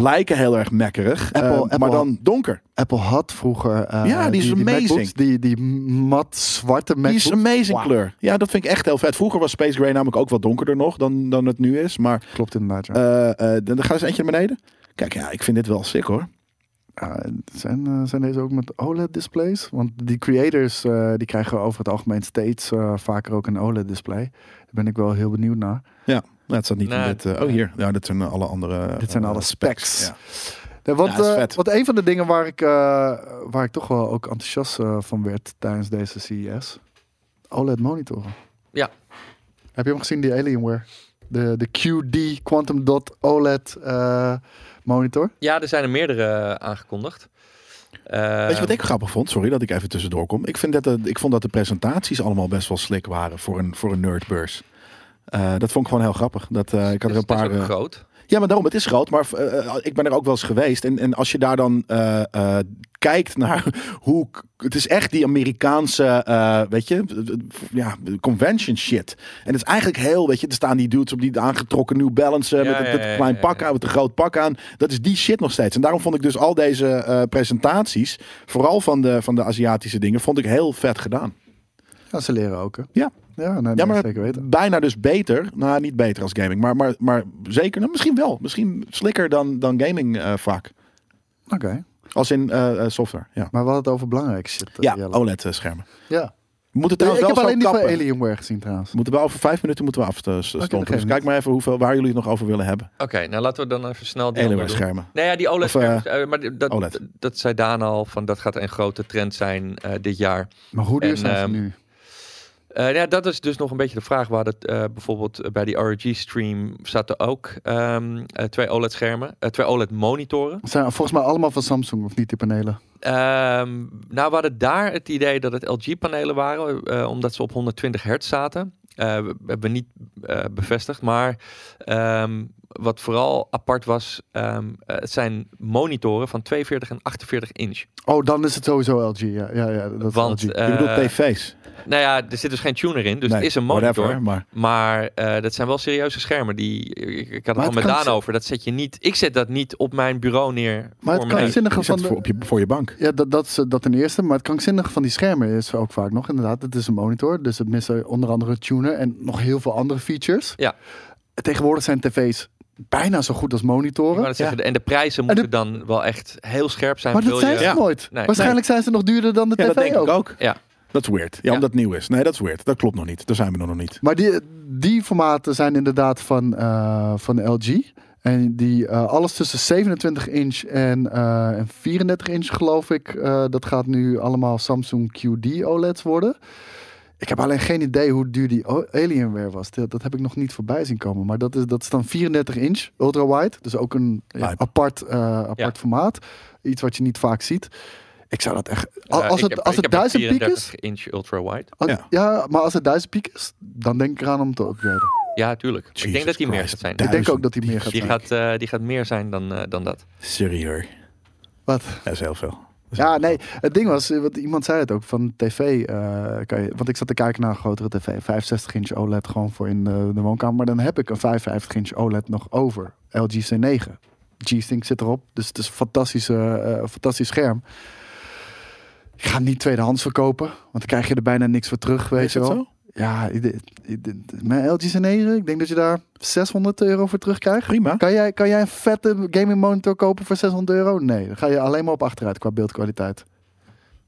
S2: lijken heel erg mekkerig,
S1: Oh. Apple-
S2: eh, maar
S1: Apple.
S2: dan donker.
S1: Apple had vroeger. eh,
S2: Ja, die is amazing.
S1: MacBooks, die, die mat zwarte
S2: Die
S1: MacBook.
S2: is amazing
S1: Wauw.
S2: kleur. Ja, dat vind ik echt heel vet. Vroeger was Space Gray namelijk ook wat donkerder nog dan, dan het nu is. Maar
S1: Klopt inderdaad. Ja.
S2: eh, eh, dan dan gaat eens eentje naar beneden. Kijk, ja, ik vind dit wel sick hoor.
S1: Ja, zijn, eh, zijn deze ook met OLED-displays? Want die creators eh, die krijgen over het algemeen steeds eh, vaker ook een OLED-display. Daar ben ik wel heel benieuwd naar.
S2: Nou, het staat niet
S3: Nee.
S2: in dit. eh, oh, hier. Ja, dit zijn eh, alle andere.
S1: Dit zijn
S2: eh,
S1: alle specs.
S2: Ja.
S1: Ja, want,
S2: Ja, is
S1: eh,
S2: vet.
S1: want een van de dingen waar ik, eh, waar ik toch wel ook enthousiast eh, van werd tijdens deze E CES. OLED-monitoren.
S3: Ja.
S1: Heb je hem gezien, die Alienware? De, de QD Quantum Dot OLED eh, monitor.
S3: Ja, er zijn er meerdere eh, aangekondigd. Eh,
S2: Weet je wat ik grappig vond? Sorry dat ik even tussendoor kom. Ik, vind dat de, ik vond dat de presentaties allemaal best wel slik waren voor een, voor een nerdbeurs. Eh, dat vond ik gewoon heel grappig. Dat, eh, ik had er
S3: het
S2: een
S3: is-
S2: paar.
S3: het Dus is ook
S2: eh,
S3: groot.
S2: Ja, maar daarom, het is groot. Maar eh, eh, ik ben er ook wel eens geweest. En, en als je daar dan eh, eh, kijkt naar hoe... k- Het is echt die Amerikaanse, eh, weet je, eh, ja, convention shit. En het is eigenlijk heel, weet je, er staan die dudes op die aangetrokken New Balance... eh,
S3: Ja,
S2: met het
S3: ja, ja,
S2: klein
S3: ja,
S2: pak
S3: ja.
S2: aan, met een groot pak aan. Dat is die shit nog steeds. En daarom vond ik dus al deze eh, presentaties... vooral van de, van de Aziatische dingen, vond ik heel vet gedaan.
S1: Ja, ze leren ook, hè?
S2: Ja.
S1: Ja, nee,
S2: Ja, maar
S1: nee, zeker weten.
S2: bijna dus beter. Nou, niet beter als gaming, maar, maar, maar zeker. Nou, misschien wel. Misschien slikker dan, dan gaming eh, vaak.
S1: Oké.
S2: Als in eh, eh, software, ja.
S1: Maar we hadden het over belangrijk shit. eh,
S2: Ja,
S1: Jelle.
S2: OLED-schermen.
S1: ja.
S2: We moeten
S1: Ik
S2: trouwens
S1: heb
S2: wel zo
S1: alleen die van Oh,
S2: kappen.
S1: Alienware gezien trouwens.
S2: We moeten wel over vijf minuten moeten we afstompen.
S1: dat geeft
S2: dus kijk
S1: niet.
S2: maar even hoeveel, waar jullie het nog over willen hebben.
S3: Oké, nou laten we dan even snel die andere doen.
S2: Alienware-schermen.
S3: Nee, ja, die OLED.
S2: Of, eh,
S3: eh, maar die- dat,
S2: OLED.
S3: dat zei Daan al, van dat gaat een grote trend zijn eh, dit jaar.
S1: Maar hoe duur
S3: En,
S1: zijn ze
S3: ehm,
S1: nu?
S3: Eh, ja, dat is dus nog een beetje de vraag. Waar dat eh, bijvoorbeeld bij die RG-stream zaten ook ehm, eh, twee OLED-schermen, eh, twee OLED-monitoren.
S1: Zijn volgens mij allemaal van Samsung, of niet, die panelen?
S3: Ehm, nou, we hadden daar het idee dat het LG-panelen waren, eh, omdat ze op 120 hertz zaten. Eh, we hebben we niet eh, bevestigd, maar ehm, wat vooral apart was, ehm, eh, het zijn monitoren van 42 en 48 inch.
S1: Oh, dan is het sowieso LG. Ja, ja, ja dat is
S3: Want,
S1: LG.
S3: eh,
S2: Je bedoelt tv's.
S3: nou ja, er zit dus geen tuner in, dus
S2: Nee,
S3: het is een monitor.
S2: whatever, maar
S3: Maar eh, dat zijn wel serieuze schermen. Die, ik, ik
S1: Maar het
S3: had het al met
S1: kan
S3: Daan
S1: zijn-
S3: over. Dat zet je niet. Ik zet dat niet op mijn bureau neer.
S1: Maar
S3: voor
S1: het
S3: mijn-
S1: krankzinnige van
S2: je zet
S1: de-
S2: het voor, op je, voor je bank.
S1: Ja, dat, dat is eh, dat ten eerste. Maar het krankzinnige van die schermen is ook vaak nog inderdaad. Het is een monitor, dus het mist onder andere tuner en nog heel veel andere features.
S3: Ja.
S1: Tegenwoordig zijn tv's bijna zo goed als monitoren.
S3: Ik wou net zeggen, En de prijzen
S1: En de-
S3: moeten dan wel echt heel scherp zijn.
S1: Maar
S3: wil
S1: dat zijn
S3: je,
S1: ze
S2: Ja.
S1: nooit.
S3: Nee.
S1: Waarschijnlijk zijn ze nog duurder dan de
S2: Ja,
S1: tv
S2: dat denk
S1: ook.
S2: ik ook.
S3: Ja.
S2: Dat is weird. Ja,
S3: Ja.
S2: omdat het nieuw is. Nee, dat is weird. Dat klopt nog niet. Daar zijn we nog niet.
S1: Maar die, die formaten zijn inderdaad van, eh, van LG. En die eh, alles tussen 27 inch en, eh, en 34 inch, geloof ik. eh, dat gaat nu allemaal Samsung QD OLEDs E worden. Ik heb alleen geen idee hoe duur die o- Alienware was. Dat, dat heb ik nog niet voorbij zien komen. Maar dat is, dat is dan 34 inch, ultra wide. Dus ook een ja,
S2: Lijp.
S1: apart, eh, apart
S3: Ja.
S1: formaat. Iets wat je niet vaak ziet. Ik zou dat echt. Als,
S3: eh,
S1: als
S3: ik
S1: het,
S3: heb-
S1: als
S3: ik
S1: het
S3: heb een
S1: 1000 piek is.
S3: 34 inch ultra wide.
S1: als-
S2: Ja.
S1: ja. maar als het 1000 piek is, dan denk ik eraan om te upgraden.
S3: Ja, tuurlijk. ik denk
S2: Jesus
S3: dat die meer
S2: Christ.
S3: gaat zijn.
S2: Daar-
S1: Ik denk ook dat hij meer gaat
S3: Die
S1: zijn.
S3: gaat, eh, die gaat meer zijn dan, eh, dan dat.
S2: Serieus.
S1: Wat?
S2: Dat is heel veel. Dat is heel
S1: Ja,
S2: veel.
S1: nee. Het ding was, eh, want iemand zei het ook, van tv eh, kan je... Want ik zat te kijken naar een grotere tv. 65 inch OLED gewoon voor in de, de woonkamer. Maar dan heb ik een 55 inch OLED nog over. LG C9. G-Sync zit erop. Dus het is een fantastische, eh, fantastisch scherm. Ik ga hem niet tweedehands verkopen. Want dan krijg je er bijna niks voor terug, weet
S2: Is
S1: je
S2: dat
S1: wel.
S2: zo?
S1: Ja, ik- ik- ik- mijn LG C9, ik denk dat je daar 600 euro voor terugkrijgt.
S2: Prima.
S1: Kan jij, kan jij een vette gaming monitor kopen voor 600 euro? Nee, dan ga je alleen maar op achteruit qua beeldkwaliteit.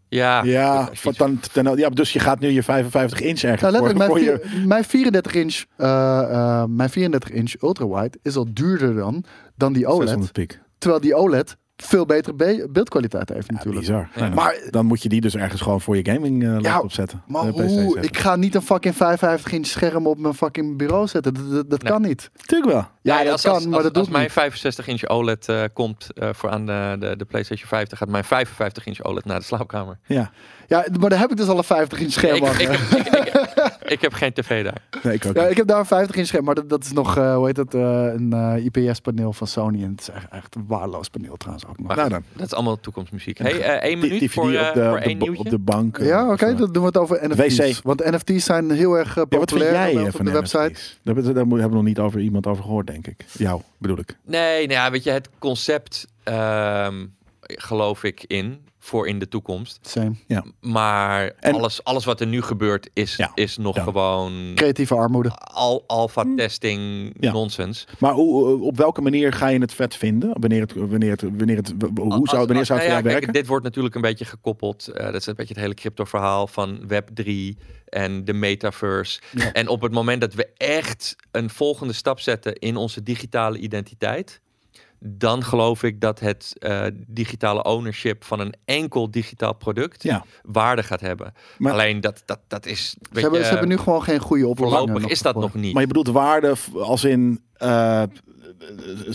S3: Ja,
S2: ja,
S3: Precies.
S2: van dan, dan- ja, dus je gaat nu je 55 inch ergens
S1: Nou,
S2: voor,
S1: letterlijk,
S2: voor
S1: mijn,
S2: je,
S1: vier- mijn 34 inch, eh, eh, mijn 34 inch ultrawide is al duurder dan, dan die OLED.
S2: 600 pik.
S1: Terwijl die OLED veel betere be- beeldkwaliteit heeft
S2: Ja,
S1: natuurlijk.
S2: bizar.
S3: Ja.
S2: Maar
S1: Maar-
S2: dan moet je die dus ergens gewoon voor je gaming eh, laptop zetten.
S1: Maar
S2: Eh, PlayStation
S1: hoe?
S2: zetten.
S1: Ik ga niet een fucking 55 inch scherm op mijn fucking bureau zetten. Dat, dat, dat
S3: Nee.
S1: kan niet.
S2: Tuurlijk wel.
S1: Ja,
S3: Nee,
S1: dat
S3: als,
S1: kan,
S3: als,
S1: maar
S3: als-
S1: dat doet
S3: als mijn
S1: niet.
S3: 65 inch OLED eh, komt eh, voor aan de, de, de PlayStation 5, dan gaat mijn 55 inch OLED naar de slaapkamer.
S2: Ja,
S1: Ja, maar daar heb ik dus al een 50 inch scherm
S3: ik, ik,
S1: hangen.
S3: ik, ik- ik heb geen tv daar.
S2: nee, ik ook.
S1: Ja,
S2: niet.
S1: ik heb daar een 50 inch scherm, maar dat, dat is nog, eh, hoe heet dat, eh, een IPS-paneel van Sony. En het is echt, echt een waardeloos paneel trouwens ook nog.
S3: Maar
S2: Nou
S3: goed,
S2: dan.
S3: dat is allemaal toekomstmuziek. Hey, eh, één
S2: Die-
S3: minuut
S2: die
S3: voor,
S2: verdien je
S3: eh,
S2: op de,
S3: voor
S2: op de,
S3: één
S2: ba- op
S3: nieuwtje.
S2: de bank. eh,
S1: Ja, oké,
S2: of zo.
S1: dan doen we het over NFT's.
S2: WC.
S1: Want NFT's zijn heel erg eh,
S2: Ja, wat vind
S1: populair
S2: jij
S1: op
S2: eh,
S1: de
S2: van
S1: website.
S2: NFT's? Daar, hebben- daar mo- hebben we nog niet over iemand over gehoord, denk ik. Jou, bedoel ik.
S3: Nee, nou ja, weet je, het concept ehm, geloof ik in voor in de toekomst.
S1: Same.
S2: Hm.
S3: Maar
S2: En-
S3: alles, alles wat er nu gebeurt is,
S2: Ja,
S3: is nog
S2: ja.
S3: gewoon
S1: Creatieve armoede.
S3: al, alpha testing
S2: Ja.
S3: nonsens.
S2: Maar hoe, eh, op welke manier ga je het vet vinden? Wanneer het, wanneer het, wanneer het, hoe zou, wanneer
S3: Als- als-
S2: zou het
S3: nou
S2: voor
S3: ja,
S2: jou
S3: kijk,
S2: werken?
S3: Dit wordt natuurlijk een beetje gekoppeld. eh, dat is een beetje het hele crypto-verhaal van Web3 en de metaverse. En op het moment dat we echt een volgende stap zetten in onze digitale identiteit. Dan geloof ik dat het eh, digitale ownership van een enkel digitaal product
S2: Ja.
S3: waarde gaat hebben.
S2: Maar-
S3: Alleen dat, dat, dat is.
S1: Ze
S3: weet
S1: hebben,
S3: je,
S1: ze hebben nu gewoon geen goede oplossing.
S3: eh, voorlopig is dat nog niet.
S2: Maar je bedoelt waarde v- als in, eh,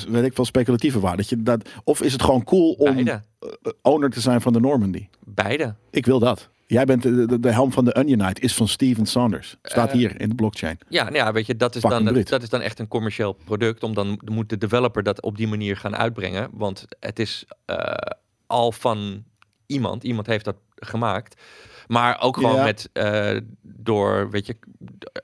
S2: weet ik wel, speculatieve waarde. Dat je, dat, of is het gewoon cool om
S3: Beide.
S2: eh, owner te zijn van de Normandy?
S3: Beide.
S2: Ik wil dat. Jij bent de, de, de helm van de Unionite, is van Steven Saunders. Staat
S3: Eh,
S2: hier in de blockchain.
S3: Ja, nou ja, weet je, dat is,
S2: Fucking
S3: dan, dat,
S2: Brit.
S3: dat is dan echt een commercieel product. Om dan moet de developer dat op die manier gaan uitbrengen. Want het is eh, al van iemand. Iemand heeft dat gemaakt. Maar ook gewoon
S2: Ja.
S3: met eh, door, weet je,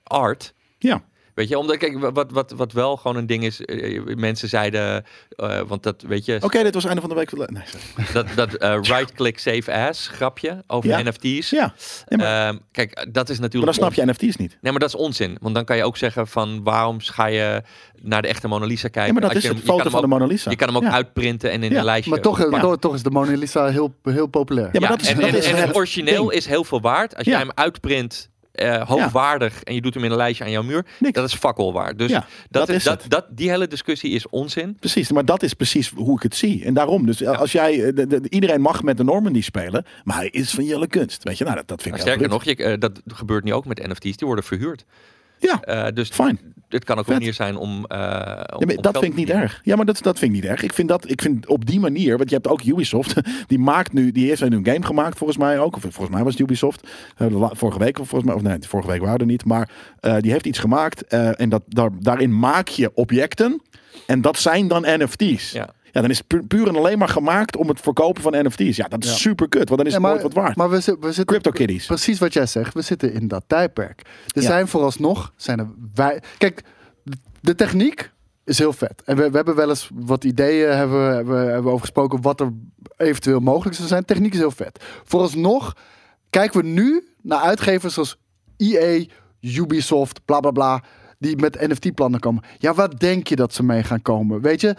S3: art.
S2: Ja.
S3: Weet je, omdat kijk, wat, wat, wat wel gewoon een ding is, eh, mensen zeiden, eh, want dat weet je,
S2: Oké, dit was einde van de week. Nee, sorry.
S3: dat, dat eh, right-click save as grapje over
S2: Ja.
S3: NFT's.
S2: ja, nee, maar,
S3: Ehm, kijk, dat is
S2: maar
S3: natuurlijk
S2: dan snap je NFT's niet.
S3: Nee, maar dat is onzin. Want dan kan je ook zeggen van waarom ga je naar de echte Mona Lisa kijken?
S2: Ja, maar dat
S3: Als
S2: is
S3: je
S2: het
S3: hem- je
S2: foto
S3: kan
S2: van de
S3: hem ook-
S2: Mona Lisa.
S3: Je kan hem ook
S2: Ja.
S3: uitprinten en in
S2: Ja,
S3: een lijstje.
S1: Maar toch, eh,
S3: plakken.
S1: toch, toch is de Mona Lisa heel, heel populair.
S2: Ja, maar
S3: Ja,
S2: dat is-
S3: en,
S2: dat
S3: en-
S2: is
S3: en het
S2: het
S3: origineel
S2: ding.
S3: is heel veel waard. Als
S2: Ja.
S3: jij hem uitprint, eh, hoogwaardig, en je doet hem in een lijstje aan jouw muur,
S2: Niks.
S3: dat is fakkel waard. Dus
S2: Ja,
S3: dat,
S2: dat
S3: is,
S2: is
S3: dat,
S2: het.
S3: dat, die hele discussie is onzin.
S2: Precies, maar dat is precies hoe ik het zie. En daarom, dus als jij, eh, de- de- iedereen mag met de Normandy spelen, maar hij is van jelle kunst. Weet je, nou, dat, dat vind
S3: Maar
S2: ik
S3: sterker
S2: heel
S3: nog, je, eh, dat gebeurt nu ook met NFT's. Die worden verhuurd.
S2: Ja,
S3: Eh, dus
S2: fijn.
S3: het kan ook een
S2: Vet.
S3: manier zijn om... eh, om-
S2: Ja, maar
S3: om
S2: dat
S3: geld
S2: vind ik
S3: te
S2: niet
S3: verdienen.
S2: erg. Ja, maar dat, dat vind ik niet erg. Ik vind dat, ik vind op die manier, want je hebt ook Ubisoft, die maakt nu, die heeft nu een game gemaakt volgens mij ook. Of volgens mij was het Ubisoft. Eh, de la- Vorige week, of volgens mij, of nee, vorige week waren we er niet. Maar eh, die heeft iets gemaakt eh, en dat, daar, daarin maak je objecten en dat zijn dan NFT's.
S3: Ja.
S2: Ja, dan is het pu- puur en alleen maar gemaakt om het verkopen van NFT's. Ja, dat is
S1: Ja.
S2: super kut, want dan is
S1: Ja,
S2: het
S1: maar
S2: nooit wat waard.
S1: maar we, zi- we zitten
S2: CryptoKitties.
S1: precies wat jij zegt. We zitten in dat tijdperk. Er
S2: Ja.
S1: zijn vooralsnog zijn er wij. Kijk, de techniek is heel vet. En we, we hebben wel eens wat ideeën hebben, we- hebben, we- hebben we over gesproken wat er eventueel mogelijk zou zijn. Techniek is heel vet. Vooralsnog kijken we nu naar uitgevers zoals EA, Ubisoft, bla bla bla. Die met NFT-plannen komen. Ja, waar denk je dat ze mee gaan komen? Weet je,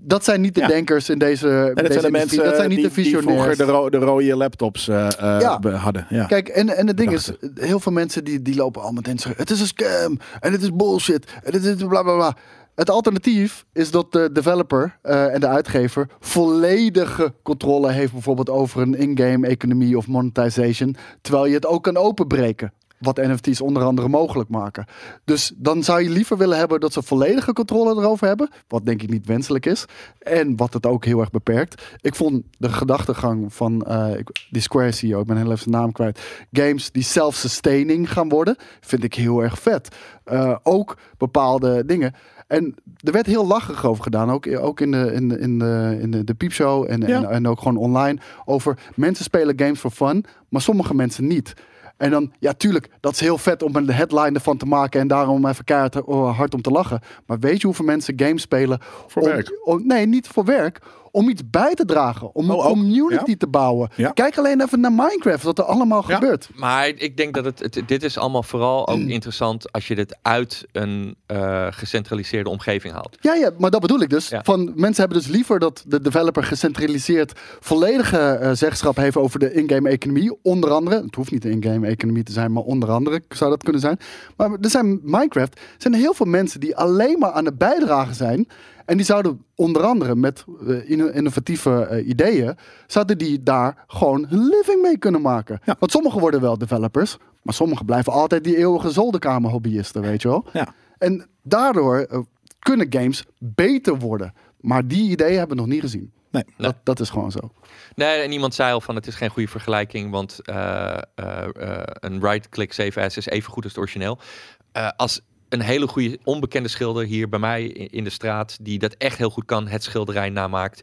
S1: dat zijn niet de
S2: Ja.
S1: denkers in deze.
S2: en dat
S1: deze
S2: zijn de
S1: industrie.
S2: mensen
S1: dat zijn niet
S2: die,
S1: de
S2: die
S1: visionairs.
S2: vroeger de, ro- de rode laptops eh, eh,
S1: Ja.
S2: be- hadden. Ja.
S1: Kijk, en, en het ding is, heel veel mensen die, die lopen al meteen zeggen, het is een scam, en het is bullshit, en het is bla bla bla. Het alternatief is dat de developer eh, en de uitgever volledige controle heeft bijvoorbeeld over een in-game economie of monetization, terwijl je het ook kan openbreken. Wat NFT's onder andere mogelijk maken. Dus dan zou je liever willen hebben dat ze volledige controle erover hebben. Wat denk ik niet wenselijk is. En wat het ook heel erg beperkt. Ik vond de gedachtegang van eh, ik- die Square CEO, ik ben heel even zijn naam kwijt. Games die self-sustaining gaan worden, vind ik heel erg vet. Eh, ook bepaalde dingen. En er werd heel lachig over gedaan, ook, ook in, de, in, de, in, de, in de, de piepshow en,
S2: Ja.
S1: en, en ook gewoon online. Over mensen spelen games voor fun, maar sommige mensen niet. En dan, ja, tuurlijk, dat is heel vet om een headline ervan te maken en daarom even keihard eh, hard om te lachen. Maar weet je hoeveel mensen games spelen?
S2: Voor
S1: om-
S2: werk.
S1: om- nee, niet voor werk. om iets bij te dragen. Om een
S2: Oh, ook.
S1: community te bouwen.
S2: Ja.
S1: Kijk alleen even naar Minecraft, wat er allemaal
S2: Ja.
S1: gebeurt.
S3: Maar ik denk dat het, het- dit is allemaal vooral ook interessant als je dit uit een eh, gecentraliseerde omgeving haalt.
S1: Ja, ja, maar dat bedoel ik dus.
S3: Ja.
S1: Van, mensen hebben dus liever dat de developer gecentraliseerd volledige eh, zeggenschap heeft over de in-game economie. Onder andere, het hoeft niet de in-game economie te zijn, maar onder andere zou dat kunnen zijn. Maar er zijn Minecraft, er zijn heel veel mensen die alleen maar aan het bijdragen zijn. En die zouden onder andere met eh, inno- innovatieve eh, ideeën, zouden die daar gewoon hun living mee kunnen maken.
S2: Ja.
S1: Want sommigen worden wel developers, maar sommigen blijven altijd die eeuwige zolderkamer-hobbyisten, weet je wel.
S2: Ja.
S1: En daardoor eh, kunnen games beter worden. Maar die ideeën hebben we nog niet gezien.
S2: Nee.
S1: Dat, dat is gewoon zo.
S3: Nee, en iemand zei al van het is geen goede vergelijking, want eh, eh, eh, een right-click save as is even goed als het origineel. Eh, als een hele goede onbekende schilder hier bij mij i- in de straat, die dat echt heel goed kan, het schilderij namaakt.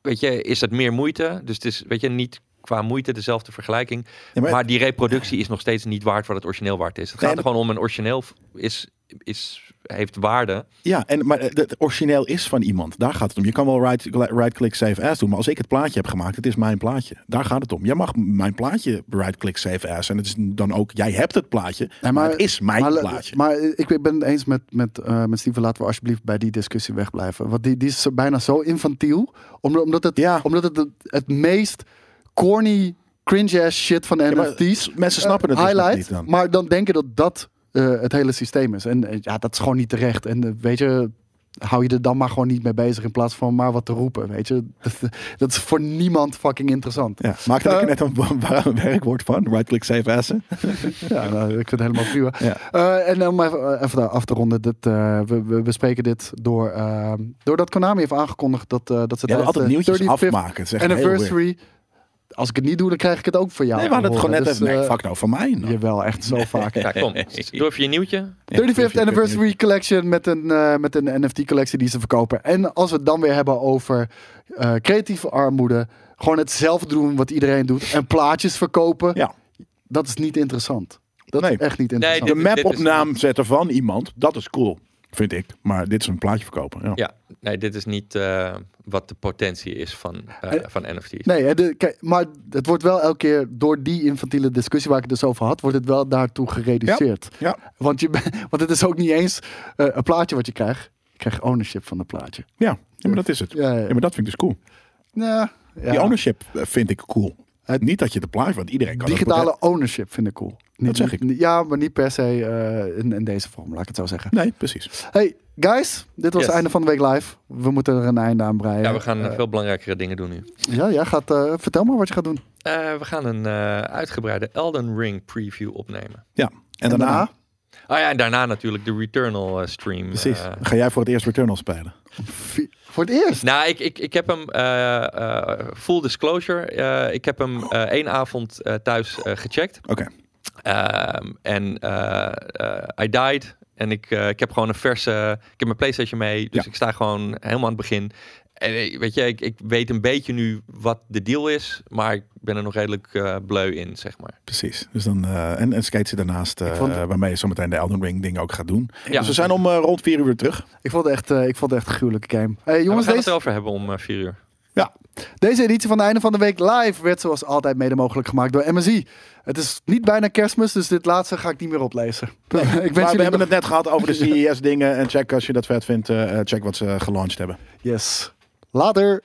S3: Weet je, is dat meer moeite? Dus het is, weet je, niet qua moeite dezelfde vergelijking.
S2: Ja,
S3: maar,
S2: maar-
S3: die reproductie is nog steeds niet waard wat het origineel waard is. Het
S2: Nee,
S3: gaat er gewoon om een origineel v- is, is, heeft waarde.
S2: Ja, en, maar eh, het origineel is van iemand. Daar gaat het om. Je kan wel right- right-click save as doen. Maar als ik het plaatje heb gemaakt, het is mijn plaatje. Daar gaat het om. Jij mag mijn plaatje right-click save as. En het is dan ook, jij hebt het plaatje. maar,
S1: maar-
S2: het is mijn
S1: maar, la-
S2: plaatje.
S1: maar eh, ik ben het eens met, met, eh, met Steven. Laten we alsjeblieft bij die discussie wegblijven. Want die, die is zo- bijna zo infantiel. Omdat, omdat het,
S2: Ja.
S1: omdat het, het het meest corny, cringe-ass shit van de
S2: Ja, maar
S1: NFT's...
S2: mensen snappen het dus
S1: eh,
S2: nog
S1: highlight,
S2: niet dan.
S1: Maar dan denken dat dat eh, het hele systeem is. En eh, ja, dat is gewoon niet terecht. En eh, weet je, hou je er dan maar gewoon niet mee bezig in plaats van maar wat te roepen. Weet je, dat, dat is voor niemand fucking interessant.
S2: Ja, maak daar
S1: Eh,
S2: ook net een wa- wa- werkwoord van. Right-click save as.
S1: Ja, nou, ik vind het helemaal prima.
S2: Ja.
S1: Eh, en om even, eh, even daar af te ronden. Dit, eh, we, we bespreken dit door, eh, doordat Konami heeft aangekondigd dat, eh, dat ze
S2: Ja, we altijd
S1: de
S2: nieuwtjes
S1: 35th
S2: afmaken. Het is echt heel weird.
S1: anniversary... Als ik het niet doe, dan krijg ik het ook van jou.
S2: Nee, we hadden
S1: te
S2: het gewoon
S1: horen.
S2: net
S1: Dus,
S2: even. Nee,
S1: eh,
S2: fuck nou, van mij. nou.
S1: Jawel, echt zo vaak.
S3: Ja, kom, durf je je nieuwtje?
S2: Ja,
S1: 35th
S2: 35th
S1: Anniversary Collection met een, eh, met een NFT-collectie die ze verkopen. En als we het dan weer hebben over eh, creatieve armoede, gewoon hetzelfde doen wat iedereen doet en plaatjes verkopen,
S2: Ja.
S1: dat is niet interessant. Dat
S2: Nee.
S1: is echt niet interessant.
S2: De
S3: dit- dit is-
S2: map-opnaam zetten van iemand, dat is cool. Vind ik. Maar dit is een plaatje verkopen. Ja.
S3: Ja, nee, dit is niet eh, wat de potentie is van, eh,
S1: Eh,
S3: van NFT's.
S1: Nee, hè, de- kijk, maar het wordt wel elke keer door die infantiele discussie waar ik het dus over had, wordt het wel daartoe gereduceerd.
S2: Ja.
S1: Want, je, ben- want het is ook niet eens eh, een plaatje wat je krijgt. Je krijgt ownership van het plaatje.
S2: Ja, ja, maar dat is het.
S1: Ja, ja.
S2: Ja, maar dat vind ik dus cool.
S1: Ja, ja.
S2: Die ownership eh, vind ik cool.
S1: Het-
S2: niet dat je de plaatje, want iedereen kan dat
S1: Digitale ownership vind ik cool. Niet,
S2: zeg ik.
S1: niet- ja, maar niet per se eh, in, in deze vorm, laat ik het zo zeggen.
S2: bedenken. Nee, precies.
S1: Hey, guys, dit was
S3: Yes.
S1: het einde van de week live. We moeten er een einde aan breien.
S3: Ja, we gaan eh,
S1: Eh,
S3: veel belangrijkere dingen doen nu.
S1: ja, jij gaat, eh, vertel maar wat je gaat doen.
S3: Eh, we gaan een eh, uitgebreide Elden Ring preview opnemen.
S2: Ja. En, daarna,
S3: Ah ja, en daarna natuurlijk de Returnal eh, stream.
S2: precies.
S3: eh.
S2: Ga jij voor het eerst Returnal spelen?
S1: vi- voor het eerst.
S3: nou, ik, ik, ik heb hem, eh, eh, full disclosure, eh, ik heb hem eh, één avond eh, thuis eh, gecheckt.
S2: Oké.
S3: Ehm, En eh, eh, I died. En ik, eh, ik heb gewoon een verse. Ik heb mijn PlayStation mee. Dus
S2: Ja.
S3: ik sta gewoon helemaal aan het begin. En eh, weet je, ik, ik weet een beetje nu wat de deal is. Maar ik ben er nog redelijk eh, bleu in, zeg maar.
S2: Precies. Dus dan, eh, en, en skate ze daarnaast, eh,
S1: vond-
S2: waarmee je zometeen de Elden Ring ding ook gaat doen.
S3: Ja.
S2: Dus we zijn om eh, rond vier uur weer terug.
S1: Ik vond het echt, eh, ik vond het echt een gruwelijke game. Hey, jongens,
S3: we gaan
S1: deze,
S3: het erover hebben om eh, vier uur.
S2: Ja.
S1: Deze editie van de einde van de week live werd zoals altijd mede mogelijk gemaakt door MSI. Het is niet bijna kerstmis, dus dit laatste ga ik niet meer oplezen. ik wens
S2: Maar we
S1: jullie
S2: hebben
S1: nog-
S2: het net gehad over de CES dingen. En check eh, als je dat vet vindt, eh, eh, check wat ze gelaunched hebben.
S1: Yes. Later.